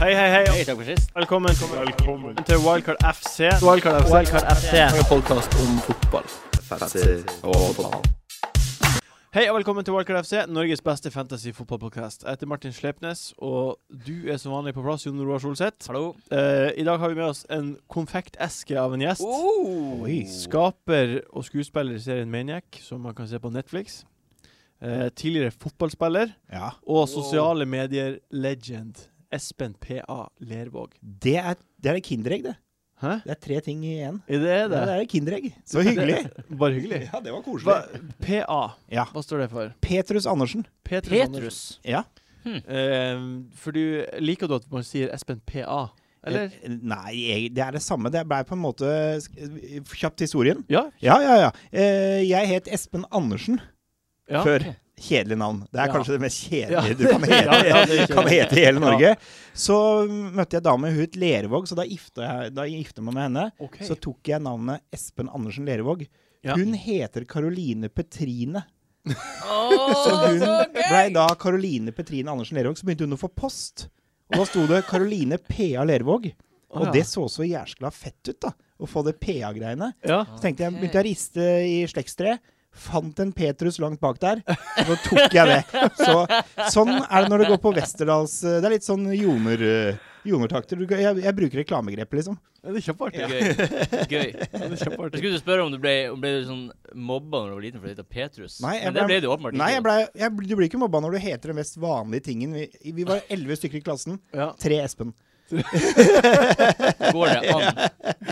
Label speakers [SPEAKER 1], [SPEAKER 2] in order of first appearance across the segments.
[SPEAKER 1] Hei, hei, hei.
[SPEAKER 2] takk for sist.
[SPEAKER 1] Velkommen, til Wildcard FC.
[SPEAKER 3] Wildcard FC.
[SPEAKER 1] Wildcard FC.
[SPEAKER 3] En podkast om fotball.
[SPEAKER 1] Hei og velkommen til Wildcard FC, Norges beste fantasy-fotballpodkast. Jeg heter Martin Sleipnes, og du er som vanlig på plass, Jon Roar Solseth.
[SPEAKER 2] Hallo.
[SPEAKER 1] Eh, I dag har vi med oss en konfekteske av en gjest. Skaper og skuespiller i serien Maniac, som man kan se på Netflix. Eh, tidligere fotballspiller
[SPEAKER 4] Ja,
[SPEAKER 1] og sosiale medier-legend Espen P.A. Lervåg.
[SPEAKER 4] det er, det er det Kinderegg, det.
[SPEAKER 1] Hæ?
[SPEAKER 4] Det er tre ting igjen.
[SPEAKER 1] Er det
[SPEAKER 4] Ja,
[SPEAKER 1] det?
[SPEAKER 4] det er det Kinderegg. Så hyggelig.
[SPEAKER 1] Bare hyggelig.
[SPEAKER 4] Ja, det var
[SPEAKER 1] Hva, PA,
[SPEAKER 4] Ja.
[SPEAKER 1] hva står det for?
[SPEAKER 4] Petrus Andersen.
[SPEAKER 1] Petrus.
[SPEAKER 2] Petrus.
[SPEAKER 4] Ja.
[SPEAKER 1] Andersen. Eh, for du liker du at man sier Espen PA, eller?
[SPEAKER 4] Eh, Nei, jeg, det er det samme. Det ble på en måte sk- Kjapt historien.
[SPEAKER 1] Ja.
[SPEAKER 4] Ja, ja, ja. Eh, Jeg het Espen Andersen
[SPEAKER 1] ja.
[SPEAKER 4] før. Kjedelig navn. Det er
[SPEAKER 1] Ja.
[SPEAKER 4] kanskje det mest
[SPEAKER 1] Ja.
[SPEAKER 4] kjedelige du kan hete,
[SPEAKER 1] Ja, ja, det er
[SPEAKER 4] kan
[SPEAKER 1] kjedelig.
[SPEAKER 4] hete i hele Norge. Så møtte jeg dame, hun het Lervåg, så da gifta jeg da gifta jeg meg med henne.
[SPEAKER 1] Ok.
[SPEAKER 4] Så tok jeg navnet Espen Andersen Lervåg.
[SPEAKER 1] Ja.
[SPEAKER 4] Hun heter Karoline Petrine. Så
[SPEAKER 2] Oh,
[SPEAKER 4] hun blei da Karoline Petrine Andersen Lervåg, så begynte hun å få post. Og da sto det Karoline PA Lervåg.
[SPEAKER 1] Å,
[SPEAKER 4] Og
[SPEAKER 1] ja.
[SPEAKER 4] det så så jæskla fett ut, da. Å få det PA-greiene.
[SPEAKER 1] ja.
[SPEAKER 4] Så tenkte jeg, begynte jeg å riste i slektstreet. Fant en Petrus langt bak der, og så tok jeg det. Så, sånn er det når det går på Westerdals eh, Det er litt sånn joner, eh, jonertakter. Du kan- Jeg, jeg bruker reklamegrep, liksom.
[SPEAKER 1] Ja, Det er kjempeartig.
[SPEAKER 2] Gøy.
[SPEAKER 1] Ja,
[SPEAKER 2] Gøy.
[SPEAKER 1] det er
[SPEAKER 2] Jeg
[SPEAKER 1] kjempeartig.
[SPEAKER 2] skulle til å spørre om du ble, om ble du sånn mobba når du var liten fordi du het Petrus.
[SPEAKER 4] Nei, jeg
[SPEAKER 2] Men det
[SPEAKER 4] ble-
[SPEAKER 2] ble du åpenbart
[SPEAKER 4] Nei, jeg ble, jeg, du blir ikke mobba når du heter den mest vanlige tingen. Vi, vi var elleve stykker i klassen.
[SPEAKER 1] Ja.
[SPEAKER 4] Tre Espen.
[SPEAKER 2] Går det an?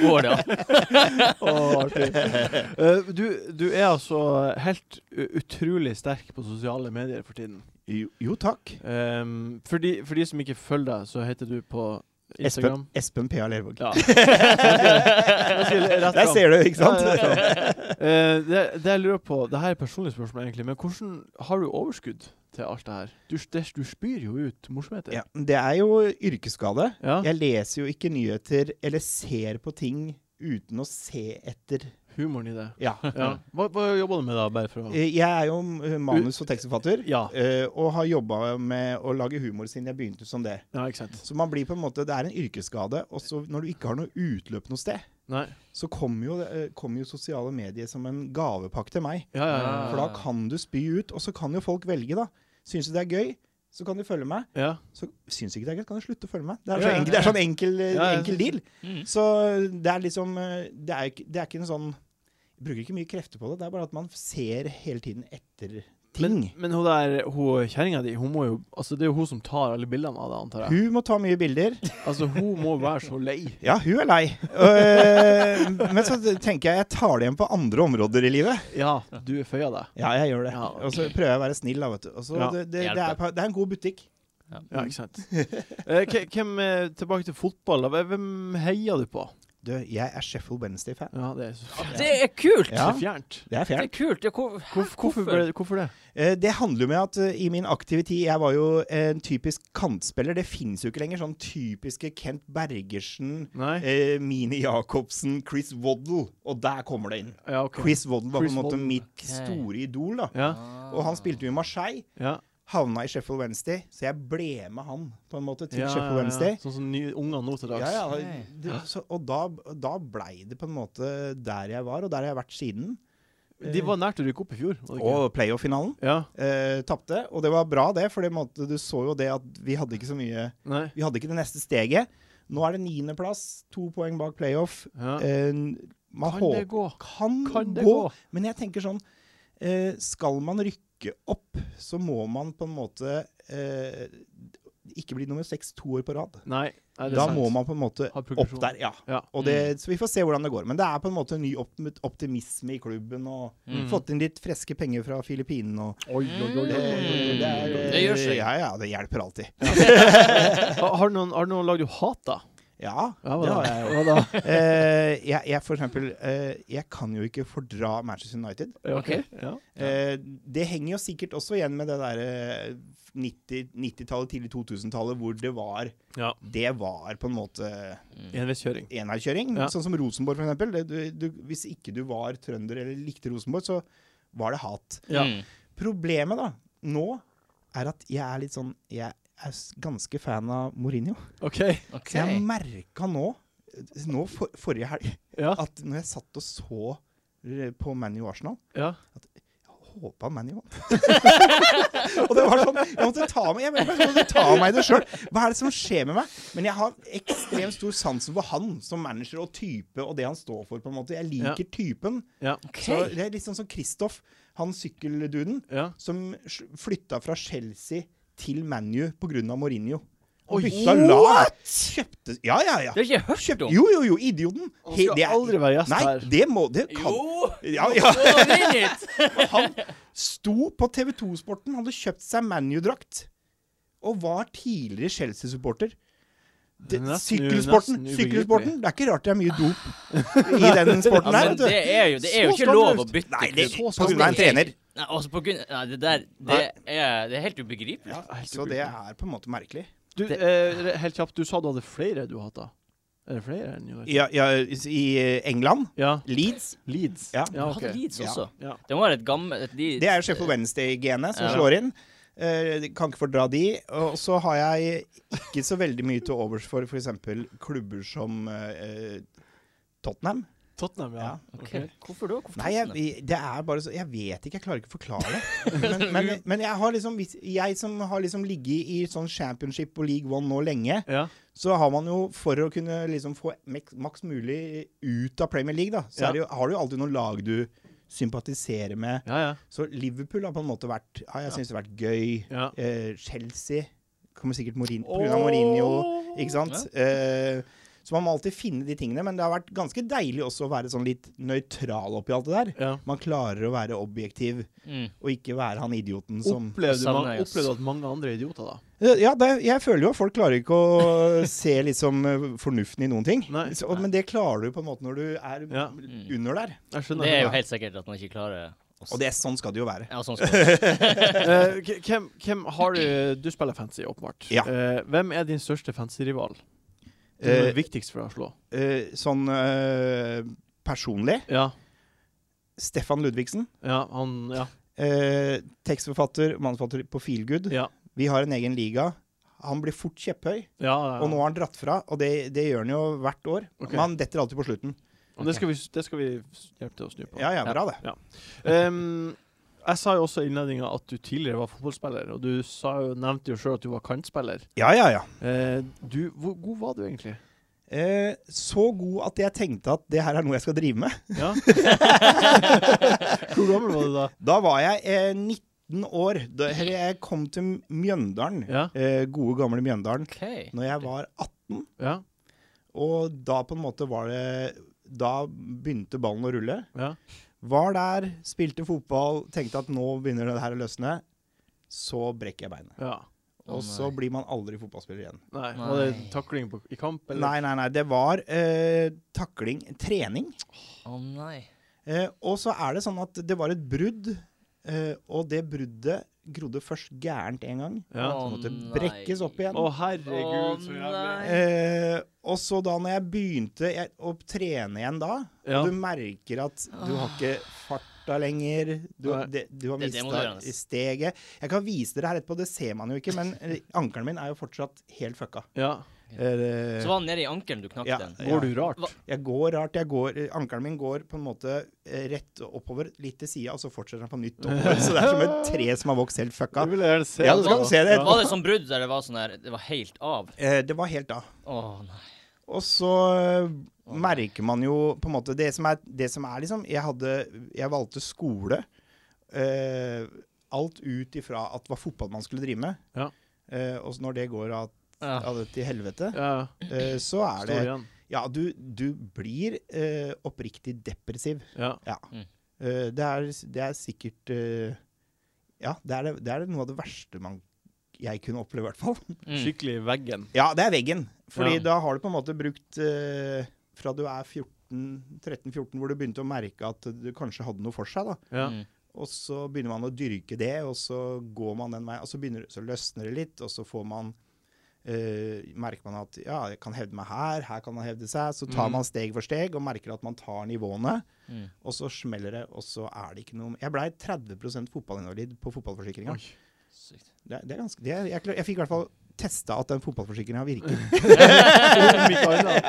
[SPEAKER 2] Går det an?
[SPEAKER 1] Å, artig. Eh, du, du er altså helt u- utrolig sterk på sosiale medier for tiden.
[SPEAKER 4] Jo, jo takk.
[SPEAKER 1] Ehm, for, de, for de som ikke følger deg, så heter du på
[SPEAKER 4] Espen,
[SPEAKER 1] Instagram
[SPEAKER 4] Espen P.A. Lervåg.
[SPEAKER 1] Ja. Nå skal jeg rett
[SPEAKER 4] Der
[SPEAKER 1] fram.
[SPEAKER 4] ser du, ikke sant?
[SPEAKER 1] Ja, ja, ja. Eh, det, det jeg lurer på, det her er et personlig spørsmål egentlig, men hvordan har du overskudd til alt det her? Du, det, du spyr jo ut morsomheter.
[SPEAKER 4] Ja, det er jo yrkesskade.
[SPEAKER 1] Ja.
[SPEAKER 4] Jeg leser jo ikke nyheter eller ser på ting uten å se etter.
[SPEAKER 1] Humoren i det.
[SPEAKER 4] Ja.
[SPEAKER 1] Ja. Hva, hva jobber du med da, bare for å
[SPEAKER 4] Eh, Jeg er jo eh, manus- og tekstforfatter.
[SPEAKER 1] Ja,
[SPEAKER 4] eh, Og har jobba med å lage humor siden jeg begynte som det.
[SPEAKER 1] ja ikke sant.
[SPEAKER 4] Så man blir på en måte, det er en yrkesskade. Og så når du ikke har noe utløp noe sted,
[SPEAKER 1] Nei.
[SPEAKER 4] så kommer jo, det- eh, kommer jo sosiale medier som en gavepakke til meg.
[SPEAKER 1] Ja, ja, ja.
[SPEAKER 4] For da kan du spy ut, og så kan jo folk velge, da. Syns du det er gøy, så kan du følge meg.
[SPEAKER 1] ja.
[SPEAKER 4] så syns ikke det er greit, kan du slutte å følge meg. Det er
[SPEAKER 1] Ja, ja.
[SPEAKER 4] så enkel, det er sånn enkel,
[SPEAKER 1] Ja, ja.
[SPEAKER 4] enkel deal.
[SPEAKER 2] Mm.
[SPEAKER 4] Så det er liksom eh, Det er, ikke- det er ikke en sånn jeg Bruker ikke mye krefter på det. Det er bare at man ser hele tiden etter ting.
[SPEAKER 1] Men, men hun der, hun kjerringa di, hun må jo Altså, det er jo hun som tar alle bildene av deg, antar jeg.
[SPEAKER 4] hun må ta mye bilder.
[SPEAKER 1] Altså, hun må være så lei.
[SPEAKER 4] Ja, hun er lei. Eh, men så tenker jeg jeg tar det igjen på andre områder i livet.
[SPEAKER 1] Ja, du er føya deg.
[SPEAKER 4] Ja, jeg gjør det.
[SPEAKER 1] Ja.
[SPEAKER 4] Og så prøver jeg å være snill, da, vet du. Og så
[SPEAKER 1] Ja.
[SPEAKER 4] det, det, det, er,
[SPEAKER 2] Hjelper.
[SPEAKER 4] det er en god butikk.
[SPEAKER 1] Ja, ikke sant. Eh, k- hvem, eh, tilbake til fotball, da. Hvem heier du på?
[SPEAKER 4] Du, jeg er Sheffield Wednesday-fan.
[SPEAKER 1] Ja, det er så fjernt.
[SPEAKER 2] Det er kult!
[SPEAKER 4] Ja.
[SPEAKER 1] Så fjernt.
[SPEAKER 4] Det er
[SPEAKER 2] Det
[SPEAKER 4] fjernt.
[SPEAKER 2] er kult. Ja, hvor, hæ,
[SPEAKER 1] Hvorfor, hvorfor, ble, hvorfor det?
[SPEAKER 4] Eh, Det handler jo med at eh, i min aktive tid Jeg var jo en typisk kantspiller. Det fins jo ikke lenger sånn typiske Kent Bergersen,
[SPEAKER 1] Nei?
[SPEAKER 4] eh, Mini Jacobsen, Chris Waddle. Og der kommer det inn.
[SPEAKER 1] Ja, ok.
[SPEAKER 4] Chris Waddle var
[SPEAKER 1] Chris
[SPEAKER 4] på en måte
[SPEAKER 1] Waddle.
[SPEAKER 4] mitt store idol. da
[SPEAKER 1] Ja,
[SPEAKER 4] Og han spilte jo i Marseille.
[SPEAKER 1] ja.
[SPEAKER 4] Havna i Sheffield Wednesday, så jeg ble med han på en måte til
[SPEAKER 1] ja,
[SPEAKER 4] Sheffield Wednesday.
[SPEAKER 1] Sånn som nye ungene nå til dags.
[SPEAKER 4] Ja, ja,
[SPEAKER 2] Hey.
[SPEAKER 4] det, så, og da, da blei det på en måte der jeg var, og der har jeg vært siden.
[SPEAKER 1] De var nært å rykke opp i fjor. var det ikke?
[SPEAKER 4] Og playoff-finalen.
[SPEAKER 1] Ja,
[SPEAKER 4] eh, tapte. Og det var bra, det, for det måtte, du så jo det at vi hadde ikke så mye
[SPEAKER 1] nei.
[SPEAKER 4] Vi hadde ikke det neste steget. Nå er det niendeplass, to poeng bak playoff.
[SPEAKER 1] Ja.
[SPEAKER 4] Eh, man
[SPEAKER 1] Kan
[SPEAKER 4] håper
[SPEAKER 1] det gå?
[SPEAKER 4] Kan,
[SPEAKER 1] Kan det
[SPEAKER 4] gå.
[SPEAKER 1] gå?
[SPEAKER 4] Men jeg tenker sånn eh, Skal man rykke opp, så må man på en måte eh, ikke bli nummer seks to år på rad.
[SPEAKER 1] Nei, nei det er
[SPEAKER 4] Da
[SPEAKER 1] sant.
[SPEAKER 4] må man på en måte
[SPEAKER 1] Ha
[SPEAKER 4] opp
[SPEAKER 1] progresjon.
[SPEAKER 4] der. Ja.
[SPEAKER 1] Ja. Mm.
[SPEAKER 4] Og det, så vi får se hvordan det går. Men det er på en måte en ny opp- optimisme i klubben. Og
[SPEAKER 2] Mm.
[SPEAKER 4] fått inn litt friske penger fra Filippinene. Og
[SPEAKER 1] Oi, oi, oi, oi, oi,
[SPEAKER 4] det,
[SPEAKER 1] oi, oi.
[SPEAKER 2] Det gjør seg.
[SPEAKER 4] Ja, ja, det hjelper alltid.
[SPEAKER 1] Eh, Ha- Har du noen, har du noen lag du hater?
[SPEAKER 4] Ja,
[SPEAKER 1] Ja, hva
[SPEAKER 4] det
[SPEAKER 1] da?
[SPEAKER 4] har jeg jo.
[SPEAKER 1] Hva da?
[SPEAKER 4] Eh, jeg, jeg, for eksempel, eh, jeg kan jo ikke fordra Manchester United.
[SPEAKER 1] Ja, ok. Ja.
[SPEAKER 4] Eh, det henger jo sikkert også igjen med det derre 90-tallet, tidlig 2000-tallet, hvor det var
[SPEAKER 1] Ja.
[SPEAKER 4] Det var på en måte
[SPEAKER 1] Enveiskjøring.
[SPEAKER 4] enveiskjøring.
[SPEAKER 1] Ja.
[SPEAKER 4] Sånn som Rosenborg, for eksempel. Det, du, du, hvis ikke du var trønder eller likte Rosenborg, så var det hat.
[SPEAKER 1] Ja.
[SPEAKER 2] Mm.
[SPEAKER 4] Problemet da, nå, er at jeg er litt sånn Jeg er s- ganske fan av Mourinho.
[SPEAKER 1] OK.
[SPEAKER 2] Ok.
[SPEAKER 4] Så jeg merka nå, nå for, forrige helg,
[SPEAKER 1] Ja.
[SPEAKER 4] at når jeg satt og så eh, på ManU Arsenal
[SPEAKER 1] ja.
[SPEAKER 4] håpa ManU vant. og det var sånn Jeg måtte ta meg, jeg, jeg måtte ta meg i det sjøl. Hva er det som skjer med meg? Men jeg har ekstremt stor sansen for han som manager og type og det han står for. på en måte Jeg liker typen.
[SPEAKER 1] Ja.
[SPEAKER 4] Så det er litt sånn som Kristoff, han sykkelduden
[SPEAKER 1] ja.
[SPEAKER 4] som sj- flytta fra Chelsea til ManU pga. Mourinho. Og
[SPEAKER 1] Oi,
[SPEAKER 4] bytta lag. Kjøpte Ja, ja, ja.
[SPEAKER 2] Det har ikke jeg hørt
[SPEAKER 4] Kjøpt,
[SPEAKER 2] om.
[SPEAKER 4] jo, jo, jo, idioten.
[SPEAKER 1] Han
[SPEAKER 4] He-
[SPEAKER 1] skal
[SPEAKER 4] det er-
[SPEAKER 1] aldri være gjest
[SPEAKER 4] Nei,
[SPEAKER 1] her.
[SPEAKER 4] det må Det kan
[SPEAKER 2] Jo!
[SPEAKER 4] Ja, ja.
[SPEAKER 2] Få det inn hit!
[SPEAKER 4] Han sto på TV 2-sporten, hadde kjøpt seg ManU-drakt og var tidligere Chelsea-supporter. Det-
[SPEAKER 1] Nesten u-
[SPEAKER 4] Sykkelsporten,
[SPEAKER 1] nesten
[SPEAKER 4] sykkelsporten! Det er ikke rart det er mye dop i den
[SPEAKER 2] Ja,
[SPEAKER 4] sporten her.
[SPEAKER 2] men
[SPEAKER 4] vet du.
[SPEAKER 2] det er jo, det er jo
[SPEAKER 1] Så
[SPEAKER 2] ikke lov å
[SPEAKER 1] skandaløst.
[SPEAKER 2] bytte
[SPEAKER 4] Nei, det,
[SPEAKER 2] klubb.
[SPEAKER 1] så
[SPEAKER 4] på grunn av en trener.
[SPEAKER 2] Nei, altså på grunn Nei, det der Det er, det er helt ubegripelig.
[SPEAKER 4] Ja,
[SPEAKER 1] Helt
[SPEAKER 4] så det er på en måte merkelig.
[SPEAKER 1] Du, eh, helt kjapt, du sa du hadde flere du hata. Er det flere enn United?
[SPEAKER 4] Ja, ja, I England,
[SPEAKER 1] Ja.
[SPEAKER 4] Leeds
[SPEAKER 1] Leeds.
[SPEAKER 4] Ja.
[SPEAKER 1] ja
[SPEAKER 2] Du
[SPEAKER 1] ok.
[SPEAKER 2] hadde Leeds
[SPEAKER 4] Ja.
[SPEAKER 2] også.
[SPEAKER 1] Ja.
[SPEAKER 2] Det må være et gammelt et Leeds.
[SPEAKER 4] Det er jo Sheffield Wednesday-genet som
[SPEAKER 2] Ja.
[SPEAKER 4] slår inn. Eh, kan ikke fordra de. Og så har jeg ikke så veldig mye til overs for f.eks. klubber som eh, Tottenham.
[SPEAKER 1] Tottenham, ja.
[SPEAKER 4] Ja.
[SPEAKER 2] Ok. Hvorfor da? Hvorfor
[SPEAKER 4] Nei,
[SPEAKER 2] Tottenham?
[SPEAKER 4] jeg, det er bare så Jeg vet ikke, jeg klarer ikke å forklare det. Men, men, men jeg har liksom hvis- Jeg som har liksom ligget i sånn championship og league one nå lenge,
[SPEAKER 1] Ja.
[SPEAKER 4] så har man jo for å kunne liksom få mek- maks mulig ut av Premier League, da, så
[SPEAKER 1] Ja.
[SPEAKER 4] er det jo, har du jo alltid noen lag du sympatiserer med.
[SPEAKER 1] Ja, ja.
[SPEAKER 4] Så Liverpool har på en måte vært Har jeg syntes det har vært gøy.
[SPEAKER 1] ja.
[SPEAKER 4] Eh, Chelsea kommer sikkert Mourinho, på grunn av Mourinho, ikke sant? Eh, så man må alltid finne de tingene, men det har vært ganske deilig også å være sånn litt nøytral oppi alt det der.
[SPEAKER 1] Ja.
[SPEAKER 4] Man klarer å være objektiv
[SPEAKER 2] Mm.
[SPEAKER 4] og ikke være han idioten som
[SPEAKER 1] Opplevde,
[SPEAKER 2] Savner
[SPEAKER 1] man,
[SPEAKER 2] jeg, ass.
[SPEAKER 1] opplevde at mange andre er idioter, da?
[SPEAKER 4] Ja, det, jeg føler jo at folk klarer ikke å se liksom eh, fornuften i noen ting.
[SPEAKER 1] Nei.
[SPEAKER 4] så, men det klarer du på en måte når du er
[SPEAKER 1] Ja.
[SPEAKER 4] under der.
[SPEAKER 1] Jeg skjønner.
[SPEAKER 2] Det er jo helt sikkert at man ikke klarer å s-
[SPEAKER 4] Og det, sånn skal det jo være.
[SPEAKER 2] Ja, sånn skal det være.
[SPEAKER 1] Eh, k- hvem, hvem har du Du spiller fancy, åpenbart.
[SPEAKER 4] Ja.
[SPEAKER 1] Eh, hvem er din største fancy-rival? Den
[SPEAKER 4] Eh,
[SPEAKER 1] er viktigst for deg å slå.
[SPEAKER 4] eh, sånn eh, personlig
[SPEAKER 1] Ja.
[SPEAKER 4] Stefan Ludvigsen,
[SPEAKER 1] Ja, han Ja.
[SPEAKER 4] eh, tekstforfatter, manusforfatter på Feelgood.
[SPEAKER 1] Ja.
[SPEAKER 4] Vi har en egen liga. Han blir fort kjepphøy,
[SPEAKER 1] ja, ja.
[SPEAKER 4] og nå har han dratt fra. Og det, det gjør han jo hvert år.
[SPEAKER 1] Ok.
[SPEAKER 4] Men han detter alltid på slutten.
[SPEAKER 1] Og det, skal vi, det skal vi hjelpe til å snu på.
[SPEAKER 4] Ja, ja,
[SPEAKER 2] Ja.
[SPEAKER 4] bra det.
[SPEAKER 1] Ehm, jeg sa jo også i innledninga at du tidligere var fotballspiller, og du sa jo, nevnte jo sjøl at du var kantspiller.
[SPEAKER 4] Ja, ja, ja.
[SPEAKER 1] Eh, du, hvor god var du egentlig?
[SPEAKER 4] Eh, så god at jeg tenkte at det her er noe jeg skal drive med.
[SPEAKER 1] Ja. hvor gammel var du da?
[SPEAKER 4] Da var jeg eh, 19 år. Da eller jeg kom til Mjøndalen,
[SPEAKER 1] Ja.
[SPEAKER 4] eh, gode gamle Mjøndalen,
[SPEAKER 2] OK.
[SPEAKER 4] når jeg var 18.
[SPEAKER 1] Ja.
[SPEAKER 4] Og da på en måte var det Da begynte ballen å rulle.
[SPEAKER 1] ja.
[SPEAKER 4] Var der, spilte fotball, tenkte at nå begynner det her å løsne. Så brekker jeg beinet.
[SPEAKER 1] ja.
[SPEAKER 4] Og
[SPEAKER 2] Å,
[SPEAKER 4] så
[SPEAKER 2] nei.
[SPEAKER 4] blir man aldri fotballspiller igjen.
[SPEAKER 1] Nei.
[SPEAKER 2] Nei.
[SPEAKER 1] Var det takling på, i kamp, eller?
[SPEAKER 4] Nei, nei, nei. Det var eh, takling, trening.
[SPEAKER 2] Å nei.
[SPEAKER 4] Eh, og så er det sånn at det var et brudd, eh, og det bruddet grodde først gærent en gang.
[SPEAKER 1] Ja.
[SPEAKER 2] Å,
[SPEAKER 4] Så måtte det
[SPEAKER 2] nei.
[SPEAKER 4] brekkes opp igjen.
[SPEAKER 1] Å, herregud,
[SPEAKER 2] Å,
[SPEAKER 1] så jævlig.
[SPEAKER 2] nei.
[SPEAKER 4] Eh, og så da når jeg begynte jeg, å trene igjen da,
[SPEAKER 1] Ja.
[SPEAKER 4] og du merker at du har ikke farta lenger, du,
[SPEAKER 1] Nei.
[SPEAKER 4] det, du har
[SPEAKER 2] Det er
[SPEAKER 4] mista
[SPEAKER 2] demotiverende.
[SPEAKER 4] steget Jeg kan vise dere her etterpå, det ser man jo ikke, men eh, ankelen min er jo fortsatt helt fucka.
[SPEAKER 1] Ja.
[SPEAKER 4] Eh,
[SPEAKER 2] Så var han nede i ankelen du knakk
[SPEAKER 4] Ja.
[SPEAKER 2] den?
[SPEAKER 1] Går du rart?
[SPEAKER 2] Hva-
[SPEAKER 4] jeg går rart, jeg går, eh, ankelen min går på en måte eh, rett oppover, litt til sida, og så fortsetter den på nytt oppover. Så det er som et tre som har vokst helt fucka.
[SPEAKER 1] Det vil jeg gjerne se.
[SPEAKER 4] Ja, du skal
[SPEAKER 1] da.
[SPEAKER 4] få se det.
[SPEAKER 2] Var det sånn brudd der det var sånn der Det var helt av?
[SPEAKER 4] Eh, det var helt da.
[SPEAKER 2] Å nei.
[SPEAKER 4] Og så øh, merker man jo på en måte Det som er, det som er liksom jeg, hadde, jeg valgte skole. øh, alt ut ifra at det var fotball man skulle drive med.
[SPEAKER 1] Ja. Ah.
[SPEAKER 4] Eh, og så når det går av,
[SPEAKER 2] Ja.
[SPEAKER 4] av det til helvete,
[SPEAKER 1] Ja, ja.
[SPEAKER 4] eh, så er det
[SPEAKER 1] Står igjen.
[SPEAKER 4] Ja, du, du blir eh, oppriktig depressiv.
[SPEAKER 1] Ja.
[SPEAKER 4] Ja.
[SPEAKER 2] Mm.
[SPEAKER 4] Eh, det, er, det er sikkert eh, Ja, det er, det- det er noe av det verste man, jeg kunne oppleve, i hvert fall.
[SPEAKER 2] Mm.
[SPEAKER 1] Skikkelig i veggen.
[SPEAKER 4] Ja, det er veggen. Fordi
[SPEAKER 1] Ja.
[SPEAKER 4] da har du på en måte brukt eh, Fra du er 13-14, hvor du begynte å merke at du kanskje hadde noe for seg. da.
[SPEAKER 1] Ja.
[SPEAKER 2] Mm.
[SPEAKER 4] Og så begynner man å dyrke det, og så går man den veien. Og så, begynner, så løsner det litt, og så får man eh, merker man at ja, jeg kan hevde meg her, her kan man hevde seg. Så tar
[SPEAKER 1] Mm.
[SPEAKER 4] man steg for steg og merker at man tar nivåene,
[SPEAKER 2] Mm.
[SPEAKER 4] og så smeller det, og så er det ikke noe Jeg blei 30 fotballinvalid på fotballforsikringa.
[SPEAKER 1] Oi.
[SPEAKER 2] Sykt.
[SPEAKER 4] Det, det er ganske, det er, jeg, klar- jeg fikk i hvert fall testa at den fotballforsikringen har virket.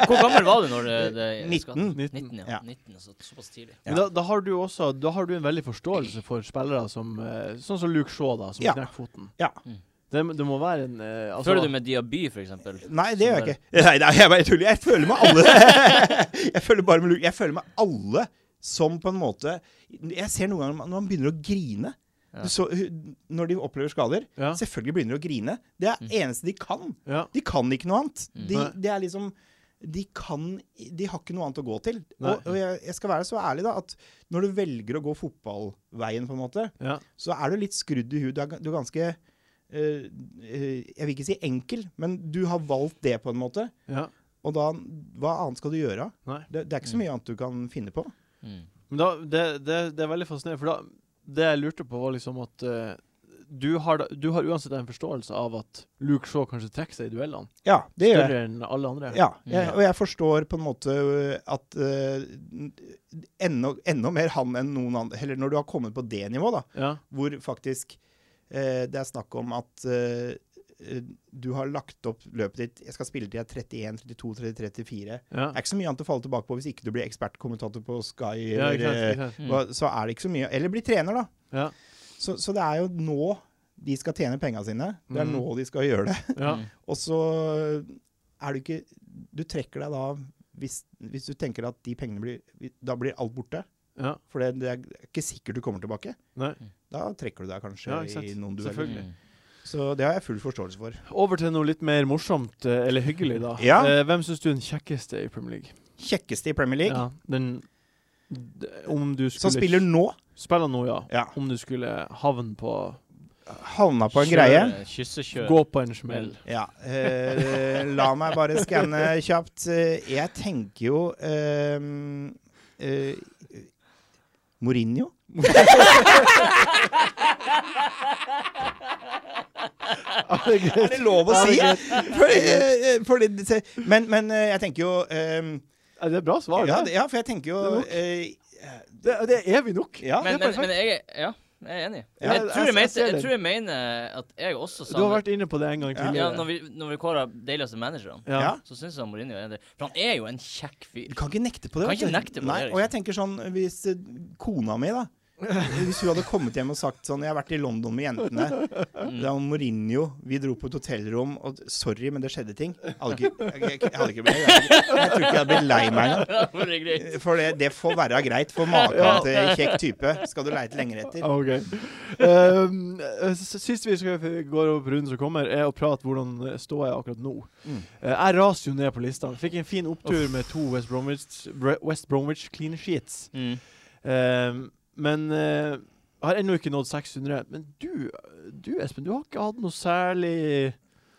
[SPEAKER 2] Hvor gammel var du når det, det
[SPEAKER 4] 19.
[SPEAKER 2] 19, ja.
[SPEAKER 4] Ja.
[SPEAKER 2] 19 så, såpass tidlig.
[SPEAKER 1] Men da, da har du også Da har du en veldig forståelse for spillere som eh, Sånn som Luke Shaw, da, som
[SPEAKER 4] Ja.
[SPEAKER 1] knekk foten.
[SPEAKER 4] Ja.
[SPEAKER 2] Mm.
[SPEAKER 1] Det, det må være en eh, altså,
[SPEAKER 2] Føler du med Diaby, for eksempel?
[SPEAKER 4] Nei, det gjør jeg ikke. Nei, nei, jeg bare tuller. Jeg føler med alle. Jeg føler bare med Luke. Jeg føler med alle som på en måte Jeg ser noen ganger når man begynner å grine.
[SPEAKER 2] Ja.
[SPEAKER 4] Du Så, hun- når de opplever skader.
[SPEAKER 1] Ja.
[SPEAKER 4] Selvfølgelig begynner de å grine. Det er det eneste de kan.
[SPEAKER 1] Ja.
[SPEAKER 4] De kan ikke noe annet.
[SPEAKER 2] Mm.
[SPEAKER 4] De,
[SPEAKER 1] Nei.
[SPEAKER 4] det er liksom de, kan, de har ikke noe annet å gå til.
[SPEAKER 1] Nei.
[SPEAKER 4] Og, og jeg, jeg skal være så ærlig, da, at når du velger å gå fotballveien, på en måte,
[SPEAKER 1] Ja.
[SPEAKER 4] så er du litt skrudd i huet. Du er, ga- du er ganske eh, eh, Jeg vil ikke si enkel, men du har valgt det, på en måte.
[SPEAKER 1] ja.
[SPEAKER 4] Og da Hva annet skal du gjøre?
[SPEAKER 1] Nei.
[SPEAKER 4] Det, det er ikke så mye annet du kan finne på.
[SPEAKER 2] Mm.
[SPEAKER 1] Men da, det, det, det er veldig fascinerende, for da, det jeg lurte på, var liksom at eh, du, har, da- du har uansett en forståelse av at Luke Shaw kanskje trekker seg i duellene,
[SPEAKER 4] Ja, det gjør jeg.
[SPEAKER 1] større enn alle andre.
[SPEAKER 4] Ja, jeg,
[SPEAKER 2] Ja.
[SPEAKER 4] og jeg forstår på en måte ø, at ø, enda, enda mer han enn noen andre Eller når du har kommet på det nivået, da,
[SPEAKER 1] Ja.
[SPEAKER 4] hvor faktisk ø, det er snakk om at ø, ø, du har lagt opp løpet ditt Jeg skal spille til jeg er 31, 32, 33, 34.
[SPEAKER 1] Ja.
[SPEAKER 4] Det er ikke så mye annet å falle tilbake på hvis ikke du blir ekspertkommentator på Sky.
[SPEAKER 1] Ja, ikke sant,
[SPEAKER 4] eller, eh,
[SPEAKER 1] ikke sant.
[SPEAKER 2] Mm.
[SPEAKER 4] hva- så er det ikke så mye. Eller bli trener, da.
[SPEAKER 1] Ja.
[SPEAKER 4] Så, så det er jo nå de skal tjene penga sine. Det er
[SPEAKER 1] Mm.
[SPEAKER 4] nå de skal gjøre det.
[SPEAKER 1] Ja.
[SPEAKER 2] Mm.
[SPEAKER 4] Og så er du ikke Du trekker deg da hvis, hvis du tenker at de pengene blir Da blir alt borte.
[SPEAKER 1] ja.
[SPEAKER 4] For det, det er ikke sikkert du kommer tilbake.
[SPEAKER 1] Nei.
[SPEAKER 4] Da trekker du deg kanskje
[SPEAKER 1] Ja, ikke sant.
[SPEAKER 4] i noen dueller.
[SPEAKER 1] Selvfølgelig.
[SPEAKER 2] Mm.
[SPEAKER 4] Så det har jeg full forståelse for.
[SPEAKER 1] Over til noe litt mer morsomt, eh, eller hyggelig, da.
[SPEAKER 4] Ja.
[SPEAKER 1] Eh, hvem syns du er den kjekkeste i Premier League?
[SPEAKER 4] Kjekkeste i Premier League,
[SPEAKER 1] Ja, den d- Om du skulle
[SPEAKER 4] som spiller nå,
[SPEAKER 1] Spiller nå, ja.
[SPEAKER 4] ja,
[SPEAKER 1] Om du skulle havne på
[SPEAKER 4] havna på en greie.
[SPEAKER 2] Kyssekjør.
[SPEAKER 1] Gå på en smell.
[SPEAKER 4] Ja. eh, la meg bare skanne kjapt. Eh, Jeg tenker jo eh, eh, Mourinho? Er det lov å si? For, eh, for det- se- men, men eh, jeg tenker jo eh,
[SPEAKER 1] Ja, det er bra svar.
[SPEAKER 4] ja,
[SPEAKER 1] det.
[SPEAKER 4] det- ja, for jeg tenker jo
[SPEAKER 1] Det
[SPEAKER 4] eh,
[SPEAKER 1] Det, det er evig nok.
[SPEAKER 4] Ja,
[SPEAKER 2] Men,
[SPEAKER 1] det er
[SPEAKER 2] men,
[SPEAKER 1] perfekt.
[SPEAKER 2] men jeg, er- ja, jeg er enig.
[SPEAKER 4] Ja,
[SPEAKER 2] jeg, tror
[SPEAKER 1] jeg-
[SPEAKER 2] jeg,
[SPEAKER 1] jeg
[SPEAKER 2] mente,
[SPEAKER 1] ser
[SPEAKER 2] jeg
[SPEAKER 1] den.
[SPEAKER 2] tror jeg mener at jeg også sa
[SPEAKER 1] Du har vært inne på det en gang
[SPEAKER 4] Ja.
[SPEAKER 2] ja,
[SPEAKER 1] tidligere.
[SPEAKER 2] Når vi, når vi kåra deiligste managerne,
[SPEAKER 1] Ja.
[SPEAKER 4] Ja.
[SPEAKER 2] så syns jeg Mourinho er det. For han er jo en kjekk fyr.
[SPEAKER 4] Du kan ikke nekte på det.
[SPEAKER 2] Kan
[SPEAKER 4] vet
[SPEAKER 2] ikke
[SPEAKER 4] du.
[SPEAKER 2] nekte på det,
[SPEAKER 4] Nei,
[SPEAKER 2] liksom.
[SPEAKER 4] Og jeg tenker sånn, hvis eh, kona mi, da Hvis hun hadde kommet hjem og sagt sånn Jeg har vært i London med jentene.
[SPEAKER 2] Mm.
[SPEAKER 4] Det var Mourinho. Vi dro på et hotellrom. Og sorry, men det skjedde ting. Jeg hadde ikke, jeg, jeg hadde ikke blitt, jeg, jeg, tror ikke jeg hadde blitt lei meg engang.
[SPEAKER 2] Det var det greit.
[SPEAKER 4] For det, det får være greit. For maken til kjekk type skal du leite lenger etter.
[SPEAKER 1] Ok. Um, eh, s- sist vi skal, går over på runden som kommer, er å prate hvordan eh, ståa er akkurat nå.
[SPEAKER 4] Mm.
[SPEAKER 1] Eh, jeg raser jo ned på listene. Fikk en fin opptur med to West Bromwich, Br- West Bromwich clean sheets.
[SPEAKER 2] Mm.
[SPEAKER 1] Um, men eh, har ennå ikke nådd 600. Men du, du Espen, du har ikke hatt noe særlig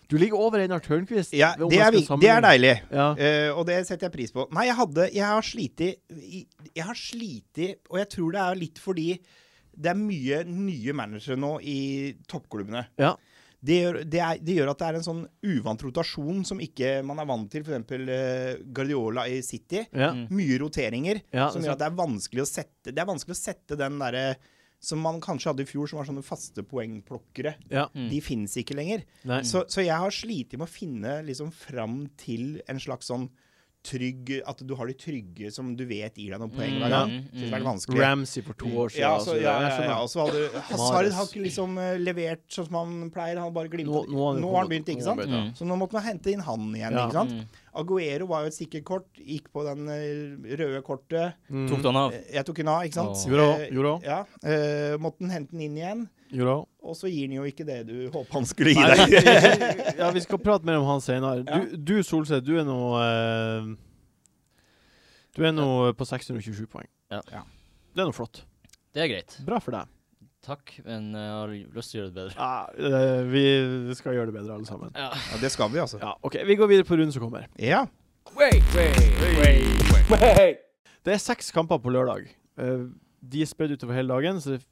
[SPEAKER 1] Du ligger over Einar Tørnquist.
[SPEAKER 4] Ja,
[SPEAKER 1] om
[SPEAKER 4] det
[SPEAKER 1] jeg skal
[SPEAKER 4] er, vik- det er
[SPEAKER 1] sammenligne.
[SPEAKER 4] deilig.
[SPEAKER 1] Ja.
[SPEAKER 4] Eh, og det setter jeg pris på. Nei, jeg hadde Jeg har sliti i- Jeg har sliti, og jeg tror det er litt fordi det er mye nye managere nå i toppklubbene.
[SPEAKER 1] Ja.
[SPEAKER 4] Det gjør, det, er, det gjør at det er en sånn uvant rotasjon som ikke man er vant til, f.eks. Uh, Guardiola i City.
[SPEAKER 1] Ja.
[SPEAKER 2] Mm.
[SPEAKER 4] Mye roteringer
[SPEAKER 1] Ja,
[SPEAKER 4] som
[SPEAKER 1] det er
[SPEAKER 4] gjør at det er vanskelig å sette Det er vanskelig å sette den derre som man kanskje hadde i fjor, som var sånne faste poengplukkere.
[SPEAKER 1] ja.
[SPEAKER 2] Mm.
[SPEAKER 4] De fins ikke lenger.
[SPEAKER 1] Nei.
[SPEAKER 4] Så, så jeg har slitt med å finne liksom fram til en slags sånn trygg At du har de trygge som du vet gir deg noen poeng hver gang.
[SPEAKER 2] Mm,
[SPEAKER 4] Så det har vært vanskelig.
[SPEAKER 1] Ramsey for to år siden.
[SPEAKER 4] Ja,
[SPEAKER 1] altså,
[SPEAKER 4] så, ja,
[SPEAKER 1] jeg
[SPEAKER 4] ja,
[SPEAKER 1] skjønner.
[SPEAKER 4] ja. Og så hadde Hazard har
[SPEAKER 1] Mahrez.
[SPEAKER 4] ikke liksom eh, levert sånn som han pleier. Han har bare glimta.
[SPEAKER 1] Nå- nå har han
[SPEAKER 4] Nå har han
[SPEAKER 1] kommet-
[SPEAKER 4] begynt, ikke
[SPEAKER 1] nå har
[SPEAKER 4] sant?
[SPEAKER 1] han
[SPEAKER 2] begynt,
[SPEAKER 4] Så nå måtte man hente inn han igjen,
[SPEAKER 1] Ja.
[SPEAKER 4] ikke sant?
[SPEAKER 2] Mm.
[SPEAKER 4] Aguero var jo et sikkert kort. Gikk på den eh, røde kortet.
[SPEAKER 1] Mm.
[SPEAKER 2] Tok du han av?
[SPEAKER 4] Eh, Jeg tok en av, ikke sant?
[SPEAKER 2] Åh.
[SPEAKER 1] Gjorde han,
[SPEAKER 4] Eh,
[SPEAKER 1] gjorde han.
[SPEAKER 4] Ja. eh, måtte han hente den inn igjen.
[SPEAKER 1] Gjorde han.
[SPEAKER 4] Og så gir han jo ikke det du håper han skulle gi
[SPEAKER 1] Nei,
[SPEAKER 4] deg.
[SPEAKER 1] vi- ja, vi skal prate mer om han senere. Du, du Solseth, du er nå eh, Du er nå eh, på 627 poeng.
[SPEAKER 2] Ja.
[SPEAKER 4] Ja.
[SPEAKER 1] Det er nå flott.
[SPEAKER 2] Det er greit.
[SPEAKER 1] Bra for deg.
[SPEAKER 2] Takk, men jeg har lyst til å gjøre det bedre.
[SPEAKER 1] Ja, eh, vi skal gjøre det bedre, alle sammen.
[SPEAKER 2] Ja.
[SPEAKER 4] Ja, det skal vi, altså.
[SPEAKER 1] Ja, OK. Vi går videre på runden som kommer.
[SPEAKER 4] Ja.
[SPEAKER 1] Det er seks kamper på lørdag. Eh, de er spredd utover hele dagen, så det er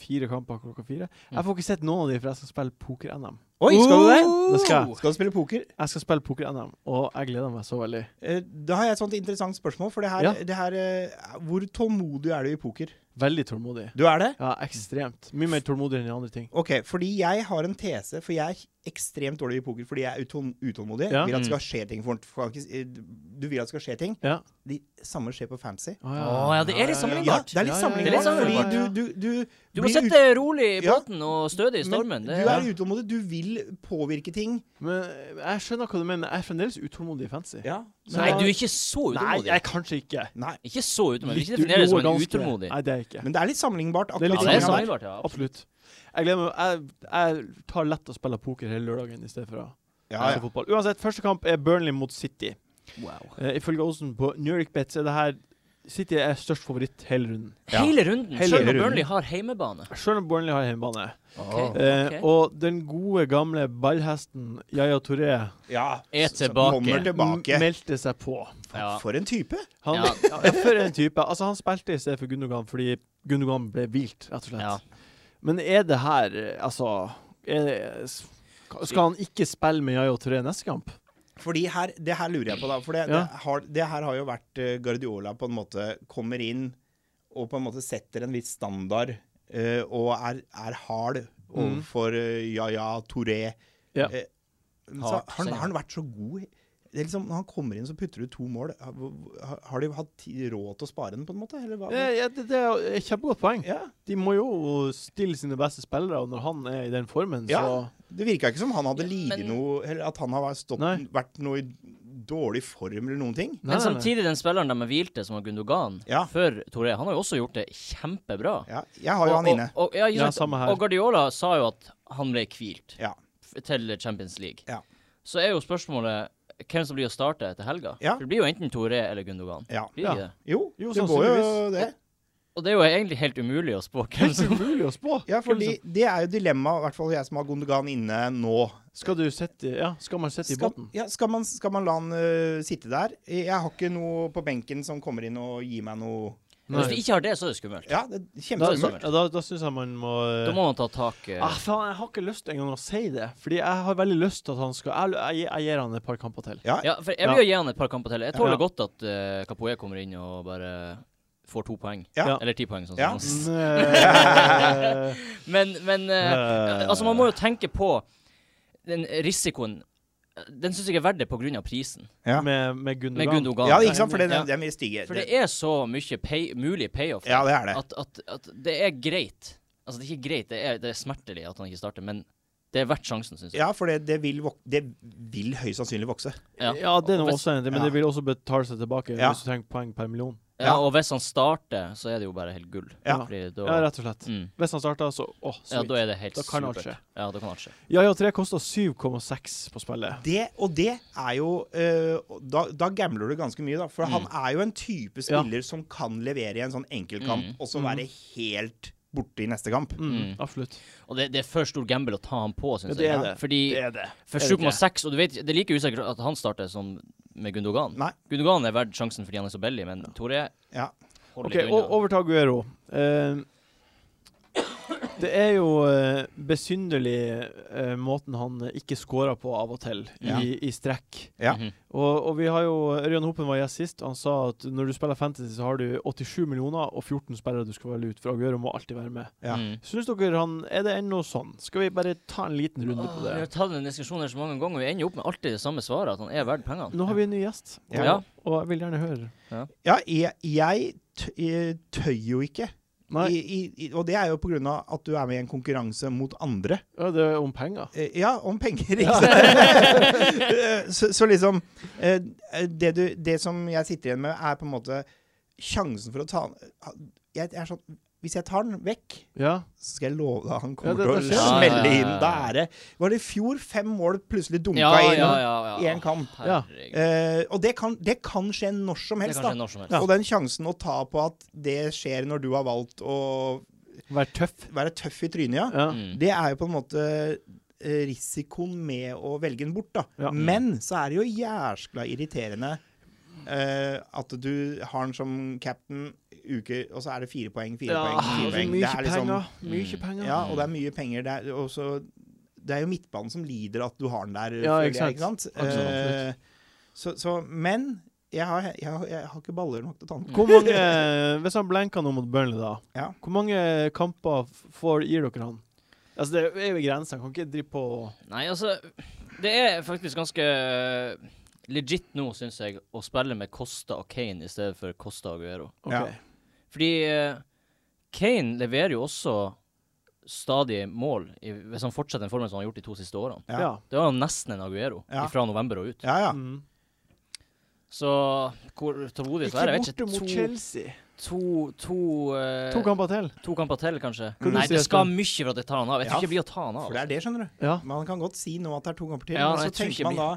[SPEAKER 1] fire kamper klokka fire. Jeg får ikke sett noen av de, for jeg skal spille poker-NM.
[SPEAKER 4] Oi, skal du det?
[SPEAKER 1] Det skal jeg.
[SPEAKER 4] Skal du spille poker?
[SPEAKER 1] Jeg skal spille poker-NM, og jeg gleder meg så veldig.
[SPEAKER 4] Eh, Da har jeg et sånt interessant spørsmål. For det her,
[SPEAKER 1] Ja.
[SPEAKER 4] det her eh, Hvor tålmodig er du i poker?
[SPEAKER 1] Veldig tålmodig.
[SPEAKER 4] Du er det?
[SPEAKER 1] Ja, ekstremt. Mye mer tålmodig enn i andre ting.
[SPEAKER 4] Ok, fordi jeg har en tese. For jeg ekstremt dårlig i poker fordi jeg er utål- utålmodig.
[SPEAKER 1] Ja.
[SPEAKER 4] Vil at det
[SPEAKER 2] Mm.
[SPEAKER 4] skal skje ting for for- eh, Du vil at det skal skje ting.
[SPEAKER 1] Ja.
[SPEAKER 4] De samme skjer på fancy.
[SPEAKER 1] Å
[SPEAKER 2] Å, ja, det er litt
[SPEAKER 4] Ja,
[SPEAKER 2] sammenlignbart.
[SPEAKER 4] det er
[SPEAKER 1] Ja,
[SPEAKER 4] litt
[SPEAKER 1] ja,
[SPEAKER 2] ja. Det er litt
[SPEAKER 4] sammenlignbart, fordi
[SPEAKER 1] sammenlignbart,
[SPEAKER 4] du, du, du,
[SPEAKER 2] Du må
[SPEAKER 4] blir
[SPEAKER 2] sitte rolig i
[SPEAKER 4] Ja.
[SPEAKER 2] båten og stødig i
[SPEAKER 4] Men
[SPEAKER 2] stormen. Det,
[SPEAKER 4] Du er utålmodig, du vil påvirke ting.
[SPEAKER 1] Men eh, jeg skjønner hva du mener. Jeg er fremdeles utålmodig i fancy.
[SPEAKER 2] Nei,
[SPEAKER 1] Så-
[SPEAKER 2] du er ikke så
[SPEAKER 1] Nei,
[SPEAKER 2] utålmodig.
[SPEAKER 1] jeg er kanskje ikke.
[SPEAKER 4] Nei.
[SPEAKER 2] Ikke så utålmodig. Vi
[SPEAKER 1] Litt
[SPEAKER 2] ikke definerer det som en
[SPEAKER 1] jo, ganske.
[SPEAKER 2] utålmodig.
[SPEAKER 1] Nei, det er jeg ikke.
[SPEAKER 4] Men det er litt sammenlignbart.
[SPEAKER 1] Det er
[SPEAKER 4] akkurat
[SPEAKER 1] litt
[SPEAKER 2] Ja, det er
[SPEAKER 4] som her.
[SPEAKER 2] sammenlignbart, ja.
[SPEAKER 1] Absolutt. Jeg gleder meg. Jeg, jeg tar lett å spille poker hele lørdagen i stedet for å
[SPEAKER 4] Ja,
[SPEAKER 1] spille
[SPEAKER 4] ja.
[SPEAKER 1] fotball. Uansett, første kamp er Burnley mot City.
[SPEAKER 2] Wow.
[SPEAKER 1] Eh, ifølge Olsen på Nuric Bet så er det her City er størst favoritt hele runden.
[SPEAKER 4] Ja.
[SPEAKER 2] Hele runden.
[SPEAKER 1] Hele
[SPEAKER 2] Selv om
[SPEAKER 4] runden.
[SPEAKER 2] Burnley har heimebane.
[SPEAKER 1] Selv om Burnley har hjemmebane.
[SPEAKER 2] Ok.
[SPEAKER 1] Eh,
[SPEAKER 2] Ok.
[SPEAKER 1] og den gode, gamle ballhesten Yaya Touré
[SPEAKER 4] ja.
[SPEAKER 2] Er
[SPEAKER 4] som
[SPEAKER 2] tilbake.
[SPEAKER 4] Kommer
[SPEAKER 1] m-
[SPEAKER 4] tilbake.
[SPEAKER 1] meldte seg på.
[SPEAKER 2] Ja.
[SPEAKER 4] For en type!
[SPEAKER 1] Han,
[SPEAKER 2] Ja.
[SPEAKER 1] ja. for en type. Altså, han spilte i stedet for Gundogan fordi Gundogan ble hvilt, rett og slett.
[SPEAKER 2] Ja.
[SPEAKER 1] Men er det her eh, Altså er det, s- Skal han ikke spille med Yaya Touré neste kamp?
[SPEAKER 4] Fordi her, det her lurer jeg på, da. For det,
[SPEAKER 1] Ja.
[SPEAKER 4] det, har, det her har jo vært eh, Guardiola på en måte kommer inn og på en måte setter en viss standard eh, og er, er hard overfor eh, Yaya Touré.
[SPEAKER 1] Ja.
[SPEAKER 4] Eh, men så
[SPEAKER 2] Hardt,
[SPEAKER 4] har, han,
[SPEAKER 2] sier
[SPEAKER 4] har han vært så god? Det er liksom, når han kommer inn, så putter du to mål. Har, har de hatt ti- råd til å spare den, på en måte? Eller hva?
[SPEAKER 1] Eh, ja, det, det er et kjempegodt poeng.
[SPEAKER 4] Ja.
[SPEAKER 1] De må jo stille sine beste spillere, og når han er i den formen,
[SPEAKER 4] Ja.
[SPEAKER 1] så
[SPEAKER 4] Det virka ikke som han hadde
[SPEAKER 2] Ja,
[SPEAKER 4] lidd
[SPEAKER 2] men-
[SPEAKER 4] noe, eller at han har vært stått,
[SPEAKER 1] Nei.
[SPEAKER 4] vært noe i dårlig form eller noen ting.
[SPEAKER 1] Nei,
[SPEAKER 2] Men
[SPEAKER 1] nei, nei.
[SPEAKER 2] samtidig, den spilleren de hvilte, som var Gundogan,
[SPEAKER 4] Ja.
[SPEAKER 2] før Toré, han har jo også gjort det kjempebra.
[SPEAKER 4] Ja, jeg har jo han inne.
[SPEAKER 2] Og, og, ja, ikke
[SPEAKER 1] Ja,
[SPEAKER 2] sant?
[SPEAKER 1] samme her.
[SPEAKER 2] og Guardiola sa jo at han ble hvilt
[SPEAKER 4] Ja.
[SPEAKER 2] f- til Champions League.
[SPEAKER 4] Ja.
[SPEAKER 2] Så er jo spørsmålet hvem som blir å starte etter helga.
[SPEAKER 4] Ja.
[SPEAKER 2] For det blir jo enten Toré eller Gundogan.
[SPEAKER 4] Ja.
[SPEAKER 2] Blir det
[SPEAKER 1] Ja.
[SPEAKER 2] ikke det?
[SPEAKER 4] Jo,
[SPEAKER 1] Jo,
[SPEAKER 4] det går jo
[SPEAKER 1] sannsynligvis.
[SPEAKER 4] det.
[SPEAKER 2] Og det er jo egentlig helt umulig å spå hvem
[SPEAKER 1] Det er
[SPEAKER 2] som
[SPEAKER 1] umulig å spå.
[SPEAKER 4] Ja, fordi
[SPEAKER 1] Hvem
[SPEAKER 4] det er jo dilemmaet, i hvert fall jeg som har Gondogan inne nå.
[SPEAKER 1] som- Skal du sette Ja, skal man sette i
[SPEAKER 4] Skal,
[SPEAKER 1] båten?
[SPEAKER 4] ja, skal, man, skal man la han øh, sitte der? Jeg har ikke noe på benken som kommer inn og gir meg noe
[SPEAKER 2] Hvis du ikke har det, så er det sånn. skummelt.
[SPEAKER 4] Ja, det er
[SPEAKER 1] Da,
[SPEAKER 4] kjempeskummelt.
[SPEAKER 1] ja, da, da syns jeg man må
[SPEAKER 2] Da må man ta tak eh,
[SPEAKER 1] Ah, faen, jeg har ikke lyst engang å si det. Fordi jeg har veldig lyst til at han skal Jeg, jeg, jeg gir han et par kamper til.
[SPEAKER 2] Ja, for jeg vil jo gi han et par kamper til. Jeg tåler godt at uh, Kapoe kommer inn og bare får to poeng.
[SPEAKER 4] Ja.
[SPEAKER 2] Eller ti poeng, sånn
[SPEAKER 4] Ja.
[SPEAKER 2] som han.
[SPEAKER 1] Nei.
[SPEAKER 2] Men, men eh,
[SPEAKER 1] Eh.
[SPEAKER 2] altså, man må jo tenke på den risikoen. Den syns jeg er verdt det pga. prisen,
[SPEAKER 4] Ja.
[SPEAKER 1] med, med Gundogan.
[SPEAKER 2] med Gundogan.
[SPEAKER 4] Ja, ikke sant? For det,
[SPEAKER 2] Ja.
[SPEAKER 4] det er mye stygge.
[SPEAKER 2] For det er så mye pay, mulig payoff
[SPEAKER 4] Ja, det er det.
[SPEAKER 2] at, at, at det er greit. Altså, det er ikke greit, det er, det er smertelig at han ikke starter, men det er verdt sjansen, syns jeg.
[SPEAKER 4] Ja, for det, det, vil, vok det vil høyst sannsynlig vokse.
[SPEAKER 1] Ja,
[SPEAKER 2] Ja.
[SPEAKER 1] det er noe
[SPEAKER 2] Hvis-
[SPEAKER 1] også en ting, men
[SPEAKER 4] Ja.
[SPEAKER 1] det vil også betale seg tilbake
[SPEAKER 4] Ja.
[SPEAKER 1] hvis du trenger poeng per million.
[SPEAKER 2] Ja,
[SPEAKER 4] Ja.
[SPEAKER 2] og hvis han starter, så er det jo bare helt gull.
[SPEAKER 4] Ja.
[SPEAKER 2] Fordi da,
[SPEAKER 1] Ja, rett og slett.
[SPEAKER 2] mm,
[SPEAKER 1] Hvis han starter, så Å,
[SPEAKER 2] ja,
[SPEAKER 1] sweet.
[SPEAKER 2] da er det helt
[SPEAKER 1] Da kan alt
[SPEAKER 2] supert.
[SPEAKER 1] skje.
[SPEAKER 2] Ja, da kan alt skje.
[SPEAKER 1] Ja, ja, 3 koster 7,6 på spillet.
[SPEAKER 4] Det, og det er jo øh, da, da gambler du ganske mye, da. For han
[SPEAKER 2] Mm.
[SPEAKER 4] er jo en type spiller som kan levere i en sånn enkeltkamp,
[SPEAKER 2] Mm.
[SPEAKER 4] og så være helt borte i neste kamp.
[SPEAKER 1] Mm,
[SPEAKER 2] Mm.
[SPEAKER 1] Absolutt.
[SPEAKER 2] Og det, det er for stor gamble å ta han på, syns
[SPEAKER 1] Ja, det er
[SPEAKER 2] jeg.
[SPEAKER 1] det.
[SPEAKER 2] Fordi
[SPEAKER 1] Det er det.
[SPEAKER 2] for
[SPEAKER 1] er det
[SPEAKER 2] 7,6, og du vet, det er like usikkert at han starter som med Gundogan.
[SPEAKER 4] Nei.
[SPEAKER 2] Gundogan er verdt sjansen fordi han er så billig, men Tore
[SPEAKER 4] Ja.
[SPEAKER 2] hold
[SPEAKER 1] OK,
[SPEAKER 2] litt
[SPEAKER 1] o-
[SPEAKER 2] unna.
[SPEAKER 1] over til Aguero. Eh, det er jo eh, besynderlig eh, måten han ikke scorer på av og til,
[SPEAKER 4] Ja.
[SPEAKER 1] i, i strekk.
[SPEAKER 4] Ja.
[SPEAKER 2] Mhm.
[SPEAKER 1] Og, og vi har jo Ørjan Hopen var gjest sist. og Han sa at når du spiller fantasy, så har du 87 millioner og 14 spillere du skal velge ut. For Aguero må alltid være med.
[SPEAKER 4] Ja.
[SPEAKER 2] Mm.
[SPEAKER 1] Syns dere han Er det ennå sånn? Skal vi bare ta en liten runde på
[SPEAKER 2] Åh, Vi
[SPEAKER 1] det?
[SPEAKER 2] har tatt den diskusjonen her så mange ganger, og vi ender jo opp med alltid det samme svaret, at han er verdt pengene.
[SPEAKER 1] Nå har vi en ny gjest, og,
[SPEAKER 2] Ah, Ja.
[SPEAKER 1] og jeg vil gjerne høre.
[SPEAKER 4] Ja, jeg, jeg, t jeg tøy jo ikke.
[SPEAKER 1] Nei,
[SPEAKER 4] I, i, i, og det er jo på grunn av at du er med i en konkurranse mot andre.
[SPEAKER 1] ja, det er om penger.
[SPEAKER 4] Eh, ja, om penger, ikke sant? Eh, så, så liksom eh, det, du, det som jeg sitter igjen med, er på en måte sjansen for å ta jeg, jeg er sånn, Hvis jeg tar den vekk,
[SPEAKER 1] Ja.
[SPEAKER 4] så skal jeg love deg han
[SPEAKER 1] Ja,
[SPEAKER 4] kommer
[SPEAKER 1] det- det
[SPEAKER 4] til å
[SPEAKER 2] skjer. Ja,
[SPEAKER 4] smelle
[SPEAKER 2] ja, ja,
[SPEAKER 4] inn.
[SPEAKER 2] ja.
[SPEAKER 4] Da er det Var det i fjor fem mål plutselig dunka
[SPEAKER 2] Ja,
[SPEAKER 4] inn
[SPEAKER 2] ja, ja, ja.
[SPEAKER 4] i en kamp?
[SPEAKER 1] Ja.
[SPEAKER 2] Herregud.
[SPEAKER 4] Eh, og det kan, det kan skje når som
[SPEAKER 2] Det
[SPEAKER 4] helst,
[SPEAKER 2] kan
[SPEAKER 4] da.
[SPEAKER 2] skje når som helst.
[SPEAKER 4] Og den sjansen å ta på at det skjer når du har valgt å
[SPEAKER 1] Vær tøff.
[SPEAKER 4] være tøff i trynet, ja,
[SPEAKER 1] Ja.
[SPEAKER 2] Mm.
[SPEAKER 4] det er jo på en måte eh, risikoen med å velge den bort, da.
[SPEAKER 1] Ja. Mm.
[SPEAKER 4] Men så er det jo jæskla irriterende eh, at du har den som captain uke, og så er det fire poeng, fire poeng, fire
[SPEAKER 1] og så
[SPEAKER 4] poeng.
[SPEAKER 1] altså, mye
[SPEAKER 4] Det er liksom,
[SPEAKER 1] penger. Mye
[SPEAKER 2] Mm.
[SPEAKER 1] penger.
[SPEAKER 4] ja, og det er mye penger. Det er, og så- det er jo midtbanen som lider at du har den der,
[SPEAKER 1] Ja,
[SPEAKER 4] føler
[SPEAKER 1] ikke
[SPEAKER 4] jeg,
[SPEAKER 1] sant.
[SPEAKER 4] ikke sant?
[SPEAKER 1] Absolutt.
[SPEAKER 4] Eh, så, så, men jeg har, jeg, har, jeg har ikke baller nok til å ta den.
[SPEAKER 1] Hvor mange, hvis han blenker nå mot Burnley, da,
[SPEAKER 4] Ja.
[SPEAKER 1] hvor mange kamper f- får, gir dere han? Altså, det er jo ved grensa. Kan ikke drive på
[SPEAKER 2] Nei, altså Det er faktisk ganske eh, legit nå, syns jeg, å spille med Costa og Kane i stedet for Costa og Guero.
[SPEAKER 1] OK.
[SPEAKER 4] Ja.
[SPEAKER 2] Fordi eh, Kane leverer jo også stadig mål, i, hvis han fortsetter den formen som han har gjort de to siste årene.
[SPEAKER 1] Ja.
[SPEAKER 4] Ja.
[SPEAKER 2] Det var jo nesten en Aguero
[SPEAKER 4] Ja.
[SPEAKER 2] fra november og ut.
[SPEAKER 4] Ja, ja.
[SPEAKER 1] Mm.
[SPEAKER 2] Så hvor tålmodig så
[SPEAKER 1] Ikke
[SPEAKER 2] er jeg,
[SPEAKER 1] borte
[SPEAKER 2] vet
[SPEAKER 1] mot
[SPEAKER 2] ikke.
[SPEAKER 1] Chelsea.
[SPEAKER 2] To, to, to, eh,
[SPEAKER 1] To kamper til.
[SPEAKER 2] to kamper til, kanskje?
[SPEAKER 1] Hvordan
[SPEAKER 2] Nei,
[SPEAKER 1] sier
[SPEAKER 2] det
[SPEAKER 1] jeg
[SPEAKER 2] skal
[SPEAKER 1] det?
[SPEAKER 2] mye for at jeg tar han av. Jeg tror
[SPEAKER 4] Ja,
[SPEAKER 2] ikke det blir å ta han av.
[SPEAKER 4] For det er det, skjønner du.
[SPEAKER 1] Ja.
[SPEAKER 4] Man kan godt si nå at det er to kamper til,
[SPEAKER 2] Ja,
[SPEAKER 4] men
[SPEAKER 2] jeg
[SPEAKER 4] så
[SPEAKER 2] tror
[SPEAKER 4] tenker
[SPEAKER 2] ikke
[SPEAKER 4] man da,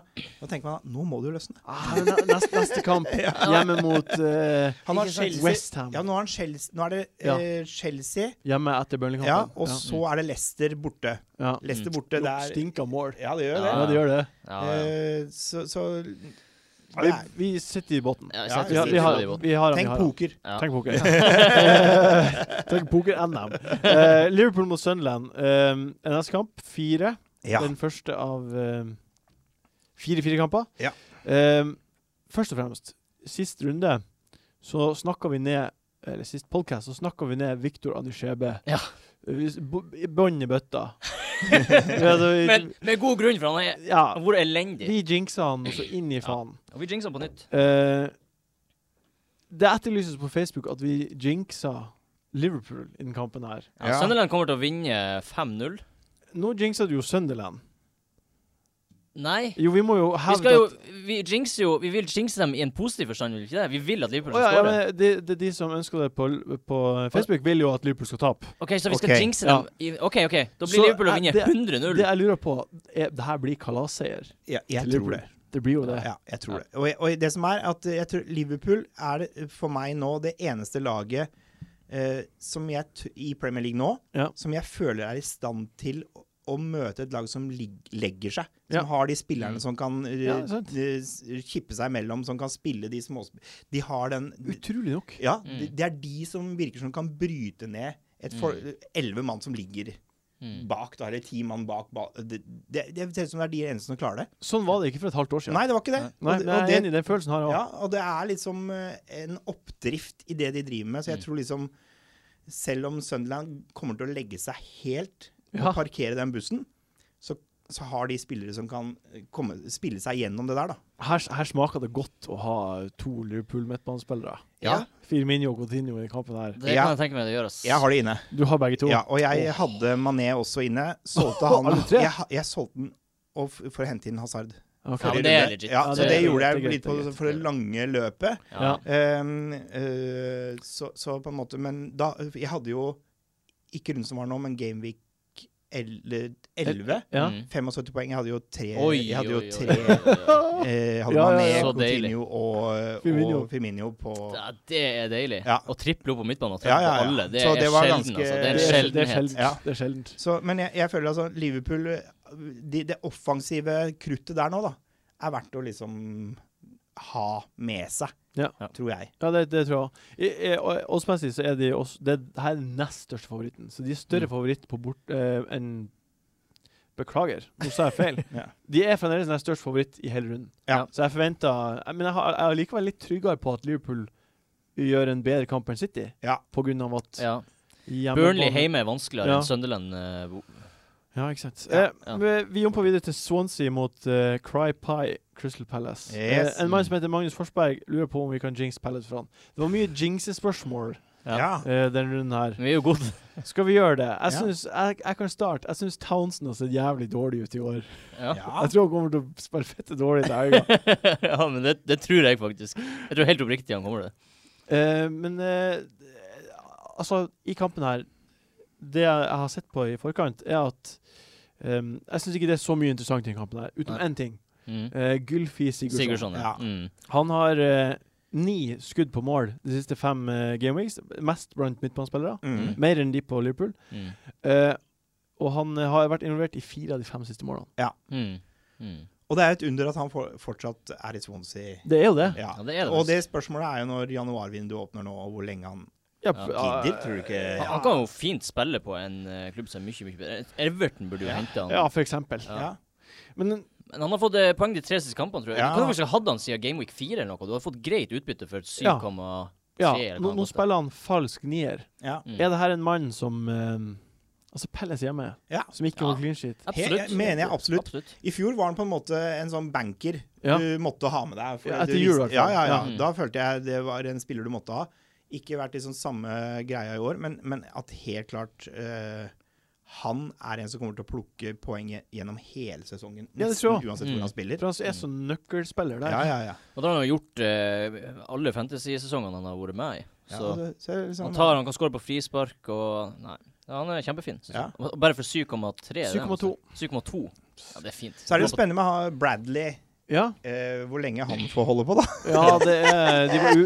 [SPEAKER 4] da tenker man da, nå må det jo løsne.
[SPEAKER 1] Ah, men ne- neste, neste kamp hjemme mot eh,
[SPEAKER 4] Han har
[SPEAKER 2] Ikke sant?
[SPEAKER 4] Chelsea,
[SPEAKER 1] Westham.
[SPEAKER 4] ja, nå, har han Chelsea, nå er det
[SPEAKER 1] Ja.
[SPEAKER 4] eh, Chelsea,
[SPEAKER 1] Hjemme etter Burnley-kampen.
[SPEAKER 4] ja, og så er det Leicester borte.
[SPEAKER 1] ja.
[SPEAKER 4] Leicester
[SPEAKER 2] Mm.
[SPEAKER 4] borte, det
[SPEAKER 1] Lukter
[SPEAKER 4] er
[SPEAKER 1] Stinker mål.
[SPEAKER 4] Ja, det gjør jo det.
[SPEAKER 1] Ja, det gjør det.
[SPEAKER 2] Ja, ja.
[SPEAKER 4] Eh, så, så
[SPEAKER 1] Vi,
[SPEAKER 4] Nei,
[SPEAKER 1] vi sitter i båten.
[SPEAKER 2] Ja, jeg
[SPEAKER 4] Ja,
[SPEAKER 2] setter
[SPEAKER 1] Vi har, vi har,
[SPEAKER 2] City på nivå.
[SPEAKER 1] vi har, vi
[SPEAKER 4] Tenk
[SPEAKER 1] har
[SPEAKER 4] poker.
[SPEAKER 2] Ja.
[SPEAKER 1] Tenk poker. Eh, Tenk poker-NM. Eh, Liverpool mot Sunderland. Eh, neste kamp, fire.
[SPEAKER 4] Ja.
[SPEAKER 1] Den første av eh, fire firekamper.
[SPEAKER 4] Ja.
[SPEAKER 1] Eh, først og fremst, sist runde så snakka vi ned eller sist podcast, så snakka vi ned Viktor Anishebe.
[SPEAKER 2] Ja.
[SPEAKER 1] Bånn i bøtta. ja, da vi,
[SPEAKER 2] Men med god grunn, for han er
[SPEAKER 1] ja,
[SPEAKER 2] han har vært elendig.
[SPEAKER 1] vi jinxa han så inn i faen.
[SPEAKER 2] Og vi jinxer han på nytt.
[SPEAKER 1] Eh, det etterlyses på Facebook at vi jinxa Liverpool i den kampen her.
[SPEAKER 2] Ja,
[SPEAKER 4] Ja.
[SPEAKER 2] Sunderland kommer til å vinne 5-0.
[SPEAKER 1] Nå jinxa du jo Sunderland.
[SPEAKER 2] Nei.
[SPEAKER 1] Jo, vi må jo
[SPEAKER 2] Vi
[SPEAKER 1] hevde
[SPEAKER 2] skal jo Vi jinxer jo Vi vil jinxe dem i en positiv forstand, vil vi ikke det? Vi vil at
[SPEAKER 1] Å
[SPEAKER 2] Liverpool
[SPEAKER 1] ja,
[SPEAKER 2] skal
[SPEAKER 1] ja,
[SPEAKER 2] skåre.
[SPEAKER 1] men det, det er de som ønsker det på, på Facebook, vil jo at Liverpool skal tape.
[SPEAKER 2] OK, så vi skal
[SPEAKER 4] Ok,
[SPEAKER 2] jinxe
[SPEAKER 1] ja.
[SPEAKER 2] dem i OK, OK. Da blir
[SPEAKER 1] Så,
[SPEAKER 2] Liverpool å
[SPEAKER 1] eh,
[SPEAKER 2] vinne
[SPEAKER 1] det-
[SPEAKER 2] 100-0.
[SPEAKER 1] Det jeg lurer på, er det her blir kalasseier
[SPEAKER 4] Ja, jeg
[SPEAKER 1] til
[SPEAKER 4] tror
[SPEAKER 1] Liverpool.
[SPEAKER 4] det.
[SPEAKER 1] Det blir jo det.
[SPEAKER 4] Ja, jeg tror det. Og, jeg- og det som er at jeg tror Liverpool er det, for meg nå det eneste laget eh, som jeg, t- i Premier League nå
[SPEAKER 1] Ja.
[SPEAKER 4] som jeg føler er i stand til å, å møte et lag som lig, legger seg. Som
[SPEAKER 1] Ja. Mm.
[SPEAKER 4] har de spillerne som kan eh,
[SPEAKER 1] Ja, sant.
[SPEAKER 4] eh, s- kippe seg imellom, som kan spille de småspill... De har den
[SPEAKER 1] Utrolig nok.
[SPEAKER 4] Ja, det, det er de som virker som kan bryte ned et for,
[SPEAKER 1] Mm.
[SPEAKER 4] elleve mann som ligger
[SPEAKER 2] Mm.
[SPEAKER 4] bak, da, eller ti mann bak. ba- det, det, det ser ut som det er de eneste som klarer det.
[SPEAKER 1] Sånn var det ikke for et halvt år siden.
[SPEAKER 4] Nei, det var ikke det.
[SPEAKER 1] Nei,
[SPEAKER 4] Og det-
[SPEAKER 1] men
[SPEAKER 4] og
[SPEAKER 1] jeg
[SPEAKER 4] det-
[SPEAKER 1] er enig i den følelsen her òg.
[SPEAKER 4] ja, og det er liksom eh, en oppdrift i det de driver med. Så jeg tror liksom Selv om Sunderland kommer til å legge seg helt
[SPEAKER 1] Ja.
[SPEAKER 4] og parkere den bussen, så, så har de spillere som kan eh, komme, spille seg gjennom det der, da.
[SPEAKER 1] Her, her smaker det godt å ha to Liverpool-midtbanespillere.
[SPEAKER 4] Ja.
[SPEAKER 1] Firmino og Coutinho i kampen her.
[SPEAKER 2] Det
[SPEAKER 4] Ja.
[SPEAKER 2] kan jeg tenke meg det gjøres.
[SPEAKER 4] Jeg har det inne.
[SPEAKER 1] Du har begge to.
[SPEAKER 4] Ja, og jeg hadde Mané også inne. Solgte han
[SPEAKER 1] Alle tre?
[SPEAKER 4] Jeg, ha- jeg solgte den og f- for å hente inn Hazard.
[SPEAKER 1] Ok.
[SPEAKER 2] Ja, men
[SPEAKER 4] Forrige
[SPEAKER 2] det er
[SPEAKER 4] runde.
[SPEAKER 2] legit.
[SPEAKER 4] Ja,
[SPEAKER 1] Ja,
[SPEAKER 4] så
[SPEAKER 1] det
[SPEAKER 4] det,
[SPEAKER 1] er-
[SPEAKER 4] gjorde
[SPEAKER 1] det er
[SPEAKER 4] jeg
[SPEAKER 1] greit,
[SPEAKER 4] litt
[SPEAKER 1] det er
[SPEAKER 4] på,
[SPEAKER 1] greit.
[SPEAKER 4] for det lange løpet.
[SPEAKER 1] Ja.
[SPEAKER 4] Ehm, eh, så, så på en måte Men da Jeg hadde jo ikke rundt som var nå, men Gameweek 11.
[SPEAKER 1] Ja.
[SPEAKER 2] Mm.
[SPEAKER 4] 75 poeng. Jeg hadde jo tre
[SPEAKER 2] Oi,
[SPEAKER 4] Jeg hadde jo
[SPEAKER 2] oi, oi,
[SPEAKER 4] tre
[SPEAKER 2] oi.
[SPEAKER 4] eh,
[SPEAKER 1] Ja,
[SPEAKER 4] Hadde
[SPEAKER 1] ja,
[SPEAKER 4] Mané,
[SPEAKER 1] ja.
[SPEAKER 2] Så deilig.
[SPEAKER 4] Coutinho og,
[SPEAKER 1] Firmino.
[SPEAKER 4] og Firmino på
[SPEAKER 2] Ja, det er deilig.
[SPEAKER 4] Ja.
[SPEAKER 2] Å triple opp på midtbanen og
[SPEAKER 4] Ja,
[SPEAKER 2] treffe
[SPEAKER 4] ja, ja.
[SPEAKER 2] alle, det
[SPEAKER 4] Så
[SPEAKER 2] er
[SPEAKER 4] det var
[SPEAKER 2] sjelden,
[SPEAKER 4] ganske-
[SPEAKER 2] altså. Det er
[SPEAKER 1] Det er,
[SPEAKER 2] en
[SPEAKER 1] det er
[SPEAKER 2] sjeldenhet.
[SPEAKER 1] sjeldent.
[SPEAKER 4] Ja.
[SPEAKER 1] Det er sjeldent.
[SPEAKER 4] Så, men jeg, jeg føler altså Liverpool de, Det offensive kruttet der nå, da, er verdt å liksom ha med seg,
[SPEAKER 1] Ja.
[SPEAKER 4] tror jeg.
[SPEAKER 1] Ja, det, det tror jeg. I- i- og- Oddsmessig så er de også det, Her er den nest største favoritten. Så de er større
[SPEAKER 4] Mm.
[SPEAKER 1] favoritt på bort eh, enn Beklager, nå sa jeg feil.
[SPEAKER 4] Ja.
[SPEAKER 1] De er fremdeles nest størst favoritt i hele runden.
[SPEAKER 4] Ja.
[SPEAKER 1] Så jeg forventer jeg- Men jeg har- jeg er likevel litt tryggere på at Liverpool gjør en bedre kamp enn City.
[SPEAKER 4] Ja.
[SPEAKER 1] På grunn av at
[SPEAKER 2] Ja.
[SPEAKER 1] hjemmebane-
[SPEAKER 2] Burnley hjemme er vanskeligere
[SPEAKER 1] Ja.
[SPEAKER 2] enn Sunderland. eh, bo-
[SPEAKER 1] Ja, ikke sant.
[SPEAKER 4] Ja,
[SPEAKER 1] Eh,
[SPEAKER 2] ja.
[SPEAKER 1] vi- Vi jumper videre til Swansea mot eh, Cry Pie Crystal Palace.
[SPEAKER 4] Yes.
[SPEAKER 1] Eh, en mann som heter Magnus Forsberg, lurer på om vi kan jinx Palace for han. Det var mye jinxespørsmål
[SPEAKER 2] Ja.
[SPEAKER 4] Ja.
[SPEAKER 1] eh, den runden her.
[SPEAKER 2] Vi er jo gode.
[SPEAKER 1] Skal vi gjøre det? Jeg,
[SPEAKER 4] Ja.
[SPEAKER 1] synes, jeg, jeg kan starte. Jeg syns Townsend har sett jævlig dårlig ut i år.
[SPEAKER 2] Ja.
[SPEAKER 4] Ja.
[SPEAKER 1] Jeg tror han kommer til å spille fette dårlig til helga.
[SPEAKER 2] ja, men det, det tror jeg faktisk. Jeg tror helt oppriktig han kommer det.
[SPEAKER 1] Eh, men eh, altså, i kampen her Det jeg, jeg har sett på i forkant, er at ehm, Jeg syns ikke det er så mye interessant i den kampen her, utenom
[SPEAKER 2] Nei.
[SPEAKER 1] én ting.
[SPEAKER 2] Mm.
[SPEAKER 1] Eh, Gylfi Sigurdsson.
[SPEAKER 2] Sigurdsson, ja.
[SPEAKER 4] Ja.
[SPEAKER 2] Mm.
[SPEAKER 1] Han har eh, ni skudd på mål de siste fem eh, gameweeks, mest blant midtbanespillere.
[SPEAKER 4] Mm.
[SPEAKER 1] Mer enn de på Liverpool.
[SPEAKER 2] Mm.
[SPEAKER 1] Eh, og han eh, har vært involvert i fire av de fem siste målene.
[SPEAKER 2] Mm. Mm.
[SPEAKER 4] Og det er et under at han for, fortsatt er i Swansea.
[SPEAKER 1] Det er jo det.
[SPEAKER 4] Ja.
[SPEAKER 2] Ja, det altså. er det
[SPEAKER 4] og det spørsmålet er jo når januarvinduet åpner nå, og hvor lenge han
[SPEAKER 1] Ja,
[SPEAKER 2] Ja.
[SPEAKER 1] p-
[SPEAKER 4] gidder, tror du ikke?
[SPEAKER 2] Han, han kan jo fint spille på en eh, klubb som er mye, mye bedre. Everton burde jo hente han.
[SPEAKER 1] Ja, for eksempel.
[SPEAKER 4] Ja.
[SPEAKER 1] Men
[SPEAKER 2] Men han har fått eh, poeng de tre siste kampene, tror jeg.
[SPEAKER 4] Ja.
[SPEAKER 2] Du kan jo faktisk ha hatt han siden Gameweek 4 eller noe. Du har fått greit utbytte for 7,3
[SPEAKER 1] Ja. ja,
[SPEAKER 2] eller hva
[SPEAKER 1] nå,
[SPEAKER 2] han
[SPEAKER 1] nå
[SPEAKER 2] koster.
[SPEAKER 1] spiller han falsk nier.
[SPEAKER 4] Ja.
[SPEAKER 2] Mm.
[SPEAKER 1] Er det her en mann som eh, Altså Pelles hjemme,
[SPEAKER 4] Ja.
[SPEAKER 1] som ikke
[SPEAKER 2] Ja.
[SPEAKER 1] holdt clean sheet.
[SPEAKER 4] He-
[SPEAKER 2] Absolutt.
[SPEAKER 4] jeg mener jeg absolutt.
[SPEAKER 2] Absolutt.
[SPEAKER 4] I fjor var han på en måte en sånn banker
[SPEAKER 1] Ja.
[SPEAKER 4] du måtte ha med deg. for
[SPEAKER 1] Ja, etter
[SPEAKER 4] du
[SPEAKER 1] jul,
[SPEAKER 4] visste-
[SPEAKER 1] i hvert fall. Mm.
[SPEAKER 4] Ja, ja, ja.
[SPEAKER 2] Ja.
[SPEAKER 4] Da følte jeg det var en spiller du måtte ha. Ikke vært liksom samme greia i år, men, men at helt klart eh, han er en som kommer til å plukke poenget gjennom hele sesongen.
[SPEAKER 1] Ja, det tror jeg.
[SPEAKER 4] nesten Uansett hvor
[SPEAKER 2] Mm.
[SPEAKER 4] han spiller.
[SPEAKER 1] For han er så nøkkelspiller der.
[SPEAKER 4] Ja, ja, ja.
[SPEAKER 2] Og da har han jo gjort eh, alle fantasy-sesongene han har vært med i.
[SPEAKER 4] ja
[SPEAKER 2] Så
[SPEAKER 4] det- så er det liksom-
[SPEAKER 2] han, tar, han kan skåre på frispark og Nei. Ja, han er kjempefin. synes
[SPEAKER 4] Ja.
[SPEAKER 2] jeg. Og Bare for 7,3. det er
[SPEAKER 1] 7,2.
[SPEAKER 2] altså. 7,2. Ja, det er fint.
[SPEAKER 4] så er det jo spennende med å ha Bradley,
[SPEAKER 1] Ja,
[SPEAKER 4] eh, hvor lenge han får holde på, da.
[SPEAKER 1] ja det er de var u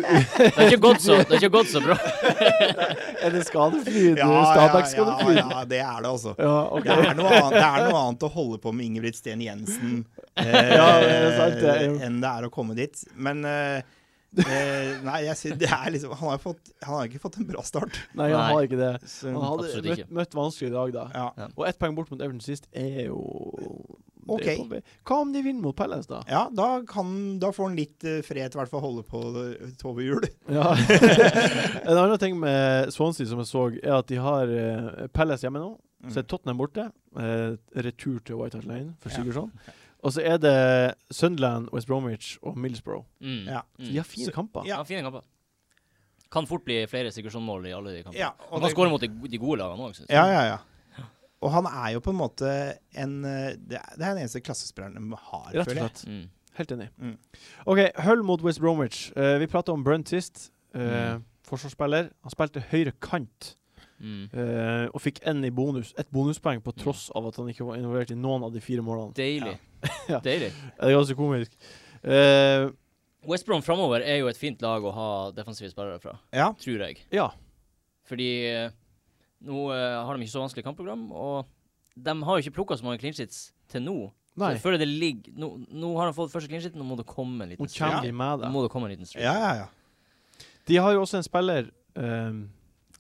[SPEAKER 2] Det har ikke gått så, det har ikke gått så bra.
[SPEAKER 1] Er det skadefri?
[SPEAKER 4] Ja, ja, ja, ja, det er det, altså.
[SPEAKER 1] Ja,
[SPEAKER 4] Det er, noe annet, det er noe annet å holde på med Ingebrigt Sten Jensen eh,
[SPEAKER 1] Ja, det er sant, det er jo-
[SPEAKER 4] enn det er å komme dit. Men eh, eh, Nei, jeg synes det er liksom Han har, fått, han har ikke fått en bra start.
[SPEAKER 1] Nei, han har ikke det.
[SPEAKER 4] Så,
[SPEAKER 1] Han hadde
[SPEAKER 2] Absolutt
[SPEAKER 1] møtt,
[SPEAKER 2] ikke.
[SPEAKER 1] møtt vanskelig i dag, da.
[SPEAKER 4] ja.
[SPEAKER 1] Og ett poeng bort mot Everton sist er jo det er
[SPEAKER 4] Ok.
[SPEAKER 1] på vei. Hva om de vinner mot Pelles, da?
[SPEAKER 4] ja, da, kan, da får han litt eh, fred til i hvert fall å holde på eh, Tove Hjul.
[SPEAKER 1] Ja. en annen ting med Swansea som jeg så, er at de har eh, Pelles hjemme nå. Så er Tottenham borte. Eh, retur til White Hart Lane for
[SPEAKER 4] Ja.
[SPEAKER 1] Sigurdsson. Og så er det Sunderland, West Bromwich og Middlesbrough.
[SPEAKER 2] Mm.
[SPEAKER 4] Ja.
[SPEAKER 1] Så de
[SPEAKER 2] Mm.
[SPEAKER 1] har fine
[SPEAKER 4] Så-
[SPEAKER 1] kamper.
[SPEAKER 4] ja.
[SPEAKER 2] Ja, fine kamper. Kan fort bli flere Sigurdsson-mål i alle de kampene.
[SPEAKER 4] Ja,
[SPEAKER 2] Han
[SPEAKER 4] og
[SPEAKER 2] kan
[SPEAKER 4] det,
[SPEAKER 2] skåre mot de, de gode lagene òg, syns jeg.
[SPEAKER 4] ja, ja, ja. Og han er jo på en måte en eh, Det er det er den eneste klassespilleren de har,
[SPEAKER 1] Rett og
[SPEAKER 4] føler jeg.
[SPEAKER 1] slett.
[SPEAKER 2] Mm.
[SPEAKER 1] Helt enig.
[SPEAKER 4] Mm.
[SPEAKER 1] OK, Hull mot West Bromwich. Eh, vi prata om Brunt sist. Eh,
[SPEAKER 2] Mm.
[SPEAKER 1] Forsvarsspiller. Han spilte høyre kant
[SPEAKER 2] Mm.
[SPEAKER 1] eh, og fikk én i bonus. Ett bonuspoeng på tross av at han ikke var involvert i noen av de fire målene.
[SPEAKER 2] Deilig.
[SPEAKER 1] Ja.
[SPEAKER 2] Deilig.
[SPEAKER 1] Det er ganske komisk. Eh,
[SPEAKER 2] West Brom framover er jo et fint lag å ha defensive spillere fra,
[SPEAKER 4] Ja.
[SPEAKER 2] tror jeg.
[SPEAKER 1] ja.
[SPEAKER 2] Fordi eh, nå eh, har de ikke så vanskelig kampprogram, og de har jo ikke plukka så mange clean sheets til nå. Så
[SPEAKER 1] Nei.
[SPEAKER 2] jeg føler det ligger nå, nå har de fått første clean sheet, nå må det komme en
[SPEAKER 1] Nå
[SPEAKER 2] liten
[SPEAKER 1] kommer
[SPEAKER 2] streak.
[SPEAKER 1] de med
[SPEAKER 2] Nå
[SPEAKER 1] det.
[SPEAKER 2] må det komme en liten streak
[SPEAKER 4] Ja, ja, ja.
[SPEAKER 1] De har jo også en spiller eh,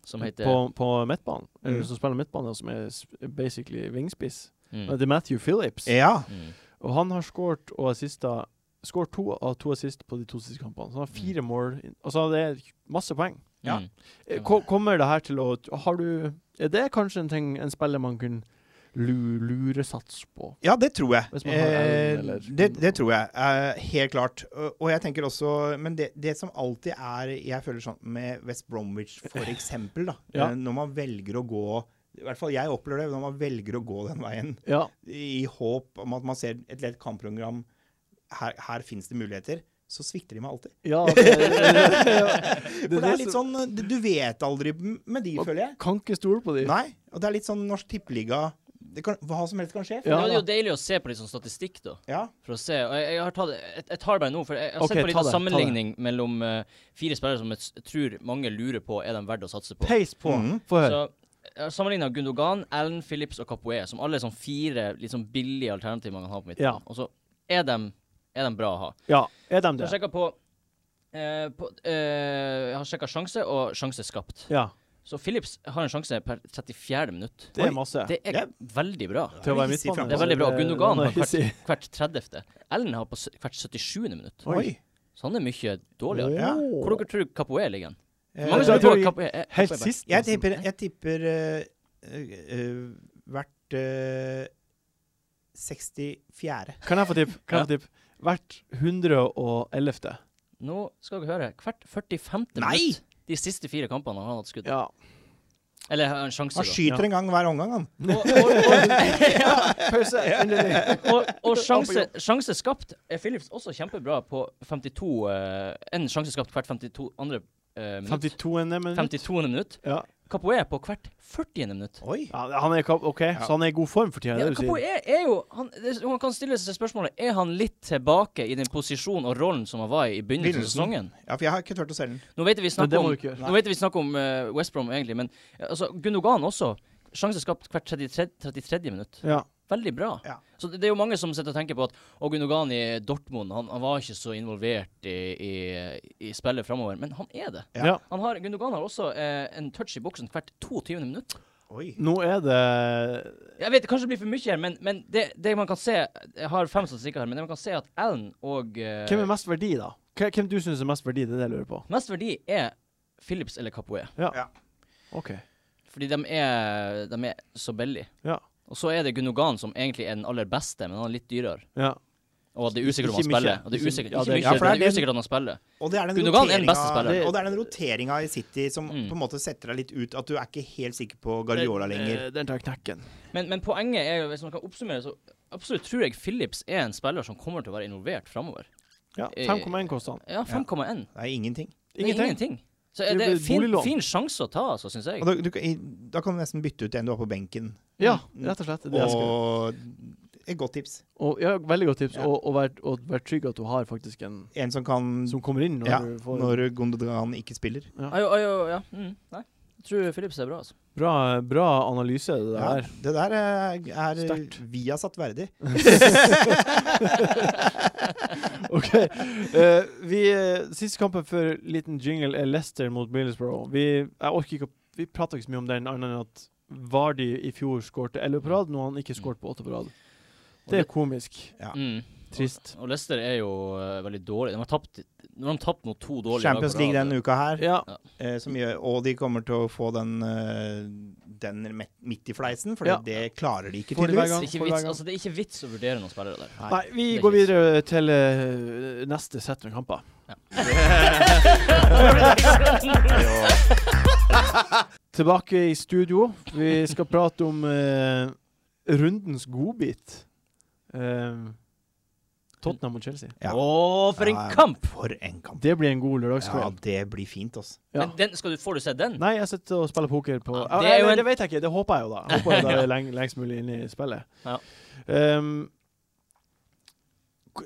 [SPEAKER 2] som heter
[SPEAKER 1] på, på midtbanen, eller
[SPEAKER 4] Mm.
[SPEAKER 1] som spiller midtbane, som er s- basically vingspiss.
[SPEAKER 2] mm.
[SPEAKER 1] Det er Matthew Phillips.
[SPEAKER 4] ja.
[SPEAKER 2] Mm.
[SPEAKER 1] Og han har skåret og assista Skåret to av to assist på de to siste kampene. Så han har fire mål inn- Altså, det er masse poeng.
[SPEAKER 4] Ja.
[SPEAKER 2] Mm.
[SPEAKER 1] Eh, ko- Kommer det her til å Har du Er det kanskje en ting en spiller man kunne lu- luresats på?
[SPEAKER 4] Ja, det tror jeg.
[SPEAKER 1] Hvis man har
[SPEAKER 4] Eh,
[SPEAKER 1] evnen, eller-
[SPEAKER 4] det, det tror jeg. Eh, helt klart. Og- Og jeg tenker også Men det, det som alltid er Jeg føler sånn med West Bromwich, for eksempel, da.
[SPEAKER 1] Ja.
[SPEAKER 4] Eh, Når man velger å gå I hvert fall jeg opplever det, når man velger å gå den veien
[SPEAKER 1] Ja.
[SPEAKER 4] i håp om at man ser et lett kampprogram Her, her fins det muligheter. Så svikter de meg alltid.
[SPEAKER 1] ja det, det,
[SPEAKER 4] For det er litt sånn eh, Du du vet aldri med de, føler jeg.
[SPEAKER 1] Kan ikke stole på de.
[SPEAKER 4] Nei. Og det er litt sånn Norsk Tippeliga det kan, Hva som helst kan skje.
[SPEAKER 1] Ja,
[SPEAKER 2] Men det er
[SPEAKER 1] da.
[SPEAKER 2] jo deilig å se på litt sånn statistikk, da.
[SPEAKER 4] Ja.
[SPEAKER 2] For å se. Og jeg, jeg har tatt Jeg, jeg tar bare nå, for jeg, jeg har
[SPEAKER 1] Ok,
[SPEAKER 2] sett på litt
[SPEAKER 1] ta
[SPEAKER 2] av
[SPEAKER 1] det, ta det.
[SPEAKER 2] sammenligning mellom eh, fire spillere som jeg s- tror mange lurer på er de verdt å satse på.
[SPEAKER 1] Peis på.
[SPEAKER 4] Mhm.
[SPEAKER 1] Få høre.
[SPEAKER 2] Så jeg har sammenligna Gundogan, Allen, Phillips og Capoe, som alle er sånn fire litt sånn billige alternativer man kan ha på midten.
[SPEAKER 1] Ja.
[SPEAKER 2] Og så er de, er de bra å ha.
[SPEAKER 1] Ja, er de det?
[SPEAKER 2] Så jeg har sjekka på, eh, på eh, Jeg har sjekka sjanse og sjanse skapt.
[SPEAKER 1] Ja.
[SPEAKER 2] Så Phillips har en sjanse per 34. minutt.
[SPEAKER 1] Det er masse.
[SPEAKER 2] Det er
[SPEAKER 4] Ja.
[SPEAKER 2] veldig bra.
[SPEAKER 1] Til å være Eh,
[SPEAKER 4] Hissig
[SPEAKER 1] midtbane.
[SPEAKER 4] framover.
[SPEAKER 2] Det er veldig bra. Gundogan har
[SPEAKER 1] hissig.
[SPEAKER 2] hvert, hvert 30. Ellen har på s- hvert 77. minutt.
[SPEAKER 4] Oi.
[SPEAKER 2] Så han er mye dårligere.
[SPEAKER 4] Ja.
[SPEAKER 2] Hvor dere tror Capoe ligger han?
[SPEAKER 4] Eh,
[SPEAKER 2] Mange
[SPEAKER 1] så
[SPEAKER 2] som
[SPEAKER 1] jeg
[SPEAKER 2] tror
[SPEAKER 1] tror-
[SPEAKER 2] at Capoe er Capoe
[SPEAKER 1] Helt
[SPEAKER 2] er best.
[SPEAKER 1] sist. altså.
[SPEAKER 4] Jeg tipper, jeg tipper eh, eh, eh, hvert eh, 64.
[SPEAKER 1] Kan jeg få tipp? Kan jeg få tipp? Hvert 111.
[SPEAKER 2] Nå skal dere høre. Hvert 45.
[SPEAKER 4] Nei!
[SPEAKER 2] minutt de siste fire kampene har han hatt skudd.
[SPEAKER 1] Ja.
[SPEAKER 2] Eller har en sjanse,
[SPEAKER 4] Han
[SPEAKER 2] da.
[SPEAKER 4] skyter en gang hver omgang, han.
[SPEAKER 2] Og, og, og,
[SPEAKER 1] Pause. Endelig.
[SPEAKER 2] og, og sjanse, sjanse skapt er Philips også kjempebra på 52 eh, En sjanse skapt hvert 52 andre eh, minutt.
[SPEAKER 1] 52. minutt.
[SPEAKER 2] 52. minutt.
[SPEAKER 1] Ja.
[SPEAKER 2] Capoe på hvert 40. minutt.
[SPEAKER 4] Oi.
[SPEAKER 1] Ja, han er, kap- OK, så han er i god form for tida?
[SPEAKER 2] Ja,
[SPEAKER 1] det du
[SPEAKER 2] Capoe
[SPEAKER 1] sier.
[SPEAKER 2] er, er jo han, det- man kan stille seg spørsmålet Er han litt tilbake i den posisjonen og rollen som han var i i begynnelsen av
[SPEAKER 4] Begynnelsen.
[SPEAKER 2] sesongen.
[SPEAKER 4] Ja, for jeg har ikke turt å selge den.
[SPEAKER 2] Nå vet vi
[SPEAKER 1] Men
[SPEAKER 2] snakk
[SPEAKER 1] det må
[SPEAKER 2] om,
[SPEAKER 1] du ikke gjøre.
[SPEAKER 2] nå vet vi snakk om eh, West Brom, egentlig, men eh, altså, Gundogan også. Sjanse skapt hvert 33. 33 minutt.
[SPEAKER 1] Ja.
[SPEAKER 2] Veldig bra.
[SPEAKER 4] Ja.
[SPEAKER 2] Så det, det er jo mange som sitter og tenker på at og Gundogan i Dortmund han, han var ikke så involvert i, i, i spillet framover, men han er det.
[SPEAKER 4] Ja.
[SPEAKER 1] ja.
[SPEAKER 2] Han har, Gundogan har også eh, en touch i boksen hvert 22. minutt.
[SPEAKER 4] Oi.
[SPEAKER 1] Nå er det
[SPEAKER 2] Jeg vet det kanskje blir for mye her, men, men det, det man kan se Jeg har fem statistikker her, men det man kan se at Allen og eh,
[SPEAKER 1] Hvem er mest verdi, da? Hva- Hvem du syns er mest verdi? Det er det jeg lurer på.
[SPEAKER 2] Mest verdi er Phillips eller Capoe.
[SPEAKER 1] Ja.
[SPEAKER 4] Ja.
[SPEAKER 1] OK.
[SPEAKER 2] Fordi de er, de er så billige.
[SPEAKER 1] Ja.
[SPEAKER 2] Og så er det Gunogan som egentlig er den aller beste, men han er litt dyrere.
[SPEAKER 1] Ja.
[SPEAKER 2] Og det er usikkert om
[SPEAKER 1] Ikke
[SPEAKER 2] han
[SPEAKER 1] mye.
[SPEAKER 2] spiller. Og det er
[SPEAKER 1] Ikke-
[SPEAKER 2] usikkert,
[SPEAKER 1] ja,
[SPEAKER 2] ikke
[SPEAKER 1] det-
[SPEAKER 2] mye,
[SPEAKER 4] ja, for
[SPEAKER 2] men
[SPEAKER 4] det er
[SPEAKER 2] det er
[SPEAKER 4] den-
[SPEAKER 2] usikkert at han spiller.
[SPEAKER 4] Og det er den
[SPEAKER 2] Gundogan er den beste
[SPEAKER 4] roteringa-
[SPEAKER 2] spilleren.
[SPEAKER 4] Og det er den roteringa i City som
[SPEAKER 2] Mm.
[SPEAKER 4] på en måte setter deg litt ut, at du er ikke helt sikker på Guardiola
[SPEAKER 1] Den,
[SPEAKER 4] lenger.
[SPEAKER 1] eh, Den tar knekken.
[SPEAKER 2] Men, men poenget er jo, hvis man kan oppsummere, så absolutt tror jeg Phillips er en spiller som kommer til å være involvert framover.
[SPEAKER 1] Ja,
[SPEAKER 2] Eh,
[SPEAKER 1] 5,1 koster han.
[SPEAKER 2] Ja, 5,1.
[SPEAKER 4] Det er ingenting.
[SPEAKER 2] Det er
[SPEAKER 1] Ingenting.
[SPEAKER 2] ingenting. Så
[SPEAKER 1] Det
[SPEAKER 2] er det
[SPEAKER 1] blir
[SPEAKER 2] en fin,
[SPEAKER 1] boliglån.
[SPEAKER 2] fin sjanse å ta, altså, syns jeg.
[SPEAKER 4] Og da, du, kan- i- da kan du nesten bytte ut en du har på benken.
[SPEAKER 1] Ja, rett og slett. Det er det jeg skal.
[SPEAKER 4] Mm. Og et godt tips.
[SPEAKER 1] Og, ja, veldig godt tips.
[SPEAKER 4] Ja.
[SPEAKER 1] Og, og vær, og vær trygg at du har faktisk en
[SPEAKER 4] En som kan
[SPEAKER 1] som kommer inn når
[SPEAKER 4] Mm. Ja,
[SPEAKER 1] du får
[SPEAKER 4] når Gundogan ikke spiller.
[SPEAKER 2] Ajo, ajo, ja. Mm, nei. Jeg tror Phillips er bra, altså.
[SPEAKER 1] bra, bra analyse, det
[SPEAKER 4] Ja,
[SPEAKER 1] der.
[SPEAKER 4] det der eh, er
[SPEAKER 1] Sterkt.
[SPEAKER 4] Viasat verdig.
[SPEAKER 1] OK. Eh, vi, eh, siste kampen for liten jingle er Leicester mot Middlesbrough. Vi, jeg orker ikke å Vi prata ikke så mye om den, annet enn at Vardy i fjor skårte 11 på rad, nå har han ikke skåret på 8 på rad. Det er komisk.
[SPEAKER 4] Ja.
[SPEAKER 2] Mm.
[SPEAKER 1] Trist.
[SPEAKER 2] Og Leicester er jo eh, veldig dårlig. De har tapt Nå har de tapt mot to dårlige
[SPEAKER 4] Champions League denne uka her,
[SPEAKER 1] Ja.
[SPEAKER 4] eh, som gjør, og de kommer til å få den, eh, den met- midt i fleisen, for
[SPEAKER 1] Ja.
[SPEAKER 4] det klarer de ikke
[SPEAKER 1] Får de hver
[SPEAKER 4] tydeligvis.
[SPEAKER 1] gang.
[SPEAKER 2] Det er ikke
[SPEAKER 1] for
[SPEAKER 2] vits,
[SPEAKER 1] hver gang.
[SPEAKER 2] altså, det er ikke vits å vurdere noen spillere der.
[SPEAKER 1] Nei, vi
[SPEAKER 2] det er
[SPEAKER 1] går
[SPEAKER 2] ikke
[SPEAKER 1] videre til eh, neste sett med kamper. Tilbake i studio. Vi skal prate om eh, rundens godbit. Eh, Tottenham mot Chelsea.
[SPEAKER 4] Ja.
[SPEAKER 2] Å, for en
[SPEAKER 4] Ja, ja.
[SPEAKER 2] kamp!
[SPEAKER 4] For en kamp.
[SPEAKER 1] Det blir en god
[SPEAKER 4] Ja,
[SPEAKER 1] lørdagskveld.
[SPEAKER 4] det blir fint, altså.
[SPEAKER 1] Ja.
[SPEAKER 2] Men den, skal du, får du sett den?
[SPEAKER 1] Nei, jeg sitter og spiller poker på
[SPEAKER 2] Ja,
[SPEAKER 1] Ah,
[SPEAKER 2] det er jo
[SPEAKER 1] nei,
[SPEAKER 2] en-
[SPEAKER 1] det vet jeg ikke, det håper jeg jo, da. Jeg Håper jeg da er leng, lengst mulig inne i spillet.
[SPEAKER 2] Ja.
[SPEAKER 1] Ehm, k-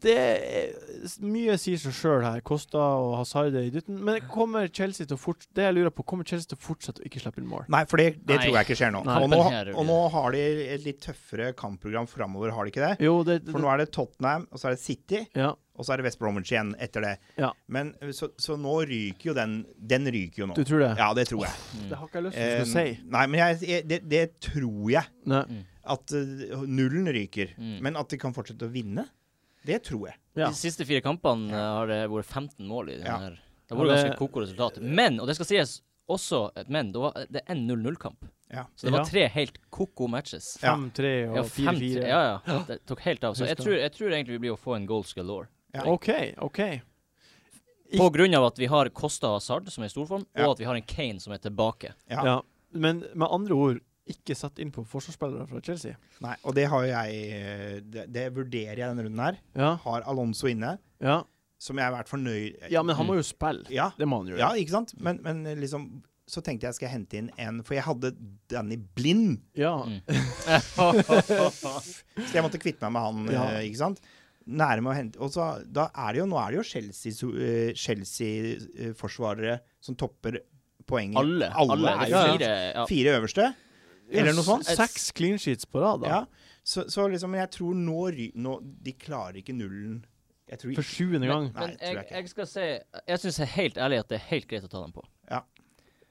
[SPEAKER 1] det er s- Mye sier seg sjøl her. Kosta og Hazard er i dytten. Men kommer Chelsea til å forts- Det jeg lurer på, kommer Chelsea til å fortsette å ikke slippe inn mål?
[SPEAKER 4] Nei, for det, det
[SPEAKER 2] Nei.
[SPEAKER 4] tror jeg ikke skjer nå.
[SPEAKER 1] Nei.
[SPEAKER 4] og, nå
[SPEAKER 2] Her er det-
[SPEAKER 4] og nå har de et litt tøffere kampprogram framover, har de ikke det?
[SPEAKER 1] Jo, det, det,
[SPEAKER 4] For nå er det Tottenham, og så er det City,
[SPEAKER 1] Ja.
[SPEAKER 4] og så er det West Bromwich igjen etter det.
[SPEAKER 1] Ja.
[SPEAKER 4] Men eh, så, så nå ryker jo den. Den ryker jo nå.
[SPEAKER 1] Du tror det?
[SPEAKER 4] Ja, det tror jeg.
[SPEAKER 2] Mm.
[SPEAKER 1] Det har ikke jeg lyst til
[SPEAKER 4] Eh,
[SPEAKER 1] å skulle si.
[SPEAKER 4] nei, men jeg, jeg, det, det tror jeg.
[SPEAKER 1] Nei.
[SPEAKER 4] At eh, nullen ryker.
[SPEAKER 2] Mm.
[SPEAKER 4] Men at de kan fortsette å vinne, det tror jeg.
[SPEAKER 1] Ja.
[SPEAKER 2] De siste fire kampene eh, har det vært 15 mål i den
[SPEAKER 4] Ja.
[SPEAKER 2] her. Det har vært
[SPEAKER 1] Ja, det-
[SPEAKER 2] ganske koko resultat. Men, og det skal sies også et men, det, var, det er en 0-0-kamp.
[SPEAKER 4] Ja.
[SPEAKER 2] Så det var
[SPEAKER 1] Ja.
[SPEAKER 2] tre helt koko matches.
[SPEAKER 4] Ja.
[SPEAKER 1] 5-3
[SPEAKER 2] Ja,
[SPEAKER 1] og
[SPEAKER 2] fem,
[SPEAKER 1] 4-4.
[SPEAKER 2] ja, ja. Det tok helt av. Så jeg
[SPEAKER 1] Husker.
[SPEAKER 2] tror, jeg tror egentlig vi blir å få en goals galore.
[SPEAKER 4] Ja.
[SPEAKER 1] OK, OK.
[SPEAKER 2] På grunn av at vi har Costa Hazard, som er i storform,
[SPEAKER 4] Ja.
[SPEAKER 2] og at vi har en Kane som er tilbake.
[SPEAKER 4] Ja.
[SPEAKER 1] Ja. Men med andre ord, ikke sett inn på forsvarsspillere fra Chelsea.
[SPEAKER 4] Nei, og det har jo jeg eh, det, det vurderer jeg denne runden her.
[SPEAKER 1] Ja,
[SPEAKER 4] Har Alonso inne,
[SPEAKER 1] ja.
[SPEAKER 4] som jeg har vært fornøyd
[SPEAKER 1] ja men han må jo spille.
[SPEAKER 4] ja,
[SPEAKER 1] Det må han gjøre.
[SPEAKER 4] ja, ikke sant? Men, men liksom så tenkte jeg skal jeg hente inn en For jeg hadde Danny Blind,
[SPEAKER 1] Ja.
[SPEAKER 2] Mm.
[SPEAKER 4] så jeg måtte kvitte meg med han.
[SPEAKER 1] Ja.
[SPEAKER 4] eh, ikke sant? Nærme å hente Og så da er det jo, nå er det jo eh, Chelsea-forsvarere eh, som topper poenget.
[SPEAKER 2] Alle.
[SPEAKER 4] Alle,
[SPEAKER 2] de
[SPEAKER 4] er jo fire,
[SPEAKER 2] fire, ja.
[SPEAKER 4] fire øverste. Eller noe sånt.
[SPEAKER 1] S- Seks clean sheets på rad, da.
[SPEAKER 4] Ja, så, så liksom, jeg tror nå, ry- nå De klarer ikke nullen. Jeg tror
[SPEAKER 1] For sjuende gang.
[SPEAKER 4] Nei,
[SPEAKER 2] Men
[SPEAKER 4] tror jeg
[SPEAKER 2] jeg,
[SPEAKER 4] ikke.
[SPEAKER 2] jeg skal si Jeg syns helt ærlig at det er helt greit å ta dem på.
[SPEAKER 4] Ja.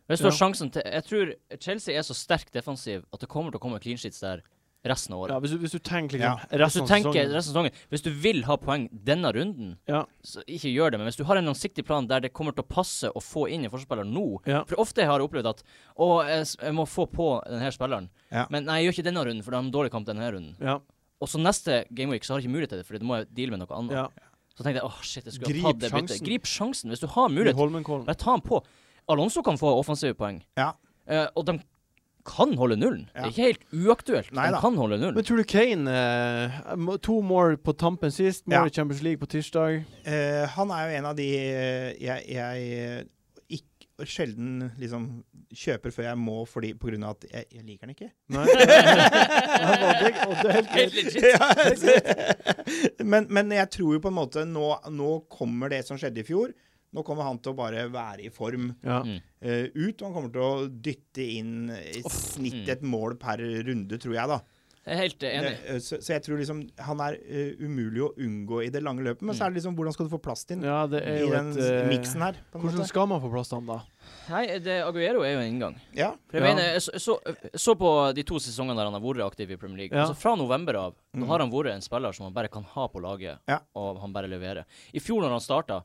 [SPEAKER 2] Hvis du har
[SPEAKER 1] Ja.
[SPEAKER 2] sjansen til Jeg tror Chelsea er så sterk defensiv at det kommer til å komme clean sheets der resten av året.
[SPEAKER 1] Ja, hvis, du, hvis du tenker
[SPEAKER 4] Ja.
[SPEAKER 1] liksom
[SPEAKER 2] Hvis
[SPEAKER 1] resten
[SPEAKER 2] du
[SPEAKER 1] av
[SPEAKER 2] tenker
[SPEAKER 1] sesongen
[SPEAKER 2] resten av sesongen Hvis du vil ha poeng denne runden,
[SPEAKER 1] Ja.
[SPEAKER 2] så ikke gjør det. Men hvis du har en langsiktig plan der det kommer til å passe å få inn en forsvarsspiller nå
[SPEAKER 1] Ja.
[SPEAKER 2] For ofte har jeg opplevd at Å, jeg, s- jeg må få på denne spilleren.
[SPEAKER 4] Ja.
[SPEAKER 2] Men nei, jeg gjør ikke denne runden, for de har en dårlig kamp denne runden.
[SPEAKER 1] Ja,
[SPEAKER 2] Og så neste gameweek så har jeg ikke mulighet til det, Fordi da må jeg deale med noe annet.
[SPEAKER 1] ja.
[SPEAKER 2] Så tenkte jeg åh, shit, jeg skulle
[SPEAKER 1] Grip
[SPEAKER 2] ha tatt det byttet.
[SPEAKER 1] sjansen.
[SPEAKER 2] Grip sjansen. Hvis du har
[SPEAKER 1] I
[SPEAKER 2] mulighet,
[SPEAKER 1] Holmenkollen.
[SPEAKER 2] bare ta han på. Alonso kan få offensive poeng.
[SPEAKER 4] Ja.
[SPEAKER 2] Eh, og de kan holde nullen. Det
[SPEAKER 4] Ja.
[SPEAKER 2] er ikke helt uaktuelt.
[SPEAKER 4] Nei da.
[SPEAKER 2] de kan holde
[SPEAKER 1] Men
[SPEAKER 2] nullen.
[SPEAKER 1] tror du Kane eh, må- To more på tampen sist, more
[SPEAKER 4] Ja.
[SPEAKER 1] i Champions League på tirsdag.
[SPEAKER 4] Eh, han er jo en av de eh, jeg, jeg eh, ikke, sjelden liksom kjøper før jeg må fordi, på grunn av at jeg, jeg liker den ikke.
[SPEAKER 1] Nei. Ja, og det, og det er helt greit.
[SPEAKER 2] Helt legit.
[SPEAKER 4] altså. men, men jeg tror jo på en måte nå, nå kommer det som skjedde i fjor. Nå kommer han til å bare være i form
[SPEAKER 1] Ja.
[SPEAKER 2] Mm.
[SPEAKER 4] eh, ut, og han kommer til å dytte inn eh, i snitt
[SPEAKER 1] mm.
[SPEAKER 4] et mål per runde, tror jeg, da.
[SPEAKER 2] Jeg er helt enig.
[SPEAKER 4] Eh, Så, så jeg tror liksom han er eh, umulig å unngå i det lange løpet. Men så er det liksom hvordan skal du få plass til den
[SPEAKER 1] ja, det er
[SPEAKER 4] i
[SPEAKER 1] jo
[SPEAKER 4] den
[SPEAKER 1] et eh,
[SPEAKER 4] miksen her? På en
[SPEAKER 1] Hvordan
[SPEAKER 4] måte.
[SPEAKER 1] skal man få plass til han, da?
[SPEAKER 2] Nei, det, Aguero er jo en inngang.
[SPEAKER 4] Ja,
[SPEAKER 2] For jeg
[SPEAKER 1] Ja.
[SPEAKER 2] mener, jeg så, jeg så, jeg så på de to sesongene der han har vært aktiv i Premier League.
[SPEAKER 1] Ja.
[SPEAKER 2] Altså Fra november av
[SPEAKER 4] Mm.
[SPEAKER 2] nå har han vært en spiller som han bare kan ha på laget,
[SPEAKER 4] Ja.
[SPEAKER 2] og han bare leverer. I fjor når han starta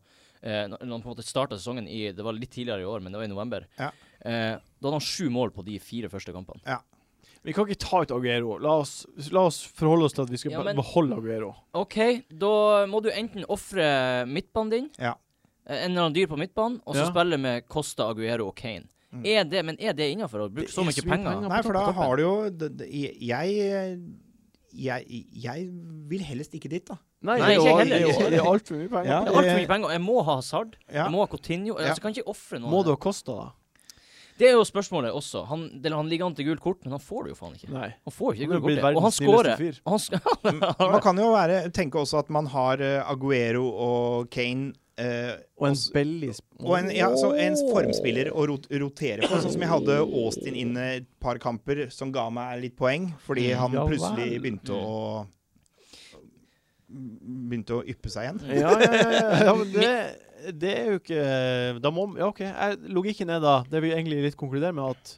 [SPEAKER 2] eh, når når han på en måte starta sesongen i Det var litt tidligere i år, men det var i november.
[SPEAKER 4] Ja.
[SPEAKER 2] Eh, da hadde han sju mål på de fire første kampene.
[SPEAKER 1] Vi kan ikke ta ut Aguero. La oss, la oss forholde oss til at vi skal
[SPEAKER 2] Ja, men-
[SPEAKER 1] beholde Aguero.
[SPEAKER 2] OK, da må du enten ofre midtbanen din,
[SPEAKER 4] Ja.
[SPEAKER 2] eh, en eller annen dyr på midtbanen, og så
[SPEAKER 1] Ja. spille
[SPEAKER 2] spille med Costa, Aguero og Kane.
[SPEAKER 4] Mm.
[SPEAKER 2] Er det, men er det innafor å bruke
[SPEAKER 1] Det
[SPEAKER 2] så
[SPEAKER 1] er
[SPEAKER 2] mye
[SPEAKER 1] så mye
[SPEAKER 2] penger?
[SPEAKER 1] penger.
[SPEAKER 4] Nei, for da
[SPEAKER 1] toppen.
[SPEAKER 4] har du jo det- det- Jeg jeg, jeg vil helst ikke dit, da.
[SPEAKER 1] Nei,
[SPEAKER 2] Nei,
[SPEAKER 1] det
[SPEAKER 2] ikke
[SPEAKER 1] er jo-
[SPEAKER 2] heller.
[SPEAKER 1] det er jo- Det er altfor mye penger.
[SPEAKER 4] Ja.
[SPEAKER 2] Det er altfor mye penger. Jeg må ha Hazard,
[SPEAKER 4] Ja.
[SPEAKER 2] jeg må ha Coutinho
[SPEAKER 4] Ja.
[SPEAKER 2] altså, Jeg kan ikke ofre noen.
[SPEAKER 1] Må du ha Costa, da?
[SPEAKER 2] Det er jo spørsmålet også. Han, eller, han ligger an til gult kort, men han får det jo faen ikke.
[SPEAKER 1] Nei.
[SPEAKER 2] Han får jo
[SPEAKER 1] Han er
[SPEAKER 2] ikke det
[SPEAKER 1] blitt
[SPEAKER 2] gult kort. Og han
[SPEAKER 1] verdens snilleste
[SPEAKER 2] skårer.
[SPEAKER 1] fyr.
[SPEAKER 2] Og Han sk
[SPEAKER 4] Mm, Man kan jo være, tenke også at man har eh, Aguero og Kane eh,
[SPEAKER 1] Og en billig sp-
[SPEAKER 4] og en, ja, så en formspiller å rot rotere på. Sånn som jeg hadde Austin inn et par kamper, som ga meg litt poeng, fordi
[SPEAKER 2] Mm,
[SPEAKER 4] han
[SPEAKER 1] ja
[SPEAKER 4] plutselig
[SPEAKER 1] vel.
[SPEAKER 4] begynte å Begynte å yppe seg igjen.
[SPEAKER 1] Ja, ja, ja, ja. ja men det, det er jo ikke Da må Ja, OK. Jeg- Logikken er da Det vil egentlig litt konkludere med at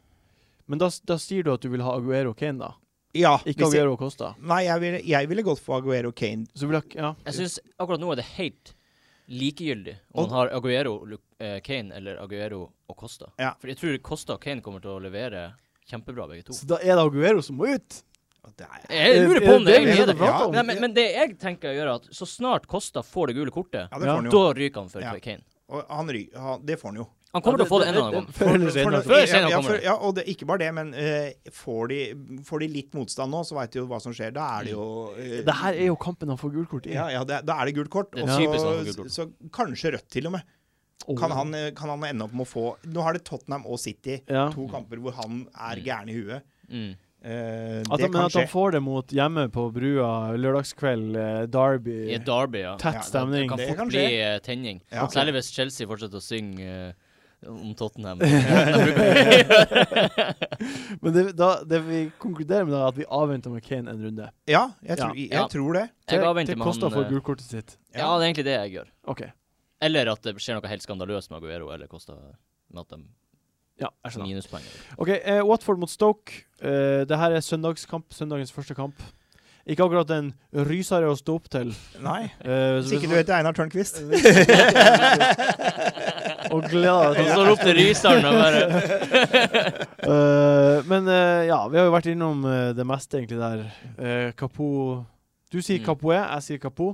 [SPEAKER 1] Men da, s- da sier du at du vil ha Aguero og Kane, da?
[SPEAKER 4] Ja.
[SPEAKER 1] Ikke
[SPEAKER 4] hvis jeg,
[SPEAKER 1] Aguero og Costa?
[SPEAKER 4] nei, jeg ville, jeg ville gått for Aguero og Kane.
[SPEAKER 1] Så vil jeg Ja.
[SPEAKER 2] jeg syns akkurat nå er det helt likegyldig om
[SPEAKER 4] Og-
[SPEAKER 2] han har Aguero, Lu- eh, Kane eller Aguero og Costa.
[SPEAKER 4] Ja.
[SPEAKER 2] For jeg tror Costa og Kane kommer til å levere kjempebra, begge to.
[SPEAKER 1] Så da er det Aguero som må ut?
[SPEAKER 4] Og det er-
[SPEAKER 2] Jeg
[SPEAKER 1] Er-
[SPEAKER 2] lurer
[SPEAKER 1] er
[SPEAKER 2] på om det
[SPEAKER 1] det
[SPEAKER 2] egentlig
[SPEAKER 4] vi
[SPEAKER 2] er det.
[SPEAKER 4] prater
[SPEAKER 2] Nei,
[SPEAKER 4] om?
[SPEAKER 2] men, men det jeg tenker å gjøre, er at så snart Costa får det gule kortet,
[SPEAKER 4] Ja, det
[SPEAKER 1] Ja.
[SPEAKER 4] får han jo.
[SPEAKER 2] da ryker han for
[SPEAKER 4] Ja.
[SPEAKER 2] Kane.
[SPEAKER 4] Og han, ry- han, det får han jo.
[SPEAKER 2] Han kommer til å få det en eller annen gang.
[SPEAKER 1] Før eller senere.
[SPEAKER 2] Før eller senere
[SPEAKER 4] ja, ja,
[SPEAKER 2] kommer det.
[SPEAKER 4] ja, og det, ikke bare det, men eh, får, de, får de litt motstand nå, så veit de jo hva som skjer. Da er det jo eh,
[SPEAKER 1] Det her er jo kampen han får gult kort i.
[SPEAKER 4] ja, ja, det, Da er det gult kort.
[SPEAKER 2] Det er
[SPEAKER 4] og så-
[SPEAKER 2] typisk han får gult kort.
[SPEAKER 4] så kanskje rødt, til og med.
[SPEAKER 1] Åh.
[SPEAKER 4] Kan han, eh, kan han ende opp med å få Nå har det Tottenham og City,
[SPEAKER 1] Ja.
[SPEAKER 4] to kamper hvor han er gæren i huet.
[SPEAKER 2] Mm.
[SPEAKER 4] Eh,
[SPEAKER 1] At, han-
[SPEAKER 4] det
[SPEAKER 1] men
[SPEAKER 4] kan
[SPEAKER 1] at han
[SPEAKER 4] skje.
[SPEAKER 1] får det mot hjemme på brua lørdagskveld, eh, Derby
[SPEAKER 2] I Derby, ja.
[SPEAKER 1] Tett
[SPEAKER 4] Ja,
[SPEAKER 1] stemning.
[SPEAKER 2] Det
[SPEAKER 4] Det
[SPEAKER 2] kan
[SPEAKER 4] kan
[SPEAKER 2] fort bli eh, tenning.
[SPEAKER 4] Ja. Ok.
[SPEAKER 2] Særlig hvis Chelsea fortsetter å synge eh, om Tottenham. ja,
[SPEAKER 1] Men det, da, det vi konkluderer med, da, er at vi avventer med Kane en runde.
[SPEAKER 4] Ja, jeg, tror, jeg
[SPEAKER 2] Ja.
[SPEAKER 4] tror det.
[SPEAKER 2] Jeg avventer med
[SPEAKER 1] Kosta
[SPEAKER 2] han,
[SPEAKER 1] får
[SPEAKER 2] eh,
[SPEAKER 1] gulkortet sitt.
[SPEAKER 2] det er egentlig det jeg gjør.
[SPEAKER 1] OK.
[SPEAKER 2] Eller at det skjer noe helt skandaløst med Aguero eller Costa. Med at de
[SPEAKER 1] Ja, jeg skjønner.
[SPEAKER 2] minuspoeng.
[SPEAKER 1] Ok, eh, Watford mot Stoke. Eh, det her er søndagskamp. Søndagens første kamp. Ikke akkurat en rysere å stå opp til.
[SPEAKER 4] Nei.
[SPEAKER 1] Eh,
[SPEAKER 4] Hvis ikke du heter Einar Tørnquist.
[SPEAKER 1] og gleder
[SPEAKER 2] Han
[SPEAKER 1] deg til
[SPEAKER 2] står opp til Rysdalen og bare
[SPEAKER 1] Eh, Men eh, ja, vi har jo vært innom eh, det meste egentlig der. Eh, Capo Du sier
[SPEAKER 2] Mm.
[SPEAKER 1] Capoe, jeg sier Capo.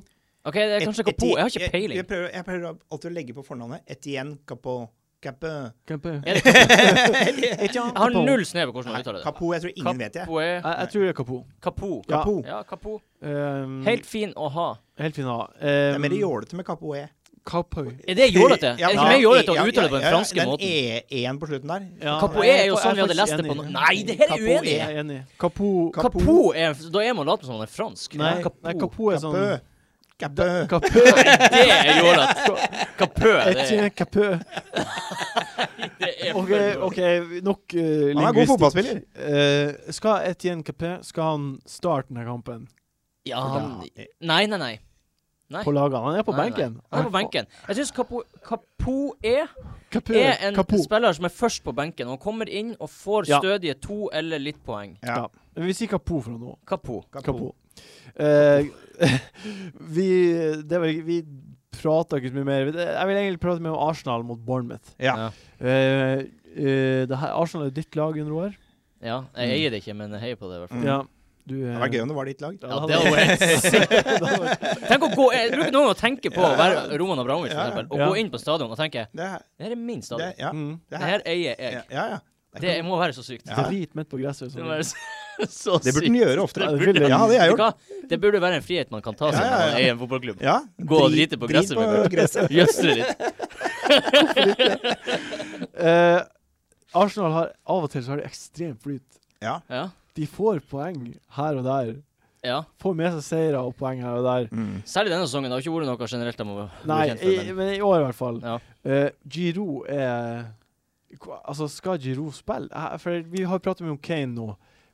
[SPEAKER 2] OK, det er kanskje Kapo. Jeg har ikke
[SPEAKER 4] Jeg,
[SPEAKER 2] peiling.
[SPEAKER 4] jeg, prøver, jeg prøver alltid å legge på fornavnet. Etienne Capo. Capo.
[SPEAKER 1] Capo.
[SPEAKER 2] Er det Kapo?
[SPEAKER 1] Jeg
[SPEAKER 2] Jeg har null snev på hvordan
[SPEAKER 4] Nei,
[SPEAKER 2] man uttaler det.
[SPEAKER 4] Capo, jeg tror ingen vet det.
[SPEAKER 2] Kapo er
[SPEAKER 1] Jeg, jeg tror det er Capo.
[SPEAKER 2] Kapo.
[SPEAKER 1] Ja.
[SPEAKER 4] Capo.
[SPEAKER 2] Ja, Kapo.
[SPEAKER 1] Um,
[SPEAKER 2] Helt fin å ha.
[SPEAKER 1] helt fin, ja.
[SPEAKER 4] Det er mer
[SPEAKER 1] Um,
[SPEAKER 4] jålete med Capo E.
[SPEAKER 1] Capoe.
[SPEAKER 2] Er det jålete? Er det ikke mer jålete å uttale det på den franske måten?
[SPEAKER 4] Den E-en på slutten der.
[SPEAKER 1] Ja.
[SPEAKER 2] Kapoe
[SPEAKER 1] Jeg
[SPEAKER 2] er jo
[SPEAKER 1] er
[SPEAKER 2] sånn vi
[SPEAKER 1] faktisk
[SPEAKER 2] hadde lest det på
[SPEAKER 1] enig.
[SPEAKER 2] no- Nei, det her er
[SPEAKER 4] Kapo
[SPEAKER 2] uenig!
[SPEAKER 1] Jeg er enig. Capo
[SPEAKER 4] Ka-
[SPEAKER 2] Kapo,
[SPEAKER 4] Kapo.
[SPEAKER 2] er Da er man laten som han er fransk.
[SPEAKER 1] Nei,
[SPEAKER 2] Kapo.
[SPEAKER 1] nei, Capo er sånn
[SPEAKER 4] Capo. Capo.
[SPEAKER 1] Capo.
[SPEAKER 2] Det er jålete. Kapø. Det,
[SPEAKER 1] Etienne Capoe.
[SPEAKER 2] det er
[SPEAKER 1] OK,
[SPEAKER 2] for
[SPEAKER 1] ok, nok uh, lingvistikk.
[SPEAKER 4] Han er god fotballspiller.
[SPEAKER 1] Eh, skal Etienne Capoe Skal han starte denne kampen
[SPEAKER 2] Ja, han Nei, nei, nei. Nei.
[SPEAKER 1] på lagene? Han er på
[SPEAKER 2] Nei, nei.
[SPEAKER 1] benken.
[SPEAKER 2] Han er på benken. Jeg syns Kapo, Kapo er,
[SPEAKER 1] Capoe.
[SPEAKER 2] E er en
[SPEAKER 1] E, Capo.
[SPEAKER 2] spiller som er først på benken. Han kommer inn og får
[SPEAKER 1] Ja.
[SPEAKER 2] stødige to eller litt poeng.
[SPEAKER 4] Ja.
[SPEAKER 1] Ja. Men vi sier Capo fra nå.
[SPEAKER 2] Kapo.
[SPEAKER 1] Kapo. Eh, vi det var, ikke- Vi prata ikke så mye mer. Det- Jeg vil egentlig prate mer om Arsenal mot Bournemouth.
[SPEAKER 4] Ja.
[SPEAKER 1] Eh, eh, det her, Arsenal er jo ditt lag, Jon Roar.
[SPEAKER 2] Ja, jeg eier det ikke, men jeg heier på det. i hvert fall.
[SPEAKER 4] Mm.
[SPEAKER 1] Ja, du,
[SPEAKER 4] Det
[SPEAKER 1] eh,
[SPEAKER 4] var gøy om det var ditt lag.
[SPEAKER 2] Ja, det var helt sykt. Tenk å gå Jeg bruker noen ganger å tenke på å være Roman Abramovic, for
[SPEAKER 4] Ja, ja.
[SPEAKER 2] eksempel, og
[SPEAKER 1] Ja.
[SPEAKER 2] gå inn på stadion og tenke
[SPEAKER 4] Det, er-
[SPEAKER 2] Det her er min
[SPEAKER 4] det,
[SPEAKER 2] stadion.
[SPEAKER 4] ja,
[SPEAKER 1] mm.
[SPEAKER 4] det,
[SPEAKER 2] Det
[SPEAKER 4] her,
[SPEAKER 2] her eier jeg.
[SPEAKER 4] ja, ja, ja.
[SPEAKER 2] Det må være så sykt.
[SPEAKER 4] Ja.
[SPEAKER 1] Drit midt på gresset.
[SPEAKER 2] Det
[SPEAKER 1] sånn.
[SPEAKER 2] må være så, så
[SPEAKER 4] Det burde
[SPEAKER 2] sykt.
[SPEAKER 4] den gjøre
[SPEAKER 1] Ja,
[SPEAKER 4] oftere.
[SPEAKER 1] det vil jeg.
[SPEAKER 4] Ja, det har jeg
[SPEAKER 2] Vet du
[SPEAKER 4] gjort.
[SPEAKER 2] hva? Det burde være en frihet man kan ta seg
[SPEAKER 4] Ja, ja,
[SPEAKER 2] når man
[SPEAKER 4] ja.
[SPEAKER 2] eier en fotballklubb.
[SPEAKER 4] Ja.
[SPEAKER 2] Gå og
[SPEAKER 4] drit-
[SPEAKER 2] drite på
[SPEAKER 4] drit
[SPEAKER 2] gresset, men-
[SPEAKER 4] gresset.
[SPEAKER 2] Jøsle litt.
[SPEAKER 1] Eh, Arsenal har av og til så har de ekstrem flyt.
[SPEAKER 4] Ja.
[SPEAKER 2] Ja.
[SPEAKER 1] De får poeng her og der.
[SPEAKER 2] ja.
[SPEAKER 1] Får med seg seire og poeng her og der.
[SPEAKER 2] Særlig denne sesongen. Det har ikke vært noe generelt de har vært
[SPEAKER 1] Nei,
[SPEAKER 2] kjent for.
[SPEAKER 1] i,
[SPEAKER 2] Men,
[SPEAKER 1] men i år i hvert fall.
[SPEAKER 2] ja.
[SPEAKER 1] Eh, Giroud er hva- Altså, skal Giroud spille? Eh, For vi har pratet mye om Kane nå.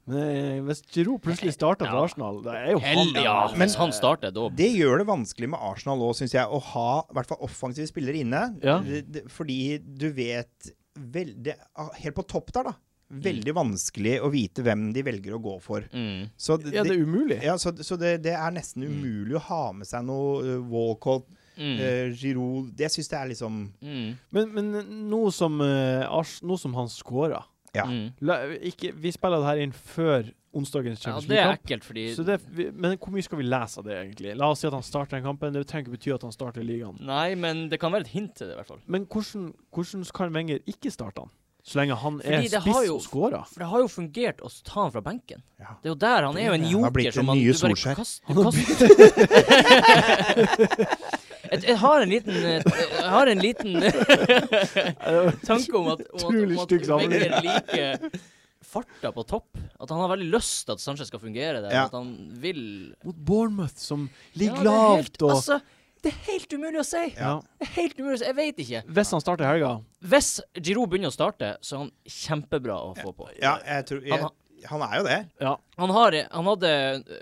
[SPEAKER 1] Men eh, hvis Giroud plutselig starter for
[SPEAKER 2] Ja.
[SPEAKER 1] Arsenal, det er jo han.
[SPEAKER 2] Hell ja.
[SPEAKER 4] Men-
[SPEAKER 2] Hvis han starter, da
[SPEAKER 4] Det gjør det vanskelig med Arsenal òg, syns jeg, å ha i hvert fall offensive spillere inne.
[SPEAKER 1] Ja.
[SPEAKER 4] Det, det, fordi du vet vel, det, ah, Helt på topp der, da. Veldig vanskelig å vite hvem de velger å gå for.
[SPEAKER 2] mm.
[SPEAKER 4] Så
[SPEAKER 1] Ja, det er umulig.
[SPEAKER 4] ja, så, så det, det er nesten umulig å ha med seg noe uh, Walcott,
[SPEAKER 2] Mm.
[SPEAKER 4] eh, Giroud Det syns jeg er liksom
[SPEAKER 2] Mm.
[SPEAKER 1] Men, men nå som, eh, Ars, nå som han scora
[SPEAKER 4] Ja.
[SPEAKER 2] Mm.
[SPEAKER 1] la, ikke, Vi spiller det her inn før onsdagens
[SPEAKER 2] ja,
[SPEAKER 1] Champions
[SPEAKER 2] det er
[SPEAKER 1] League-kamp.
[SPEAKER 2] ekkelt, fordi
[SPEAKER 1] Så det, vi, men hvor mye skal vi lese av det, egentlig? La oss si at han starter den kampen. Det trenger ikke bety at han starter ligaen.
[SPEAKER 2] Nei, men det kan være et hint til det, i hvert fall.
[SPEAKER 1] Men hvordan, hvordan kan Wenger ikke starte han? Så lenge han er
[SPEAKER 2] Fordi det har
[SPEAKER 1] spiss
[SPEAKER 2] jo-
[SPEAKER 1] og scorer.
[SPEAKER 2] For det har jo fungert å ta han fra benken.
[SPEAKER 4] Ja.
[SPEAKER 2] Det er jo der han er jo en
[SPEAKER 4] Det har blitt
[SPEAKER 2] joker som
[SPEAKER 4] den
[SPEAKER 2] man
[SPEAKER 4] nye
[SPEAKER 2] du bare
[SPEAKER 4] Solskjær.
[SPEAKER 2] kast- du kast- jeg, jeg har en liten eh, Jeg har en liten tanke om at, om at,
[SPEAKER 1] Utrolig
[SPEAKER 2] om at
[SPEAKER 1] stygg sammenligning.
[SPEAKER 2] Wenger liker farta på topp. At han har veldig lyst til at Sanchez skal fungere der.
[SPEAKER 4] Ja.
[SPEAKER 2] At han vil
[SPEAKER 1] Mot Bournemouth, som
[SPEAKER 2] Ja,
[SPEAKER 1] ligger
[SPEAKER 2] det er helt-
[SPEAKER 1] lavt og
[SPEAKER 2] Altså, det er helt umulig å si!
[SPEAKER 1] ja.
[SPEAKER 2] Det er helt umulig å si. Jeg vet ikke.
[SPEAKER 1] Hvis han starter i helga
[SPEAKER 2] Hvis Giroud begynner å starte, så er han kjempebra å få på.
[SPEAKER 4] Ja, jeg tror jeg,
[SPEAKER 2] Han-
[SPEAKER 4] Han er jo det.
[SPEAKER 1] ja.
[SPEAKER 2] Han, har, han hadde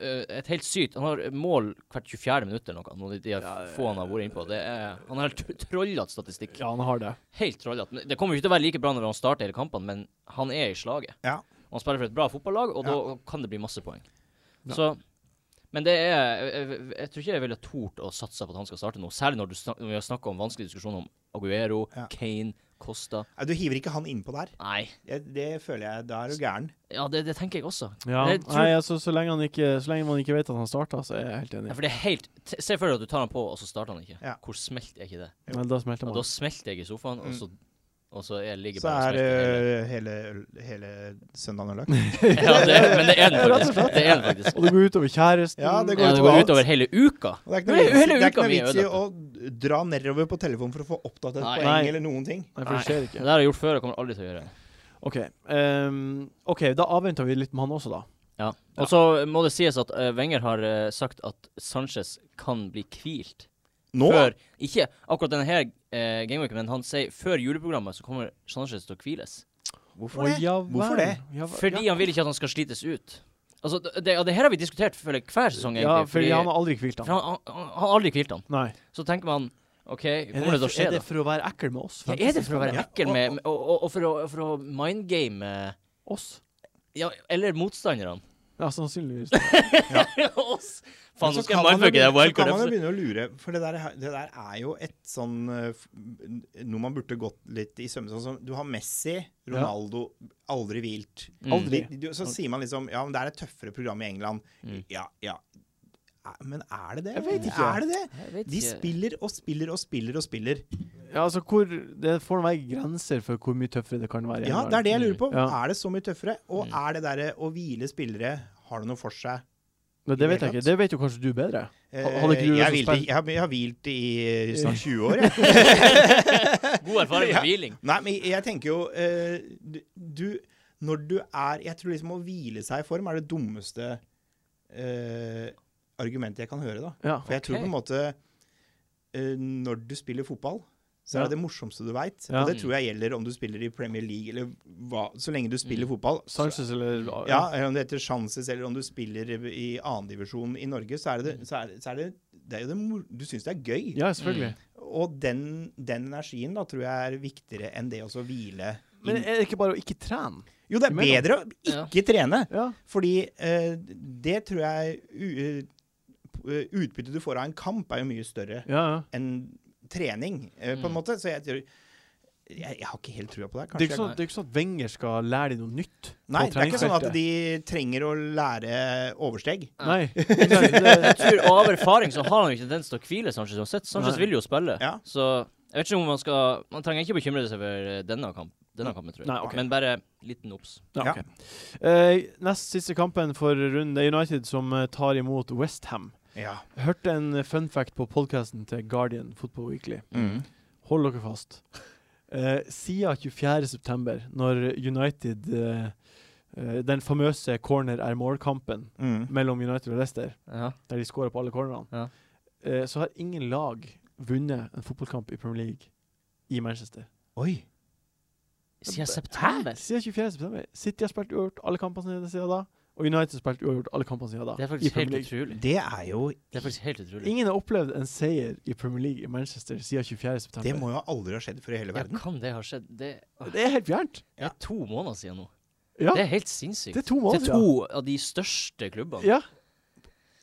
[SPEAKER 2] eh, et helt sykt Han har mål hvert 24. minutt eller noe. Noen av de få han har vært innpå. Det er, han har helt trollete statistikk.
[SPEAKER 1] ja, han har det.
[SPEAKER 2] Helt trollete. Men Det kommer jo ikke til å være like bra når han starter hele kampen, men han er i slaget.
[SPEAKER 4] Ja.
[SPEAKER 2] Og han spiller for et bra fotballag, og da kan det bli masse poeng. Så men det er jeg, jeg, jeg tror ikke jeg ville tort å satse på at han skal starte nå. Særlig når, du snak, når vi har snakka om vanskelig diskusjon om Aguero,
[SPEAKER 4] Ja.
[SPEAKER 2] Kane, Costa
[SPEAKER 4] Nei, Du hiver ikke han innpå der.
[SPEAKER 2] Nei.
[SPEAKER 4] Jeg, det føler jeg Da er du gæren.
[SPEAKER 2] Ja, det, det tenker jeg også.
[SPEAKER 1] Ja.
[SPEAKER 2] Jeg tror-
[SPEAKER 1] Nei, altså, så, lenge han ikke, så lenge man ikke vet at han starter, så er jeg helt
[SPEAKER 2] Ja,
[SPEAKER 1] enig.
[SPEAKER 2] for det er helt t- Se for deg at du tar han på, og så starter han ikke.
[SPEAKER 4] Ja.
[SPEAKER 2] Hvor smelt er ikke det?
[SPEAKER 1] Men da smelter
[SPEAKER 2] Og da
[SPEAKER 1] man.
[SPEAKER 2] smelter jeg i sofaen, og så, og så er jeg ligger
[SPEAKER 4] Mm. Så
[SPEAKER 2] bare
[SPEAKER 4] er
[SPEAKER 2] og smelter.
[SPEAKER 4] eh, hele, hele søndagen ødelagt.
[SPEAKER 2] hele- Ja, det, men det er den
[SPEAKER 1] Rett og
[SPEAKER 2] faktisk. Det er den faktisk.
[SPEAKER 1] Og det går utover kjæresten.
[SPEAKER 4] Ja, det
[SPEAKER 2] Ja, det
[SPEAKER 4] går utover
[SPEAKER 2] går
[SPEAKER 4] alt.
[SPEAKER 2] utover hele uka.
[SPEAKER 4] Og Det er ikke
[SPEAKER 2] Nei,
[SPEAKER 4] noe vits,
[SPEAKER 2] hele
[SPEAKER 4] det er
[SPEAKER 2] uka
[SPEAKER 4] ikke noe
[SPEAKER 2] mi er
[SPEAKER 4] vits i å dra nedover på telefonen for å få opptatt et
[SPEAKER 2] Nei.
[SPEAKER 4] poeng
[SPEAKER 1] Nei.
[SPEAKER 4] eller noen ting.
[SPEAKER 1] Nei, for det skjer
[SPEAKER 2] Det
[SPEAKER 1] ikke.
[SPEAKER 2] der har jeg gjort før og kommer aldri til å gjøre.
[SPEAKER 1] OK, ehm, ok, da avventer vi litt med han også, da.
[SPEAKER 2] Ja. Og så må det sies at eh, Wenger har eh, sagt at Sanchez kan bli hvilt.
[SPEAKER 4] Nå?
[SPEAKER 2] Før Ikke akkurat denne her uh, gameweeken, men han sier før juleprogrammet så kommer Sanchez til å hviles.
[SPEAKER 4] Hvorfor det? Hvorfor det?
[SPEAKER 2] Fordi han vil ikke at han skal slites ut. Altså, det, det, det her har vi diskutert føler jeg, hver sesong,
[SPEAKER 1] Ja,
[SPEAKER 2] egentlig.
[SPEAKER 1] fordi han har aldri hvilt
[SPEAKER 2] For
[SPEAKER 1] han.
[SPEAKER 2] han, han, han har aldri hvilt han.
[SPEAKER 1] Nei.
[SPEAKER 2] Så tenker man OK,
[SPEAKER 1] Er
[SPEAKER 2] kommer det til å skje,
[SPEAKER 1] er
[SPEAKER 2] da?
[SPEAKER 1] det for å være ekkel med oss?
[SPEAKER 2] Ja, er det for å være
[SPEAKER 4] Ja,
[SPEAKER 2] ekkel
[SPEAKER 4] og-
[SPEAKER 2] med, med og, og, og for å, for å mindgame
[SPEAKER 1] Oss?
[SPEAKER 2] Ja, eller motstanderne.
[SPEAKER 1] Ja, sannsynligvis.
[SPEAKER 2] Oss!
[SPEAKER 4] Men
[SPEAKER 2] Faen,
[SPEAKER 4] så
[SPEAKER 2] nå skal jeg
[SPEAKER 4] kan man jo
[SPEAKER 2] mindfucke det altså.
[SPEAKER 4] begynne- så kan man jo
[SPEAKER 2] wildcardet.
[SPEAKER 4] begynne å lure, for det der, det der er jo et sånn eh, f- Noe man burde gått litt i sømmene. Sånn som du har Messi, Ronaldo, aldri hvilt.
[SPEAKER 2] Mm.
[SPEAKER 1] Aldri.
[SPEAKER 4] De- du- Så sier man liksom Ja, men det er et tøffere program i England.
[SPEAKER 2] Mm.
[SPEAKER 4] Ja, ja. Er- Men er det det?
[SPEAKER 1] Jeg vet ikke.
[SPEAKER 4] Er det det?
[SPEAKER 2] Jeg vet
[SPEAKER 4] De
[SPEAKER 2] ikke.
[SPEAKER 4] spiller og spiller og spiller og spiller.
[SPEAKER 1] Ja, altså, hvor, det får være grenser for hvor mye tøffere det kan være. i
[SPEAKER 4] Ja,
[SPEAKER 1] en
[SPEAKER 4] det er det jeg lurer på.
[SPEAKER 1] Mm. Ja.
[SPEAKER 4] Er det så mye tøffere? Og er det derre å hvile spillere Har det noe for seg?
[SPEAKER 1] Men det vet jeg ikke. Det vet jo kanskje du bedre. Ha- hadde ikke du
[SPEAKER 4] Eh,
[SPEAKER 1] det
[SPEAKER 4] jeg,
[SPEAKER 1] som
[SPEAKER 4] hvilte,
[SPEAKER 1] spill-
[SPEAKER 4] jeg, har, jeg har hvilt i eh, snart 20 år, jeg.
[SPEAKER 2] God erfaring med hviling.
[SPEAKER 4] Nei, men jeg tenker jo eh, du, du Når du er Jeg tror liksom å hvile seg i form er det dummeste eh, argumentet jeg kan høre, da.
[SPEAKER 1] Ja.
[SPEAKER 4] For jeg tror
[SPEAKER 2] Ok.
[SPEAKER 4] på en måte eh, Når du spiller fotball, så
[SPEAKER 1] Ja.
[SPEAKER 4] er det det morsomste du veit.
[SPEAKER 1] Ja.
[SPEAKER 4] Og det tror jeg gjelder om du spiller i Premier League eller hva Så lenge du spiller
[SPEAKER 1] Mm.
[SPEAKER 4] fotball, så
[SPEAKER 1] Sanchez eller
[SPEAKER 4] Ja, eller om det heter Chances, eller om du spiller i- i andredivisjon i Norge, så er det, så er, så er det, det er jo det mor- Du syns det er gøy.
[SPEAKER 1] Mm. Ja, selvfølgelig.
[SPEAKER 4] Og den, den energien da tror jeg er viktigere enn det å så hvile
[SPEAKER 1] Mm. Men
[SPEAKER 4] inn.
[SPEAKER 1] er det ikke bare å ikke trene?
[SPEAKER 4] Jo, det er
[SPEAKER 1] imellom.
[SPEAKER 4] bedre å ikke trene,
[SPEAKER 1] Ja.
[SPEAKER 4] fordi eh, det tror jeg u- eh, Utbyttet du får av en kamp, er jo mye større
[SPEAKER 1] ja. ja.
[SPEAKER 4] enn trening, eh, på en
[SPEAKER 2] Mm.
[SPEAKER 4] måte. Så jeg tror jeg, jeg har ikke helt trua på
[SPEAKER 1] Det
[SPEAKER 4] det.
[SPEAKER 1] er,
[SPEAKER 4] Kanskje
[SPEAKER 1] ikke
[SPEAKER 4] jeg-
[SPEAKER 1] sånn, det er ikke sånn at Wenger skal lære deg noe nytt. på
[SPEAKER 4] Nei, det er ikke sånn at
[SPEAKER 1] treningsfeltet.
[SPEAKER 4] de trenger å lære oversteg.
[SPEAKER 1] Nei. Det-
[SPEAKER 2] Jeg tror Av erfaring så har han jo ikke tendens til å hvile Sanchez uansett. Sanchez
[SPEAKER 1] Nei.
[SPEAKER 2] vil jo spille.
[SPEAKER 4] Ja.
[SPEAKER 2] Så jeg vet ikke om man skal Man trenger ikke bekymre seg for eh, denne, kamp, denne kampen, tror jeg.
[SPEAKER 1] Nei, ok.
[SPEAKER 2] Men bare liten obs.
[SPEAKER 1] Ja,
[SPEAKER 4] Ja.
[SPEAKER 1] ok. Eh, nest siste kampen for runden det er United som eh, tar imot Westham.
[SPEAKER 4] Ja.
[SPEAKER 1] Hørte en eh, fun fact på podkasten til Guardian Football Weekly.
[SPEAKER 4] Mm.
[SPEAKER 1] Hold dere fast. Eh, siden 24.9, når United eh, eh, Den famøse corner er mål-kampen
[SPEAKER 4] Mm.
[SPEAKER 1] mellom United og Leicester,
[SPEAKER 2] Ja.
[SPEAKER 1] der de skårer på alle cornerne,
[SPEAKER 2] Ja.
[SPEAKER 1] eh, så har ingen lag vunnet en fotballkamp i Premier League i Manchester.
[SPEAKER 4] Oi.
[SPEAKER 2] Siden september?
[SPEAKER 1] Siden 24.9. City har spilt uavgjort alle kampene sine siden da, og United har spilt uavgjort alle kampene siden da.
[SPEAKER 2] Det er
[SPEAKER 1] i
[SPEAKER 2] faktisk
[SPEAKER 1] Premier
[SPEAKER 2] helt
[SPEAKER 1] League.
[SPEAKER 2] utrolig.
[SPEAKER 4] Det er jo
[SPEAKER 2] Det er faktisk helt utrolig.
[SPEAKER 1] Ingen har opplevd en seier i Premier League i Manchester siden 24.9.
[SPEAKER 4] Det må jo aldri ha skjedd før i hele
[SPEAKER 2] Ja,
[SPEAKER 4] verden.
[SPEAKER 2] kan det ha skjedd? Det, åh,
[SPEAKER 1] Det er helt fjernt!
[SPEAKER 2] det er to måneder siden nå.
[SPEAKER 1] Ja,
[SPEAKER 2] Det
[SPEAKER 1] det,
[SPEAKER 2] er helt sinnssykt.
[SPEAKER 1] er to
[SPEAKER 2] Til
[SPEAKER 1] måneder
[SPEAKER 2] to av de største klubbene.
[SPEAKER 1] Ja.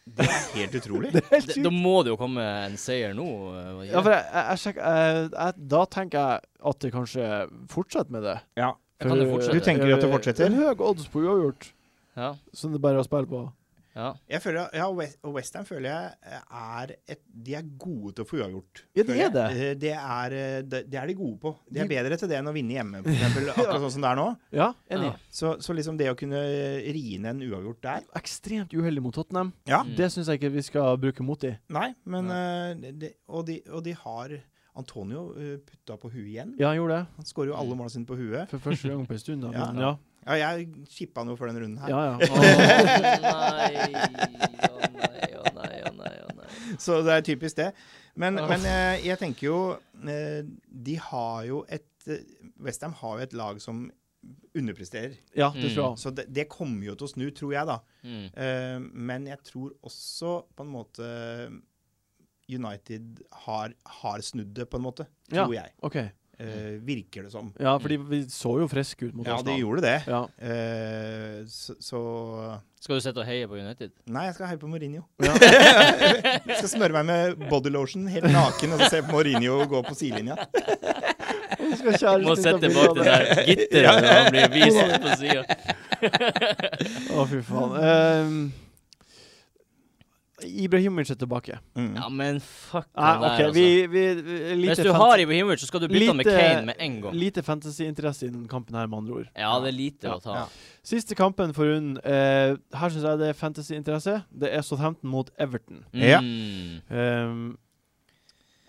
[SPEAKER 4] Det er helt utrolig.
[SPEAKER 1] Det er helt
[SPEAKER 2] Det-
[SPEAKER 1] sykt.
[SPEAKER 2] Da må det jo komme en seier nå. eh, hva
[SPEAKER 1] Ja,
[SPEAKER 2] gjør
[SPEAKER 1] for jeg, jeg, jeg sjekker jeg, jeg, Da tenker jeg at det kanskje fortsetter med det.
[SPEAKER 4] Ja.
[SPEAKER 2] Jeg kan jo fortsette.
[SPEAKER 4] Du tenker at det
[SPEAKER 1] eh,
[SPEAKER 4] fortsetter?
[SPEAKER 1] Det er høy odds på uavgjort,
[SPEAKER 2] Ja,
[SPEAKER 1] som det bare er å spille på.
[SPEAKER 2] ja.
[SPEAKER 4] Jeg føler, ja, West- og Westham føler jeg eh, er et, De er gode til å få uavgjort.
[SPEAKER 1] Ja, de er
[SPEAKER 4] føler jeg. Eh, Det er, eh, det, det er de gode på. De er
[SPEAKER 1] De-
[SPEAKER 4] bedre til det enn å vinne hjemme, for eksempel, akkurat sånn som det er nå.
[SPEAKER 1] Ja, enig.
[SPEAKER 2] Ja.
[SPEAKER 4] Så, så liksom det å kunne ri ned en uavgjort der
[SPEAKER 1] Ekstremt uheldig mot Tottenham.
[SPEAKER 4] Ja,
[SPEAKER 2] Mm.
[SPEAKER 1] Det syns jeg ikke vi skal bruke mot i.
[SPEAKER 4] nei, men eh, det, og, de, og de har Antonio eh, putta på huet igjen.
[SPEAKER 1] Ja, Mm. han gjorde det.
[SPEAKER 4] Han skårer jo alle målene sine på huet.
[SPEAKER 1] For første gang på en stund, da.
[SPEAKER 4] Ja.
[SPEAKER 1] Men, ja.
[SPEAKER 4] Ja, jeg chippa han jo før den runden her.
[SPEAKER 1] ja,
[SPEAKER 2] Å
[SPEAKER 1] ja.
[SPEAKER 2] nei, å nei, å nei, å nei. å nei.
[SPEAKER 4] Så det er typisk det. Men,
[SPEAKER 1] Ja.
[SPEAKER 4] men eh, jeg tenker jo eh, De har jo et eh, Westham har jo et lag som underpresterer.
[SPEAKER 1] ja det tror jeg.
[SPEAKER 4] Så det, det kommer jo til å snu, tror jeg, da.
[SPEAKER 2] Mm.
[SPEAKER 4] Eh, men jeg tror også på en måte United har, har snudd det, på en måte.
[SPEAKER 1] Ja.
[SPEAKER 4] Tror jeg.
[SPEAKER 1] OK.
[SPEAKER 4] Eh, virker det som.
[SPEAKER 1] Ja, fordi vi så jo friske ut mot
[SPEAKER 4] Ja, de
[SPEAKER 1] Arsenal.
[SPEAKER 4] gjorde det.
[SPEAKER 1] Ja.
[SPEAKER 4] Eh, så, så
[SPEAKER 2] Skal du sitte og heie på United?
[SPEAKER 4] Nei, jeg skal heie på Mourinho.
[SPEAKER 1] Ja.
[SPEAKER 4] Jeg skal smøre meg med bodylotion helt naken og så se på Mourinho gå på sidelinja.
[SPEAKER 2] Må sette
[SPEAKER 1] sånn
[SPEAKER 2] bak det der gitteret når han blir vist på sida.
[SPEAKER 1] Mm. Å, fy faen. Ehm, Ibrahimovic er tilbake.
[SPEAKER 4] Mm.
[SPEAKER 2] Ja, men fuck
[SPEAKER 1] Nei, Ah,
[SPEAKER 2] han
[SPEAKER 1] OK,
[SPEAKER 2] der, altså.
[SPEAKER 1] vi, vi vi- lite
[SPEAKER 2] Hvis du
[SPEAKER 1] fant-
[SPEAKER 2] har Ibrahimovic, så skal du bytte han med
[SPEAKER 1] Lite-
[SPEAKER 2] Kane med en gang.
[SPEAKER 1] Lite fantasyinteresse i den kampen her, med andre ord.
[SPEAKER 2] Ja, det er lite
[SPEAKER 1] Ja,
[SPEAKER 2] å ta.
[SPEAKER 4] ja.
[SPEAKER 1] Siste kampen for runden. eh, her syns jeg det er fantasyinteresse. Det er Southampton mot Everton.
[SPEAKER 4] Ja.
[SPEAKER 2] Mm.
[SPEAKER 1] Ehm,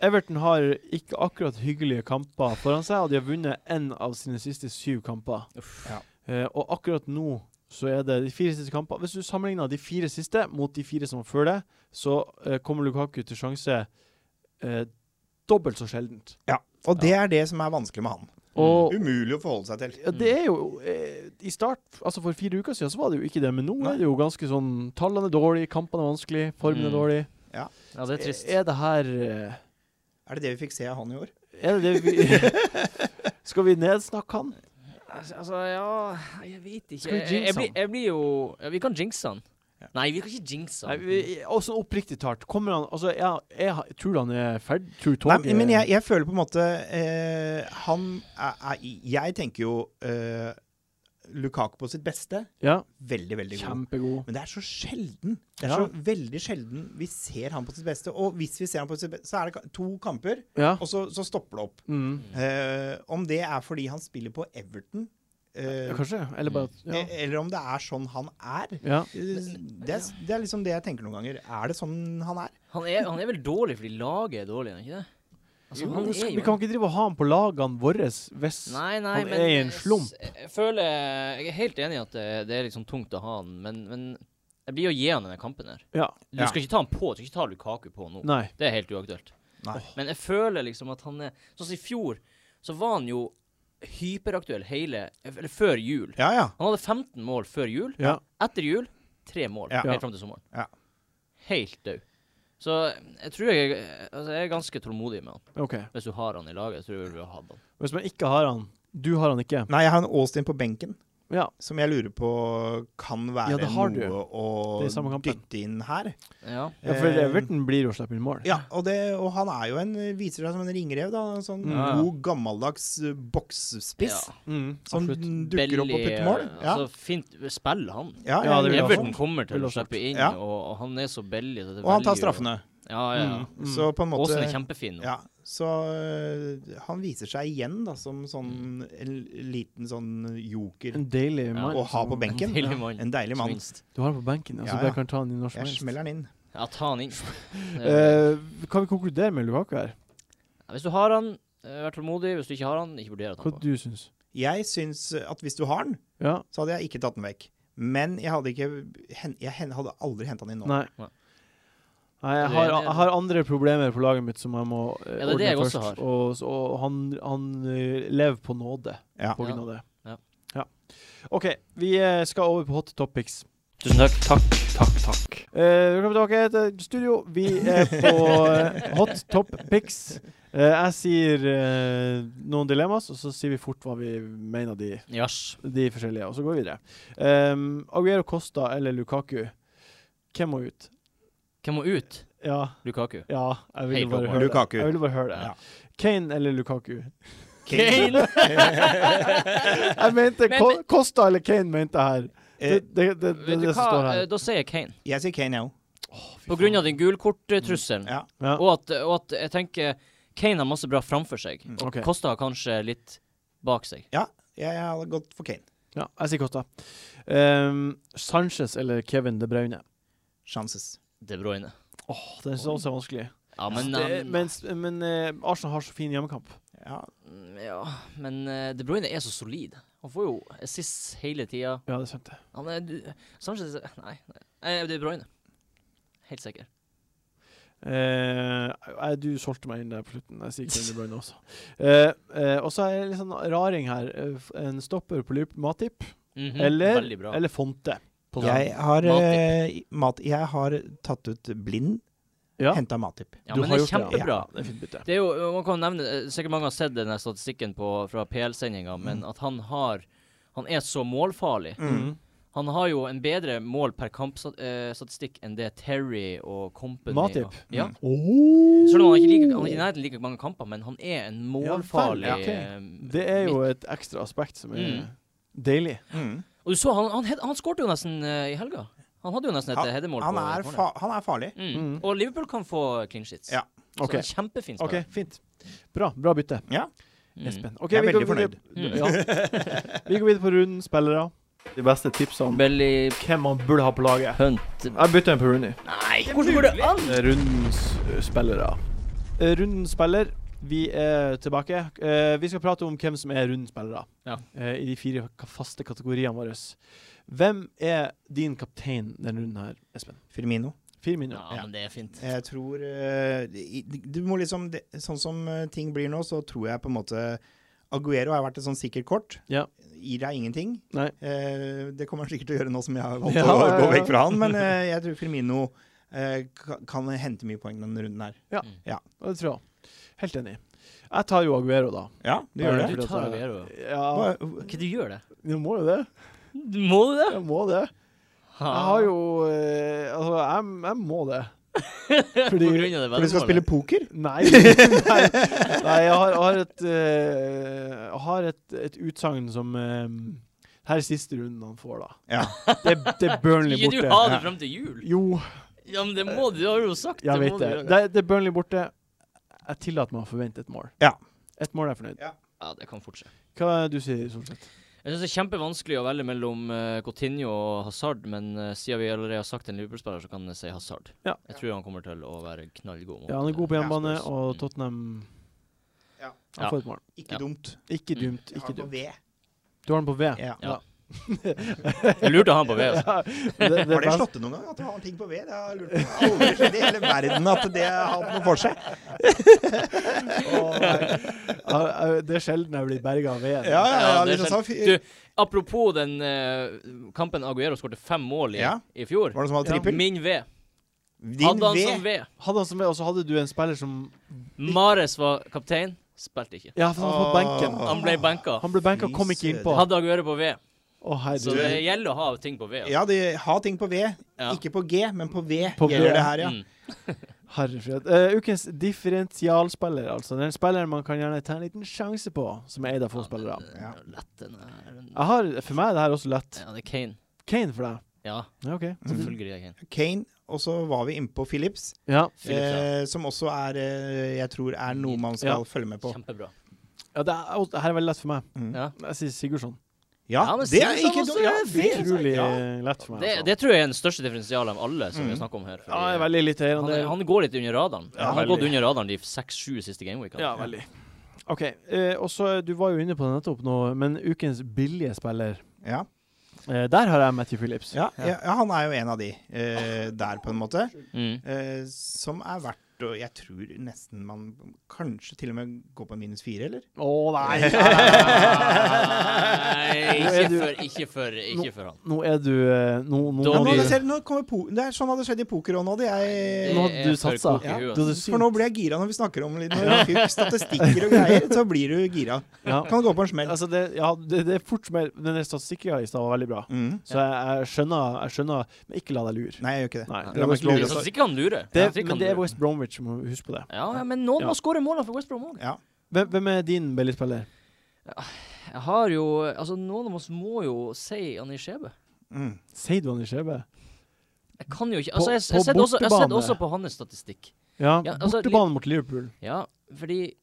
[SPEAKER 1] Everton har ikke akkurat hyggelige kamper foran seg, og de har vunnet én av sine siste syv kamper.
[SPEAKER 2] Uff.
[SPEAKER 4] Ja.
[SPEAKER 1] Eh, og akkurat nå så er det de fire siste kamper. Hvis du sammenligner de fire siste mot de fire som var før det, så eh, kommer Lukaku til sjanse eh, dobbelt så sjeldent.
[SPEAKER 4] Og det er det som er vanskelig med han.
[SPEAKER 1] Og
[SPEAKER 4] Umulig å forholde seg til.
[SPEAKER 1] ja, det er jo eh, I start, altså for fire uker siden, så var det jo ikke det, men nå
[SPEAKER 4] Nei.
[SPEAKER 1] er det jo ganske sånn Tallene er dårlige, kampene er vanskelig, formen
[SPEAKER 2] Mm.
[SPEAKER 1] er dårlig.
[SPEAKER 2] Ja, det er trist.
[SPEAKER 1] Er det her eh,
[SPEAKER 4] Er det det vi fikk se av han i år?
[SPEAKER 1] Er det det vi Skal vi nedsnakke han?
[SPEAKER 2] Altså, altså, ja Jeg vet ikke.
[SPEAKER 1] Skal vi
[SPEAKER 2] Jeg,
[SPEAKER 1] jinxe
[SPEAKER 2] jeg, blir,
[SPEAKER 1] han?
[SPEAKER 2] jeg blir jo ja, Vi kan jinxe han.
[SPEAKER 4] Ja.
[SPEAKER 2] Nei, vi kan ikke jinxe
[SPEAKER 1] Nei,
[SPEAKER 2] han.
[SPEAKER 1] vi, også oppriktig talt. Kommer han Altså, jeg, jeg tror han er ferdig. Tror
[SPEAKER 4] Nei,
[SPEAKER 1] toget
[SPEAKER 4] men jeg, jeg føler på en måte eh, Han er, er Jeg tenker jo eh, Lukaku på sitt beste.
[SPEAKER 1] Ja,
[SPEAKER 4] Veldig, veldig god.
[SPEAKER 1] kjempegod.
[SPEAKER 4] Men det er så sjelden. Det er
[SPEAKER 1] Ja.
[SPEAKER 4] så veldig sjelden vi ser han på sitt beste. Og hvis vi ser han på sitt beste, så er det ka- to kamper,
[SPEAKER 1] Ja.
[SPEAKER 4] og så, så stopper det opp.
[SPEAKER 1] Mm.
[SPEAKER 4] Eh, om det er fordi han spiller på Everton, eh,
[SPEAKER 1] Ja, kanskje. Eller bare at- ja.
[SPEAKER 4] eh, eller om det er sånn han er.
[SPEAKER 1] ja.
[SPEAKER 4] Eh, Det er, det er liksom det jeg tenker noen ganger. Er det sånn han er?
[SPEAKER 2] Han, er, han er vel dårlig fordi laget er dårlig, er han ikke det? Altså,
[SPEAKER 1] Jo,
[SPEAKER 2] han
[SPEAKER 1] men
[SPEAKER 2] er
[SPEAKER 1] skal-
[SPEAKER 2] jo
[SPEAKER 1] vi kan ikke drive og ha han på lagene våre hvis
[SPEAKER 2] Nei, nei,
[SPEAKER 1] han
[SPEAKER 2] men
[SPEAKER 1] er i en
[SPEAKER 2] jeg s-
[SPEAKER 1] slump.
[SPEAKER 2] Jeg føler Jeg er helt enig i at det, det er liksom tungt å ha han, men, men jeg blir å gi han denne kampen her.
[SPEAKER 1] Ja.
[SPEAKER 2] Du
[SPEAKER 4] Ja.
[SPEAKER 2] skal ikke ta han på, du skal ikke ta Lukaku på nå.
[SPEAKER 1] Nei.
[SPEAKER 2] Det er helt uaktuelt.
[SPEAKER 4] Nei.
[SPEAKER 2] Men jeg føler liksom at han er Sånn som i fjor, så var han jo hyperaktuell hele Eller før jul.
[SPEAKER 4] Ja, ja.
[SPEAKER 2] Han hadde 15 mål før jul.
[SPEAKER 1] Ja.
[SPEAKER 2] Etter jul tre mål,
[SPEAKER 4] Ja.
[SPEAKER 2] helt fram til sommeren.
[SPEAKER 4] Ja.
[SPEAKER 2] Helt død. Så jeg tror jeg Altså, jeg er ganske tålmodig med han.
[SPEAKER 1] OK.
[SPEAKER 2] Hvis du har han i laget, jeg tror jeg du vil ha han.
[SPEAKER 1] Hvis man ikke har han Du har han ikke.
[SPEAKER 4] Nei, jeg har en Austin på benken
[SPEAKER 1] Ja.
[SPEAKER 4] som jeg lurer på kan
[SPEAKER 1] Ja,
[SPEAKER 4] være
[SPEAKER 1] det har du.
[SPEAKER 4] noe å
[SPEAKER 1] Det er samme kampen.
[SPEAKER 4] dytte inn her.
[SPEAKER 2] Ja.
[SPEAKER 1] ja for
[SPEAKER 4] Eh,
[SPEAKER 1] Everton blir jo å slippe inn mål.
[SPEAKER 4] Ja, og, det, og han er jo en, viser seg som en ringrev. da En sånn
[SPEAKER 2] Ja.
[SPEAKER 4] god, gammeldags eh, boksspiss
[SPEAKER 2] Ja.
[SPEAKER 1] Mm,
[SPEAKER 4] som
[SPEAKER 1] absolutt. eh,
[SPEAKER 4] dukker opp og
[SPEAKER 2] Belly,
[SPEAKER 4] putter mål. Ja,
[SPEAKER 2] Altså, fint Spill han.
[SPEAKER 4] ja,
[SPEAKER 1] Ja, det vil jeg
[SPEAKER 2] Everton
[SPEAKER 1] ha.
[SPEAKER 2] kommer til
[SPEAKER 1] Vil ha
[SPEAKER 2] å
[SPEAKER 1] sagt.
[SPEAKER 2] slippe inn,
[SPEAKER 4] Ja.
[SPEAKER 2] og, og han er så belly. Så det
[SPEAKER 4] Og han
[SPEAKER 2] velger
[SPEAKER 4] tar
[SPEAKER 2] jo-
[SPEAKER 4] straffene.
[SPEAKER 2] Ja, ja, ja.
[SPEAKER 1] Mm, mm.
[SPEAKER 4] Så på en måte
[SPEAKER 2] Aasen er kjempefin nå.
[SPEAKER 4] ja, Så eh, han viser seg igjen da som sånn
[SPEAKER 2] Mm.
[SPEAKER 4] en liten sånn joker
[SPEAKER 1] En deilig mann.
[SPEAKER 4] å ha på benken.
[SPEAKER 2] Deilig mann.
[SPEAKER 4] En deilig
[SPEAKER 2] Som
[SPEAKER 4] mann.
[SPEAKER 2] minst.
[SPEAKER 1] Du har han på benken, ja, så
[SPEAKER 4] Ja,
[SPEAKER 1] bare
[SPEAKER 4] ja.
[SPEAKER 1] kan ta han i når som
[SPEAKER 4] Jeg
[SPEAKER 1] helst.
[SPEAKER 4] smeller han inn.
[SPEAKER 2] Ja, ta han inn. Det er-
[SPEAKER 1] Eh, kan vi konkludere med Lukaku her?
[SPEAKER 2] Ja, Hvis du har han, eh, vær tålmodig. Hvis du ikke har han, ikke vurder å ta
[SPEAKER 1] Hva
[SPEAKER 2] han på.
[SPEAKER 1] du syns
[SPEAKER 4] Jeg syns at hvis du har den,
[SPEAKER 1] Ja.
[SPEAKER 4] så hadde jeg ikke tatt den vekk. Men jeg hadde, ikke, hen- jeg hen- hadde aldri henta den inn nå.
[SPEAKER 1] Nei.
[SPEAKER 2] Nei.
[SPEAKER 1] Nei, jeg
[SPEAKER 2] Du er
[SPEAKER 1] har,
[SPEAKER 2] enig,
[SPEAKER 1] jeg har andre problemer på laget mitt som jeg må eh,
[SPEAKER 2] Ja, det er det jeg
[SPEAKER 1] ordne
[SPEAKER 2] også
[SPEAKER 1] først.
[SPEAKER 2] har.
[SPEAKER 1] Og, så- og han, han eh, lever på nåde.
[SPEAKER 4] Ja.
[SPEAKER 1] på grunn
[SPEAKER 2] Ja.
[SPEAKER 1] av det.
[SPEAKER 2] Ja.
[SPEAKER 1] Ja. OK, vi eh, skal over på hot topics.
[SPEAKER 2] Tusen takk. Takk, takk, takk.
[SPEAKER 1] Eh, Velkommen tilbake til studio. Vi er på eh, hot topics. Eh, jeg sier eh, noen dilemmas, og så sier vi fort hva vi mener de,
[SPEAKER 2] Jasj.
[SPEAKER 1] de Eh, forskjellige, og så går vi videre. Um, Aguero Costa eller Lukaku, hvem må ut?
[SPEAKER 2] Hvem må ut?
[SPEAKER 1] Ja,
[SPEAKER 2] Lukaku.
[SPEAKER 1] ja jeg ville
[SPEAKER 2] Helt
[SPEAKER 1] bare
[SPEAKER 2] åpenbart.
[SPEAKER 1] høre
[SPEAKER 4] Lukaku.
[SPEAKER 1] det. Jeg ville bare høre det.
[SPEAKER 4] Ja.
[SPEAKER 1] Kane eller Lukaku?
[SPEAKER 2] Kane!
[SPEAKER 1] Jeg mente
[SPEAKER 2] Men-
[SPEAKER 1] Ko- Costa eller Kane mente jeg her. Det,
[SPEAKER 4] Eh,
[SPEAKER 1] det, det, det,
[SPEAKER 2] Vet
[SPEAKER 1] er
[SPEAKER 2] du
[SPEAKER 1] det som står
[SPEAKER 2] hva,
[SPEAKER 1] her.
[SPEAKER 2] Eh, da sier jeg Kane.
[SPEAKER 4] Jeg sier Kane, jeg òg.
[SPEAKER 2] På grunn av den gulkorttrusselen.
[SPEAKER 4] Ja.
[SPEAKER 1] Ja.
[SPEAKER 2] Og, at- og at jeg tenker Kane har masse bra framfor seg. Og
[SPEAKER 1] Ok.
[SPEAKER 2] Kosta har kanskje litt bak seg.
[SPEAKER 4] Jeg har gått for Kane.
[SPEAKER 1] Ja, jeg sier Costa. Ehm, Sanchez eller Kevin De Bruyne?
[SPEAKER 4] Chances.
[SPEAKER 2] De Bruyne.
[SPEAKER 1] Åh, den synes jeg også er vanskelig.
[SPEAKER 2] Ja, men, um,
[SPEAKER 1] det,
[SPEAKER 2] han-
[SPEAKER 1] mens, men eh, Arsenal har så fin hjemmekamp.
[SPEAKER 4] Ja.
[SPEAKER 2] ja, men eh, De Bruyne er så solid. Han får jo assist hele tida.
[SPEAKER 1] Ja, det er sant. det.
[SPEAKER 2] Han er du, Sanchez Nei, nei. Eh, De Bruyne. Helt sikker.
[SPEAKER 1] Eh, jeg- du solgte meg inn der på slutten. Jeg sier Kevin De Bruyne også. Eh, eh, og så er jeg litt sånn raring her. Eh, f- En stopper på Liverpool, Matip
[SPEAKER 2] Mhm, Veldig
[SPEAKER 1] eller,
[SPEAKER 2] bra.
[SPEAKER 1] eller Fonte.
[SPEAKER 2] På
[SPEAKER 4] Jeg
[SPEAKER 2] den.
[SPEAKER 4] har,
[SPEAKER 2] Matip.
[SPEAKER 4] eh, mat, jeg har tatt ut blind,
[SPEAKER 1] Ja,
[SPEAKER 4] henta Matip.
[SPEAKER 2] ja,
[SPEAKER 1] du
[SPEAKER 2] men
[SPEAKER 1] har
[SPEAKER 2] det er
[SPEAKER 1] gjort det,
[SPEAKER 2] kjempebra.
[SPEAKER 1] ja, det er fint bytte.
[SPEAKER 2] Det er jo, man kan nevne, eh, Sikkert mange har sett denne statistikken på, fra PL-sendinga, men at han har Han er så målfarlig.
[SPEAKER 1] Mm.
[SPEAKER 2] Han har jo en bedre mål per kampstatistikk enn det Terry og Company
[SPEAKER 1] Matip? Oh!
[SPEAKER 2] og- Ja.
[SPEAKER 1] Åh!
[SPEAKER 2] Selv om han ikke liker, han er ikke i nærheten like mange kamper, men han er en målfarlig
[SPEAKER 1] Ja, vel, ja, ok.
[SPEAKER 2] eh,
[SPEAKER 1] Det er
[SPEAKER 2] midt-
[SPEAKER 1] jo et ekstra aspekt som er
[SPEAKER 2] Mm.
[SPEAKER 1] deilig.
[SPEAKER 4] Mm.
[SPEAKER 2] Og du så, han, han, hed- han skårte jo nesten eh, i helga. Han hadde jo nesten et
[SPEAKER 4] Han-
[SPEAKER 2] eh, headermål.
[SPEAKER 4] Han,
[SPEAKER 2] på
[SPEAKER 4] er
[SPEAKER 2] corner.
[SPEAKER 4] fa han er farlig.
[SPEAKER 2] mm.
[SPEAKER 1] Mm.
[SPEAKER 2] Og Liverpool kan få clean sheets.
[SPEAKER 4] Ja.
[SPEAKER 2] Så
[SPEAKER 1] OK,
[SPEAKER 2] det er kjempefint
[SPEAKER 1] ok, fint. Bra, bra bytte.
[SPEAKER 2] Mm.
[SPEAKER 1] Espen. Ok,
[SPEAKER 4] Jeg er
[SPEAKER 1] vi går
[SPEAKER 4] veldig
[SPEAKER 1] videre-
[SPEAKER 2] fornøyd.
[SPEAKER 1] Ja. vi går videre på runden spillere. De beste tipsene om
[SPEAKER 2] Belly
[SPEAKER 1] hvem man burde ha på laget.
[SPEAKER 2] Hunt
[SPEAKER 1] Jeg bytter en på Rooney.
[SPEAKER 2] Nei, hvordan går det an?!
[SPEAKER 1] Rundens ø, spillere. Eh, Rundens spiller, vi er tilbake. Eh, Vi skal prate om hvem som er rundens spillere
[SPEAKER 2] Ja.
[SPEAKER 1] eh, i de fire ka- faste kategoriene våre. Hvem er din kaptein denne runden her, Espen?
[SPEAKER 4] Firmino.
[SPEAKER 1] Fire minutter.
[SPEAKER 2] Ja, men det er fint.
[SPEAKER 4] Jeg tror eh, i- Du må liksom det- Sånn som eh, ting blir nå, så tror jeg på en måte Aguero har vært et sånn sikkert kort.
[SPEAKER 1] Ja.
[SPEAKER 4] Gir deg ingenting.
[SPEAKER 1] Nei.
[SPEAKER 4] Eh, det kommer han sikkert til å gjøre nå som jeg har valgt
[SPEAKER 1] Ja,
[SPEAKER 4] å
[SPEAKER 1] ja,
[SPEAKER 4] gå
[SPEAKER 1] ja.
[SPEAKER 4] vekk fra han, men eh, jeg tror Firmino eh, ka- kan hente mye poeng denne runden her.
[SPEAKER 1] Og det tror jeg. Helt enig. Jeg tar jo Aguero, da.
[SPEAKER 4] Ja, du gjør
[SPEAKER 1] Bare
[SPEAKER 4] det.
[SPEAKER 1] fordi
[SPEAKER 2] Du
[SPEAKER 1] at
[SPEAKER 2] tar
[SPEAKER 1] jeg-
[SPEAKER 2] Aguero.
[SPEAKER 1] Ja,
[SPEAKER 4] Hva-
[SPEAKER 2] Hva du gjør det?
[SPEAKER 1] du må jo det.
[SPEAKER 2] Må du det?
[SPEAKER 1] Jeg må det. Jeg har jo eh, Altså, jeg, jeg må det.
[SPEAKER 2] På grunn av det
[SPEAKER 4] For du skal
[SPEAKER 2] veddemålet.
[SPEAKER 4] spille poker?
[SPEAKER 1] Nei. Nei, nei jeg har, har et, eh, jeg har et, et utsagn som eh, Her er siste runden han får, da.
[SPEAKER 4] Ja.
[SPEAKER 1] Det, det er Burnley
[SPEAKER 2] Skal ikke du ha
[SPEAKER 1] borte.
[SPEAKER 2] det frem til jul?
[SPEAKER 1] Jo,
[SPEAKER 2] Ja, men det må du, det har du jo sagt.
[SPEAKER 1] jeg
[SPEAKER 2] må
[SPEAKER 1] vet
[SPEAKER 2] du
[SPEAKER 1] det.
[SPEAKER 2] gjøre.
[SPEAKER 1] Det, er- det er Burnley borte. Jeg tillater meg å forvente et mål.
[SPEAKER 4] Ja.
[SPEAKER 1] Et mål er jeg fornøyd.
[SPEAKER 2] Ja, det kan fortsette.
[SPEAKER 1] Hva er det du sier Solseth?
[SPEAKER 2] Jeg synes det er kjempevanskelig å velge mellom eh, Coutinho og Hazard, men eh, siden vi allerede har sagt en Liverpool-spiller, så kan jeg si Hazard.
[SPEAKER 1] Ja.
[SPEAKER 2] Jeg tror han kommer til å være knallgod. mot,
[SPEAKER 1] Ja, han er god på
[SPEAKER 2] eh,
[SPEAKER 1] hjemmebane,
[SPEAKER 2] Spurs.
[SPEAKER 1] og
[SPEAKER 2] Mm.
[SPEAKER 1] Tottenham
[SPEAKER 4] Ja.
[SPEAKER 1] Han får et mål.
[SPEAKER 4] Ikke
[SPEAKER 2] Ja.
[SPEAKER 4] dumt.
[SPEAKER 1] Ikke
[SPEAKER 2] Mm.
[SPEAKER 1] dumt.
[SPEAKER 4] Jeg har
[SPEAKER 1] Ikke
[SPEAKER 4] på
[SPEAKER 1] dumt.
[SPEAKER 4] V.
[SPEAKER 1] Du har den på V.
[SPEAKER 4] Ja.
[SPEAKER 2] Ja. eh, Jeg lurte han på ved. altså.
[SPEAKER 1] Det, det,
[SPEAKER 4] Har det
[SPEAKER 1] best-
[SPEAKER 4] slått til noen gang at du har ting på V? Det har jeg lurt på. Jeg har aldri skjønt i hele verden at det har hatt noe for seg.
[SPEAKER 1] Åh, nei. Ja, det er sjelden jeg blir berga av veden.
[SPEAKER 4] Ja, ja, ja.
[SPEAKER 2] det er
[SPEAKER 4] Liksom, så,
[SPEAKER 2] sant. Du, apropos den eh, kampen Aguero skårte fem mål i
[SPEAKER 4] Ja.
[SPEAKER 2] i fjor.
[SPEAKER 4] var det noen som hadde trippel?
[SPEAKER 2] Min ved.
[SPEAKER 4] Din
[SPEAKER 2] Hadde han
[SPEAKER 4] V.
[SPEAKER 2] som ved.
[SPEAKER 1] Hadde han som med, og så hadde du en spiller som
[SPEAKER 2] Mares var kaptein, spilte ikke.
[SPEAKER 1] Ja, for han var på
[SPEAKER 4] Åh.
[SPEAKER 1] benken.
[SPEAKER 2] Han
[SPEAKER 4] Ah.
[SPEAKER 2] ble benka.
[SPEAKER 1] Han ble benka og kom ikke innpå. Å,
[SPEAKER 2] Hadde Aguero på ved. Så
[SPEAKER 1] herregud.
[SPEAKER 2] det gjelder å ha ting på ved. altså.
[SPEAKER 4] Ja, de har ting på V.
[SPEAKER 2] Ja.
[SPEAKER 4] Ikke på G, men på V
[SPEAKER 1] På
[SPEAKER 4] gjelder
[SPEAKER 1] V.
[SPEAKER 4] det her, ja.
[SPEAKER 2] Mm.
[SPEAKER 1] Herre fred. Eh, ukens differensialspiller, altså. Den spilleren man kan gjerne ta en liten sjanse på, som er eid av få spillere.
[SPEAKER 4] Ja.
[SPEAKER 2] Ja, eh, lett den er.
[SPEAKER 1] Jeg har, for meg er det her også lett.
[SPEAKER 2] Ja, det er Kane.
[SPEAKER 1] Kane for deg.
[SPEAKER 2] Ja,
[SPEAKER 1] Ja, Mm. OK.
[SPEAKER 4] Mm.
[SPEAKER 2] selvfølgelig er det Kane.
[SPEAKER 4] Kane, og så var vi innpå Philips,
[SPEAKER 1] Ja,
[SPEAKER 2] Mm. Phillips, ja.
[SPEAKER 4] eh, som også er eh, Jeg tror er noe man skal
[SPEAKER 1] Ja.
[SPEAKER 4] følge med på.
[SPEAKER 2] Kjempebra.
[SPEAKER 1] ja det er, det her er veldig lett for meg.
[SPEAKER 4] Mm.
[SPEAKER 2] Ja.
[SPEAKER 1] Jeg sier Sigurdsson.
[SPEAKER 4] Ja,
[SPEAKER 2] Ja, men
[SPEAKER 4] det er
[SPEAKER 2] Sigurdsson
[SPEAKER 4] ikke
[SPEAKER 2] også
[SPEAKER 4] dumt. Ja,
[SPEAKER 2] er
[SPEAKER 1] Det er
[SPEAKER 4] det-
[SPEAKER 1] utrolig
[SPEAKER 4] ja.
[SPEAKER 1] eh, lett for meg.
[SPEAKER 2] Det,
[SPEAKER 1] altså.
[SPEAKER 2] det tror jeg er den største differensialen av alle som vi
[SPEAKER 4] Mm.
[SPEAKER 2] har snakket om her.
[SPEAKER 1] ja, jeg er
[SPEAKER 2] fordi
[SPEAKER 1] veldig litt
[SPEAKER 2] han,
[SPEAKER 1] eierende.
[SPEAKER 2] er- han går litt under radaren.
[SPEAKER 1] Ja,
[SPEAKER 2] han har
[SPEAKER 1] veldig.
[SPEAKER 2] gått under radaren de seks-sju siste gameweekene.
[SPEAKER 1] Ja, veldig. OK. eh, og så, eh, du var jo inne på det nettopp nå, men ukens billige spiller
[SPEAKER 4] Ja.
[SPEAKER 1] eh, Der har jeg Matthew Phillips.
[SPEAKER 4] Ja, ja, ja, han er jo en av de eh, der, på en måte.
[SPEAKER 2] Mm.
[SPEAKER 4] eh, som er verdt fort, og jeg tror nesten man kanskje til og med går på minus fire, eller?
[SPEAKER 1] Å nei!
[SPEAKER 2] Nei,
[SPEAKER 1] Nå er
[SPEAKER 2] ikke
[SPEAKER 1] du-
[SPEAKER 2] for, ikke for, ikke for han.
[SPEAKER 1] Nå er du eh, Nå, nå,
[SPEAKER 2] Da
[SPEAKER 4] Ja,
[SPEAKER 1] nå,
[SPEAKER 4] nå,
[SPEAKER 2] blir-
[SPEAKER 4] hadde selv, nå kommer po det er sånn hadde skjedd i poker òg nå. Hadde jeg,
[SPEAKER 1] nå hadde du
[SPEAKER 2] Jeg får
[SPEAKER 1] satsa.
[SPEAKER 2] koke i
[SPEAKER 1] Ja.
[SPEAKER 2] huet.
[SPEAKER 1] Du hadde
[SPEAKER 4] for nå
[SPEAKER 1] sykt.
[SPEAKER 4] blir jeg gira når vi snakker om litt når vi fyr- statistikker og greier. Så blir du gira.
[SPEAKER 1] Ja.
[SPEAKER 4] Kan gå på en smell.
[SPEAKER 1] Altså, det, ja, det, det er fort som er- Den statistikken i stad var veldig bra.
[SPEAKER 4] Mm.
[SPEAKER 1] Så jeg, jeg skjønner, jeg skjønner Men ikke la deg lure.
[SPEAKER 4] Nei, jeg gjør ikke det.
[SPEAKER 1] Nei,
[SPEAKER 4] det
[SPEAKER 1] la
[SPEAKER 4] var
[SPEAKER 1] meg ikke lure.
[SPEAKER 4] ikke
[SPEAKER 2] Så ikke han lurer.
[SPEAKER 1] Det,
[SPEAKER 2] Jeg tror ikke
[SPEAKER 1] men
[SPEAKER 2] han
[SPEAKER 1] det er
[SPEAKER 2] lurer.
[SPEAKER 1] West Bromwich, må vi huske på det.
[SPEAKER 2] Ja, ja, men noen
[SPEAKER 1] Ja.
[SPEAKER 2] må skåre målene for West Brom òg.
[SPEAKER 4] Ja.
[SPEAKER 1] Hvem, hvem er din billigspiller?
[SPEAKER 2] Jeg har jo Altså, noen av oss må jo si Anni Skjebe.
[SPEAKER 4] Mm.
[SPEAKER 1] Sier du han i skjeve?
[SPEAKER 2] Jeg kan jo ikke
[SPEAKER 1] På-
[SPEAKER 2] Altså, jeg,
[SPEAKER 1] på
[SPEAKER 2] jeg setter også, jeg
[SPEAKER 1] bortebane.
[SPEAKER 2] setter også på hans statistikk.
[SPEAKER 1] Ja,
[SPEAKER 2] Ja, altså,
[SPEAKER 1] bortebane mot Liverpool.
[SPEAKER 2] Ja, fordi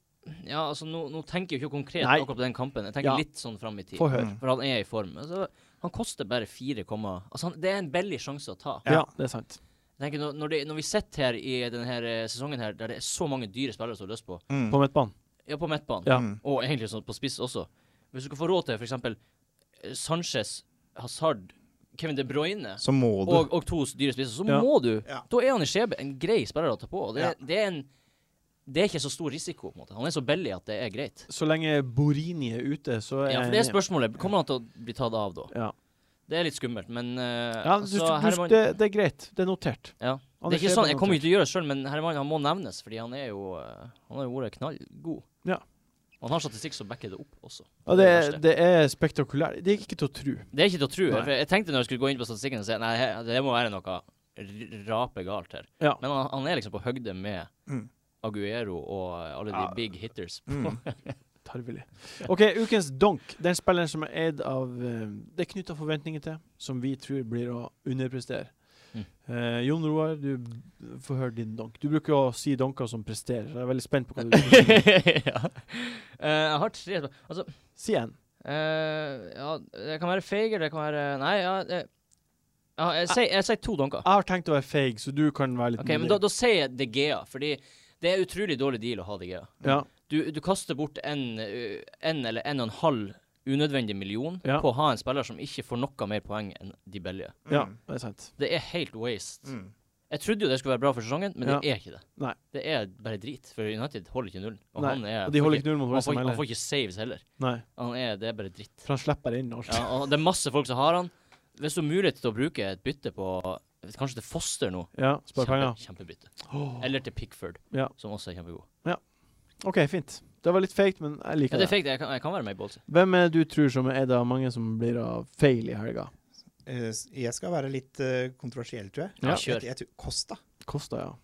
[SPEAKER 2] Ja, altså, nå, nå tenker jeg jo ikke konkret
[SPEAKER 1] Nei.
[SPEAKER 2] akkurat på den kampen. Jeg
[SPEAKER 1] Ja.
[SPEAKER 2] tenker litt sånn fram i tid.
[SPEAKER 1] Få høre.
[SPEAKER 4] Mm.
[SPEAKER 2] For han er i form. Altså, han koster bare 4, komma- altså han, det er en billig sjanse å ta.
[SPEAKER 4] Ja.
[SPEAKER 1] Ja, det er sant.
[SPEAKER 2] Jeg tenker når, når, det, når vi sitter her i denne her eh, sesongen her, der det er så mange dyre spillere som har lyst på,
[SPEAKER 4] Mm.
[SPEAKER 1] På midtbanen.
[SPEAKER 2] ja, på midtbanen,
[SPEAKER 1] Ja.
[SPEAKER 4] Mm.
[SPEAKER 2] og egentlig sånn på spiss også Hvis du skal få råd til f.eks. Sanchez, Hazard, Kevin De Bruyne
[SPEAKER 4] Så må du.
[SPEAKER 2] og, og to dyre spisser, så
[SPEAKER 1] Ja.
[SPEAKER 2] må du
[SPEAKER 4] Ja.
[SPEAKER 2] Da er han i skjebe en grei spiller å ta på. Og det,
[SPEAKER 4] Ja.
[SPEAKER 2] det er en det er ikke så stor risiko. på en måte. Han er så billig at det er greit.
[SPEAKER 1] Så lenge Borini er ute, så er
[SPEAKER 2] Ja, for Det er
[SPEAKER 1] jeg enig.
[SPEAKER 2] spørsmålet. Kommer han til å bli tatt av da?
[SPEAKER 1] Ja.
[SPEAKER 2] Det er litt skummelt, men eh,
[SPEAKER 1] Ja, du,
[SPEAKER 2] altså,
[SPEAKER 1] du-
[SPEAKER 2] Herman-
[SPEAKER 1] det, det er greit. Det er notert.
[SPEAKER 2] Ja.
[SPEAKER 1] Anders
[SPEAKER 2] Det er ikke
[SPEAKER 1] Skjæber
[SPEAKER 2] sånn, Jeg kommer
[SPEAKER 1] notert.
[SPEAKER 2] ikke til å gjøre det sjøl, men Herman han må nevnes, fordi han er jo eh, Han har jo vært knallgod.
[SPEAKER 1] Ja.
[SPEAKER 2] Og han har statistikk som backer det opp også.
[SPEAKER 1] Ja,
[SPEAKER 2] Det
[SPEAKER 1] det,
[SPEAKER 2] er
[SPEAKER 1] er- det er spektakulært. Det er ikke til å tro.
[SPEAKER 2] Det er ikke til å tro.
[SPEAKER 1] Nei.
[SPEAKER 2] for Jeg tenkte når jeg skulle gå inn på statistikken, så jeg, nei, he- det må være noe r- rapegalt her.
[SPEAKER 1] Ja.
[SPEAKER 2] Men han, han er liksom på høgde med
[SPEAKER 4] Mm.
[SPEAKER 2] Aguero og eh, alle de
[SPEAKER 1] Ja.
[SPEAKER 2] big hitters.
[SPEAKER 4] Mm.
[SPEAKER 1] Tarvelig. OK, ukens donk. Den spilleren som er eid av eh, Det er knytta forventninger til, som vi tror blir å underprestere.
[SPEAKER 2] Mm.
[SPEAKER 1] Eh, Jon Roar, du b- får høre din donk. Du bruker å si donker som presterer. Jeg er veldig spent på hva du sier.
[SPEAKER 2] ja. Eh, jeg har tre sp- Altså,
[SPEAKER 1] Si en.
[SPEAKER 2] eh, ja, det kan være Fager, det kan være Nei, ja, det, ja jeg,
[SPEAKER 1] Ah.
[SPEAKER 2] sier- jeg sier to donker.
[SPEAKER 1] Jeg har tenkt å være feig, så du kan være litt
[SPEAKER 2] Ok, men da, da sier jeg De Gea, fordi det er utrolig dårlig deal å ha De Gea.
[SPEAKER 1] ja.
[SPEAKER 2] Du, du kaster bort en, ø, en eller en og en halv unødvendig million
[SPEAKER 1] Ja.
[SPEAKER 2] på å ha en spiller som ikke får noe mer poeng enn de billige.
[SPEAKER 1] ja,
[SPEAKER 4] Mm.
[SPEAKER 1] det er sant.
[SPEAKER 2] Det er helt waste.
[SPEAKER 4] Mm.
[SPEAKER 2] Jeg trodde jo det skulle være bra for sesongen, men det er ikke det.
[SPEAKER 1] Nei.
[SPEAKER 2] Det er bare drit, for United holder ikke nullen. Og
[SPEAKER 1] Nei,
[SPEAKER 2] han er
[SPEAKER 1] Og de holder
[SPEAKER 2] får
[SPEAKER 1] ikke null mot
[SPEAKER 2] han får,
[SPEAKER 1] Westham
[SPEAKER 2] ikke- han
[SPEAKER 1] heller.
[SPEAKER 2] får ikke saves heller.
[SPEAKER 1] Nei,
[SPEAKER 2] Han er, det er bare dritt.
[SPEAKER 1] for han slipper inn alt.
[SPEAKER 2] Ja, og det er masse folk som har han. Hvis du har mulighet til å bruke et bytte på Kanskje til Foster nå.
[SPEAKER 1] Ja, spar penger.
[SPEAKER 2] Kjempe, kjempebytte.
[SPEAKER 1] Åh.
[SPEAKER 2] Eller til Pickford,
[SPEAKER 1] Ja.
[SPEAKER 2] som også er kjempegod.
[SPEAKER 1] OK, fint. Det var litt feigt, men jeg
[SPEAKER 2] Ja,
[SPEAKER 1] liker
[SPEAKER 2] det er
[SPEAKER 1] det.
[SPEAKER 2] fake, jeg kan, jeg kan være med i Bolsy.
[SPEAKER 1] Hvem er det du tror som er eid av mange som blir av feil i helga?
[SPEAKER 4] Eh, s- Jeg skal være litt eh, kontroversiell, tror jeg.
[SPEAKER 2] Ja,
[SPEAKER 1] Ja.
[SPEAKER 2] kjør.
[SPEAKER 4] Jeg, jeg tror- Kosta.
[SPEAKER 1] Kosta, ja.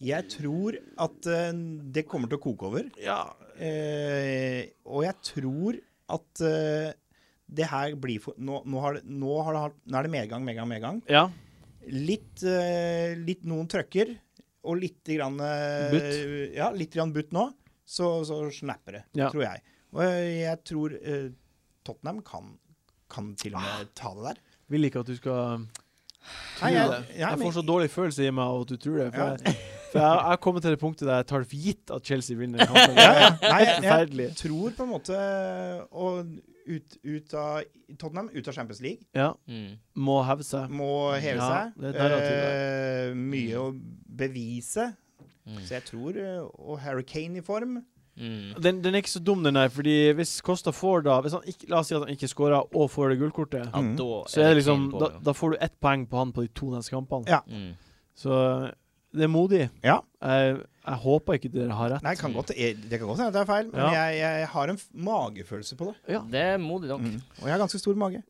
[SPEAKER 4] Jeg tror at eh, det kommer til å koke over.
[SPEAKER 1] Ja.
[SPEAKER 4] Eh, og jeg tror at eh, det her blir for Nå, nå, har, det, nå, har det, hatt- nå er det medgang, medgang, medgang.
[SPEAKER 1] ja.
[SPEAKER 4] Litt, eh, litt noen trøkker, og litt grann, eh,
[SPEAKER 1] Butt.
[SPEAKER 4] Ja, litt grann butt nå. Så, så snapper det,
[SPEAKER 1] Ja.
[SPEAKER 4] tror jeg. Og jeg, jeg tror eh, Tottenham kan, kan til og med ta det der.
[SPEAKER 1] Vil ikke at du skal tro
[SPEAKER 4] Nei, jeg-
[SPEAKER 1] det.
[SPEAKER 4] ja,
[SPEAKER 1] Jeg
[SPEAKER 4] men-
[SPEAKER 1] får sånn- så dårlig følelse i meg av at du tror det. For,
[SPEAKER 4] Ja.
[SPEAKER 1] jeg, for jeg, jeg kommer til det punktet der jeg tar det for gitt at Chelsea vinner kampen. Det
[SPEAKER 4] Ja,
[SPEAKER 1] er
[SPEAKER 4] ja. Nei, jeg, jeg,
[SPEAKER 1] Forferdelig.
[SPEAKER 4] tror på en måte å ut, ut av Tottenham, ut av Champions League.
[SPEAKER 1] Ja.
[SPEAKER 2] Mm.
[SPEAKER 1] Må heve seg.
[SPEAKER 4] må heve
[SPEAKER 1] Ja,
[SPEAKER 4] seg.
[SPEAKER 1] det er et narrativ Mm.
[SPEAKER 4] Eh, mye å bevise.
[SPEAKER 2] Mm.
[SPEAKER 4] Så jeg tror eh, Og Harry Kane i form.
[SPEAKER 2] Mm.
[SPEAKER 1] Den, den er ikke så dum, den der. Fordi hvis Costa får da hvis han ikke, La oss si at han ikke scorer og får det gullkortet.
[SPEAKER 2] Ja,
[SPEAKER 4] Mm.
[SPEAKER 2] da
[SPEAKER 1] Så er det liksom
[SPEAKER 2] Kane på,
[SPEAKER 1] da,
[SPEAKER 2] ja.
[SPEAKER 1] da får du ett poeng på han på de to neste kampene.
[SPEAKER 4] Ja.
[SPEAKER 2] Mm.
[SPEAKER 1] Så det er modig.
[SPEAKER 4] Ja.
[SPEAKER 1] Jeg, jeg håper ikke dere har rett.
[SPEAKER 4] Nei, kan godt, eh, det kan godt hende at det er feil, men
[SPEAKER 1] Ja.
[SPEAKER 4] jeg, jeg har en f- magefølelse på det.
[SPEAKER 1] Ja.
[SPEAKER 2] Det er modig nok.
[SPEAKER 4] Mm. Og jeg har ganske stor mage.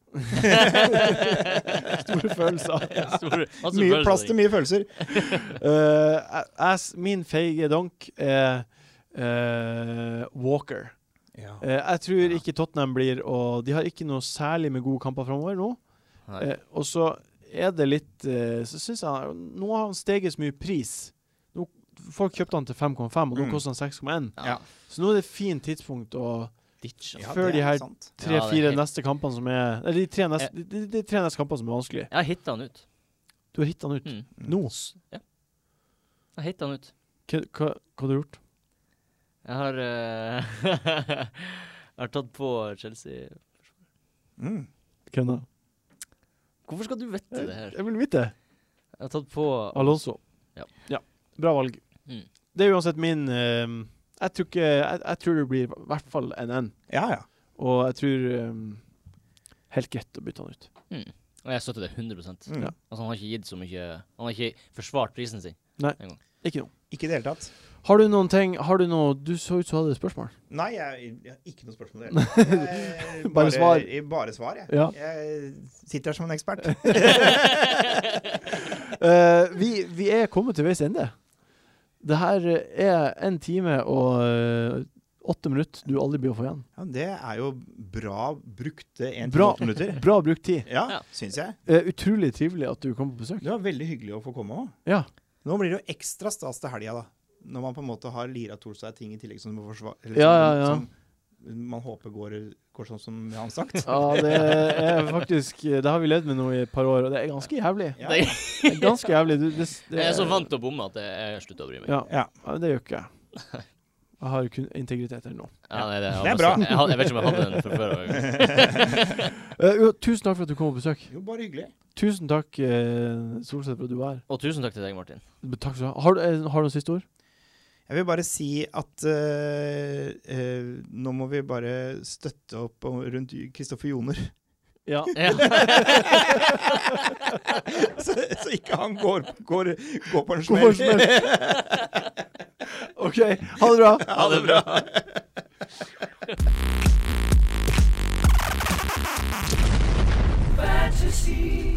[SPEAKER 1] Store følelser.
[SPEAKER 4] Mye plass til mye følelser.
[SPEAKER 1] Eh, jeg- jeg s- min feige donk er eh, Walker. Eh, jeg tror ikke Tottenham blir Og de har ikke noe særlig med gode kamper framover nå.
[SPEAKER 2] Nei.
[SPEAKER 1] Eh, og så er det litt eh, Så syns jeg han- Nå har han steget så mye pris. Nå, folk kjøpte han til 5,5, og nå
[SPEAKER 4] Mm.
[SPEAKER 1] koster han 6,1.
[SPEAKER 2] Ja.
[SPEAKER 1] Så nå er det et fint tidspunkt å
[SPEAKER 2] Ditch. altså.
[SPEAKER 1] Ja. Før de her-
[SPEAKER 4] sant.
[SPEAKER 2] Ja, det er
[SPEAKER 1] Tre-fire
[SPEAKER 2] helt- Eh.
[SPEAKER 1] neste kampene som er Eller de tre neste, de, de, de tre neste kampene som er vanskelig.
[SPEAKER 2] Jeg hitta han ut.
[SPEAKER 1] Du har hittet han ut.
[SPEAKER 2] Mm.
[SPEAKER 1] Nå.
[SPEAKER 2] Ja. Jeg hitta han ut.
[SPEAKER 1] Hva, hva, hva har du gjort?
[SPEAKER 2] Jeg har eh, Jeg har tatt på Chelsea.
[SPEAKER 4] Mm.
[SPEAKER 1] Hvem da?
[SPEAKER 2] Hvorfor skal du vite det her?
[SPEAKER 1] Jeg vil vite.
[SPEAKER 2] Jeg har tatt på
[SPEAKER 1] Alonso.
[SPEAKER 2] Ja.
[SPEAKER 1] Bra valg.
[SPEAKER 2] mm.
[SPEAKER 1] det er uansett min ehm, jeg, tror ikke, jeg, jeg tror det blir i hvert fall en N.
[SPEAKER 4] Ja, ja.
[SPEAKER 1] Og jeg tror ehm, Helt greit å bytte han ut.
[SPEAKER 2] Mm. Og jeg støtter det 100 Altså
[SPEAKER 4] Mm.
[SPEAKER 1] Ja.
[SPEAKER 2] Han har ikke gitt så mye Han har ikke forsvart prisen sin.
[SPEAKER 1] Ikke noe.
[SPEAKER 4] Ikke i det hele tatt.
[SPEAKER 1] Har du noen ting Har du noe Du så ut som du hadde et spørsmål.
[SPEAKER 4] Nei, jeg, jeg har ikke noe spørsmål. i det hele tatt. Jeg-
[SPEAKER 1] Bare svar.
[SPEAKER 4] jeg- Bare svar, jeg.
[SPEAKER 1] Ja.
[SPEAKER 4] Jeg sitter her som en ekspert.
[SPEAKER 1] Eh, vi, vi er kommet til veis ende. Det her er en time og eh, åtte minutter du aldri blir å få igjen.
[SPEAKER 4] Ja, men det er jo bra brukte en til
[SPEAKER 1] Bra.
[SPEAKER 4] åtte minutter.
[SPEAKER 1] Bra brukt tid.
[SPEAKER 4] Ja,
[SPEAKER 2] Ja.
[SPEAKER 4] syns jeg.
[SPEAKER 1] Eh, utrolig trivelig at du kom på besøk.
[SPEAKER 4] Det var veldig hyggelig å få komme òg.
[SPEAKER 1] Ja.
[SPEAKER 4] Nå blir det jo ekstra stas til helga, da. Når man på en måte har lira til seg ting i tillegg som, må forsva- eller
[SPEAKER 1] Ja, ja, ja.
[SPEAKER 4] som, som man håper går, går sånn som han sagt.
[SPEAKER 1] ja, det er faktisk Det har vi levd med nå i et par år, og det er ganske jævlig.
[SPEAKER 4] Ja.
[SPEAKER 2] Det,
[SPEAKER 1] Det er ganske jævlig. Du, det, det,
[SPEAKER 2] jeg er så vant til å bomme at jeg slutter å bry meg.
[SPEAKER 1] Ja.
[SPEAKER 4] Ja.
[SPEAKER 1] Ja, men det gjør ikke jeg. Jeg har kun integritet her nå.
[SPEAKER 2] Ja, nei, det,
[SPEAKER 4] Det er bra.
[SPEAKER 2] Jeg, hadde- jeg vet ikke om jeg hadde den fra før.
[SPEAKER 1] Eh, jo, tusen takk for at du kom på besøk.
[SPEAKER 4] Jo, bare hyggelig.
[SPEAKER 1] Tusen takk, eh, Solseth, for at du var her.
[SPEAKER 2] Og tusen takk til deg, Martin.
[SPEAKER 1] Takk skal du ha. Har, du- eh, har du noen siste ord?
[SPEAKER 4] Jeg vil bare si at eh, eh, nå må vi bare støtte opp om- rundt Kristoffer Joner,
[SPEAKER 1] Ja.
[SPEAKER 2] Ja.
[SPEAKER 4] så, så ikke han går, går, går på en
[SPEAKER 1] God
[SPEAKER 4] smell.
[SPEAKER 1] forsmell. OK, ha det bra.
[SPEAKER 2] Ha det bra.
[SPEAKER 3] fantasy.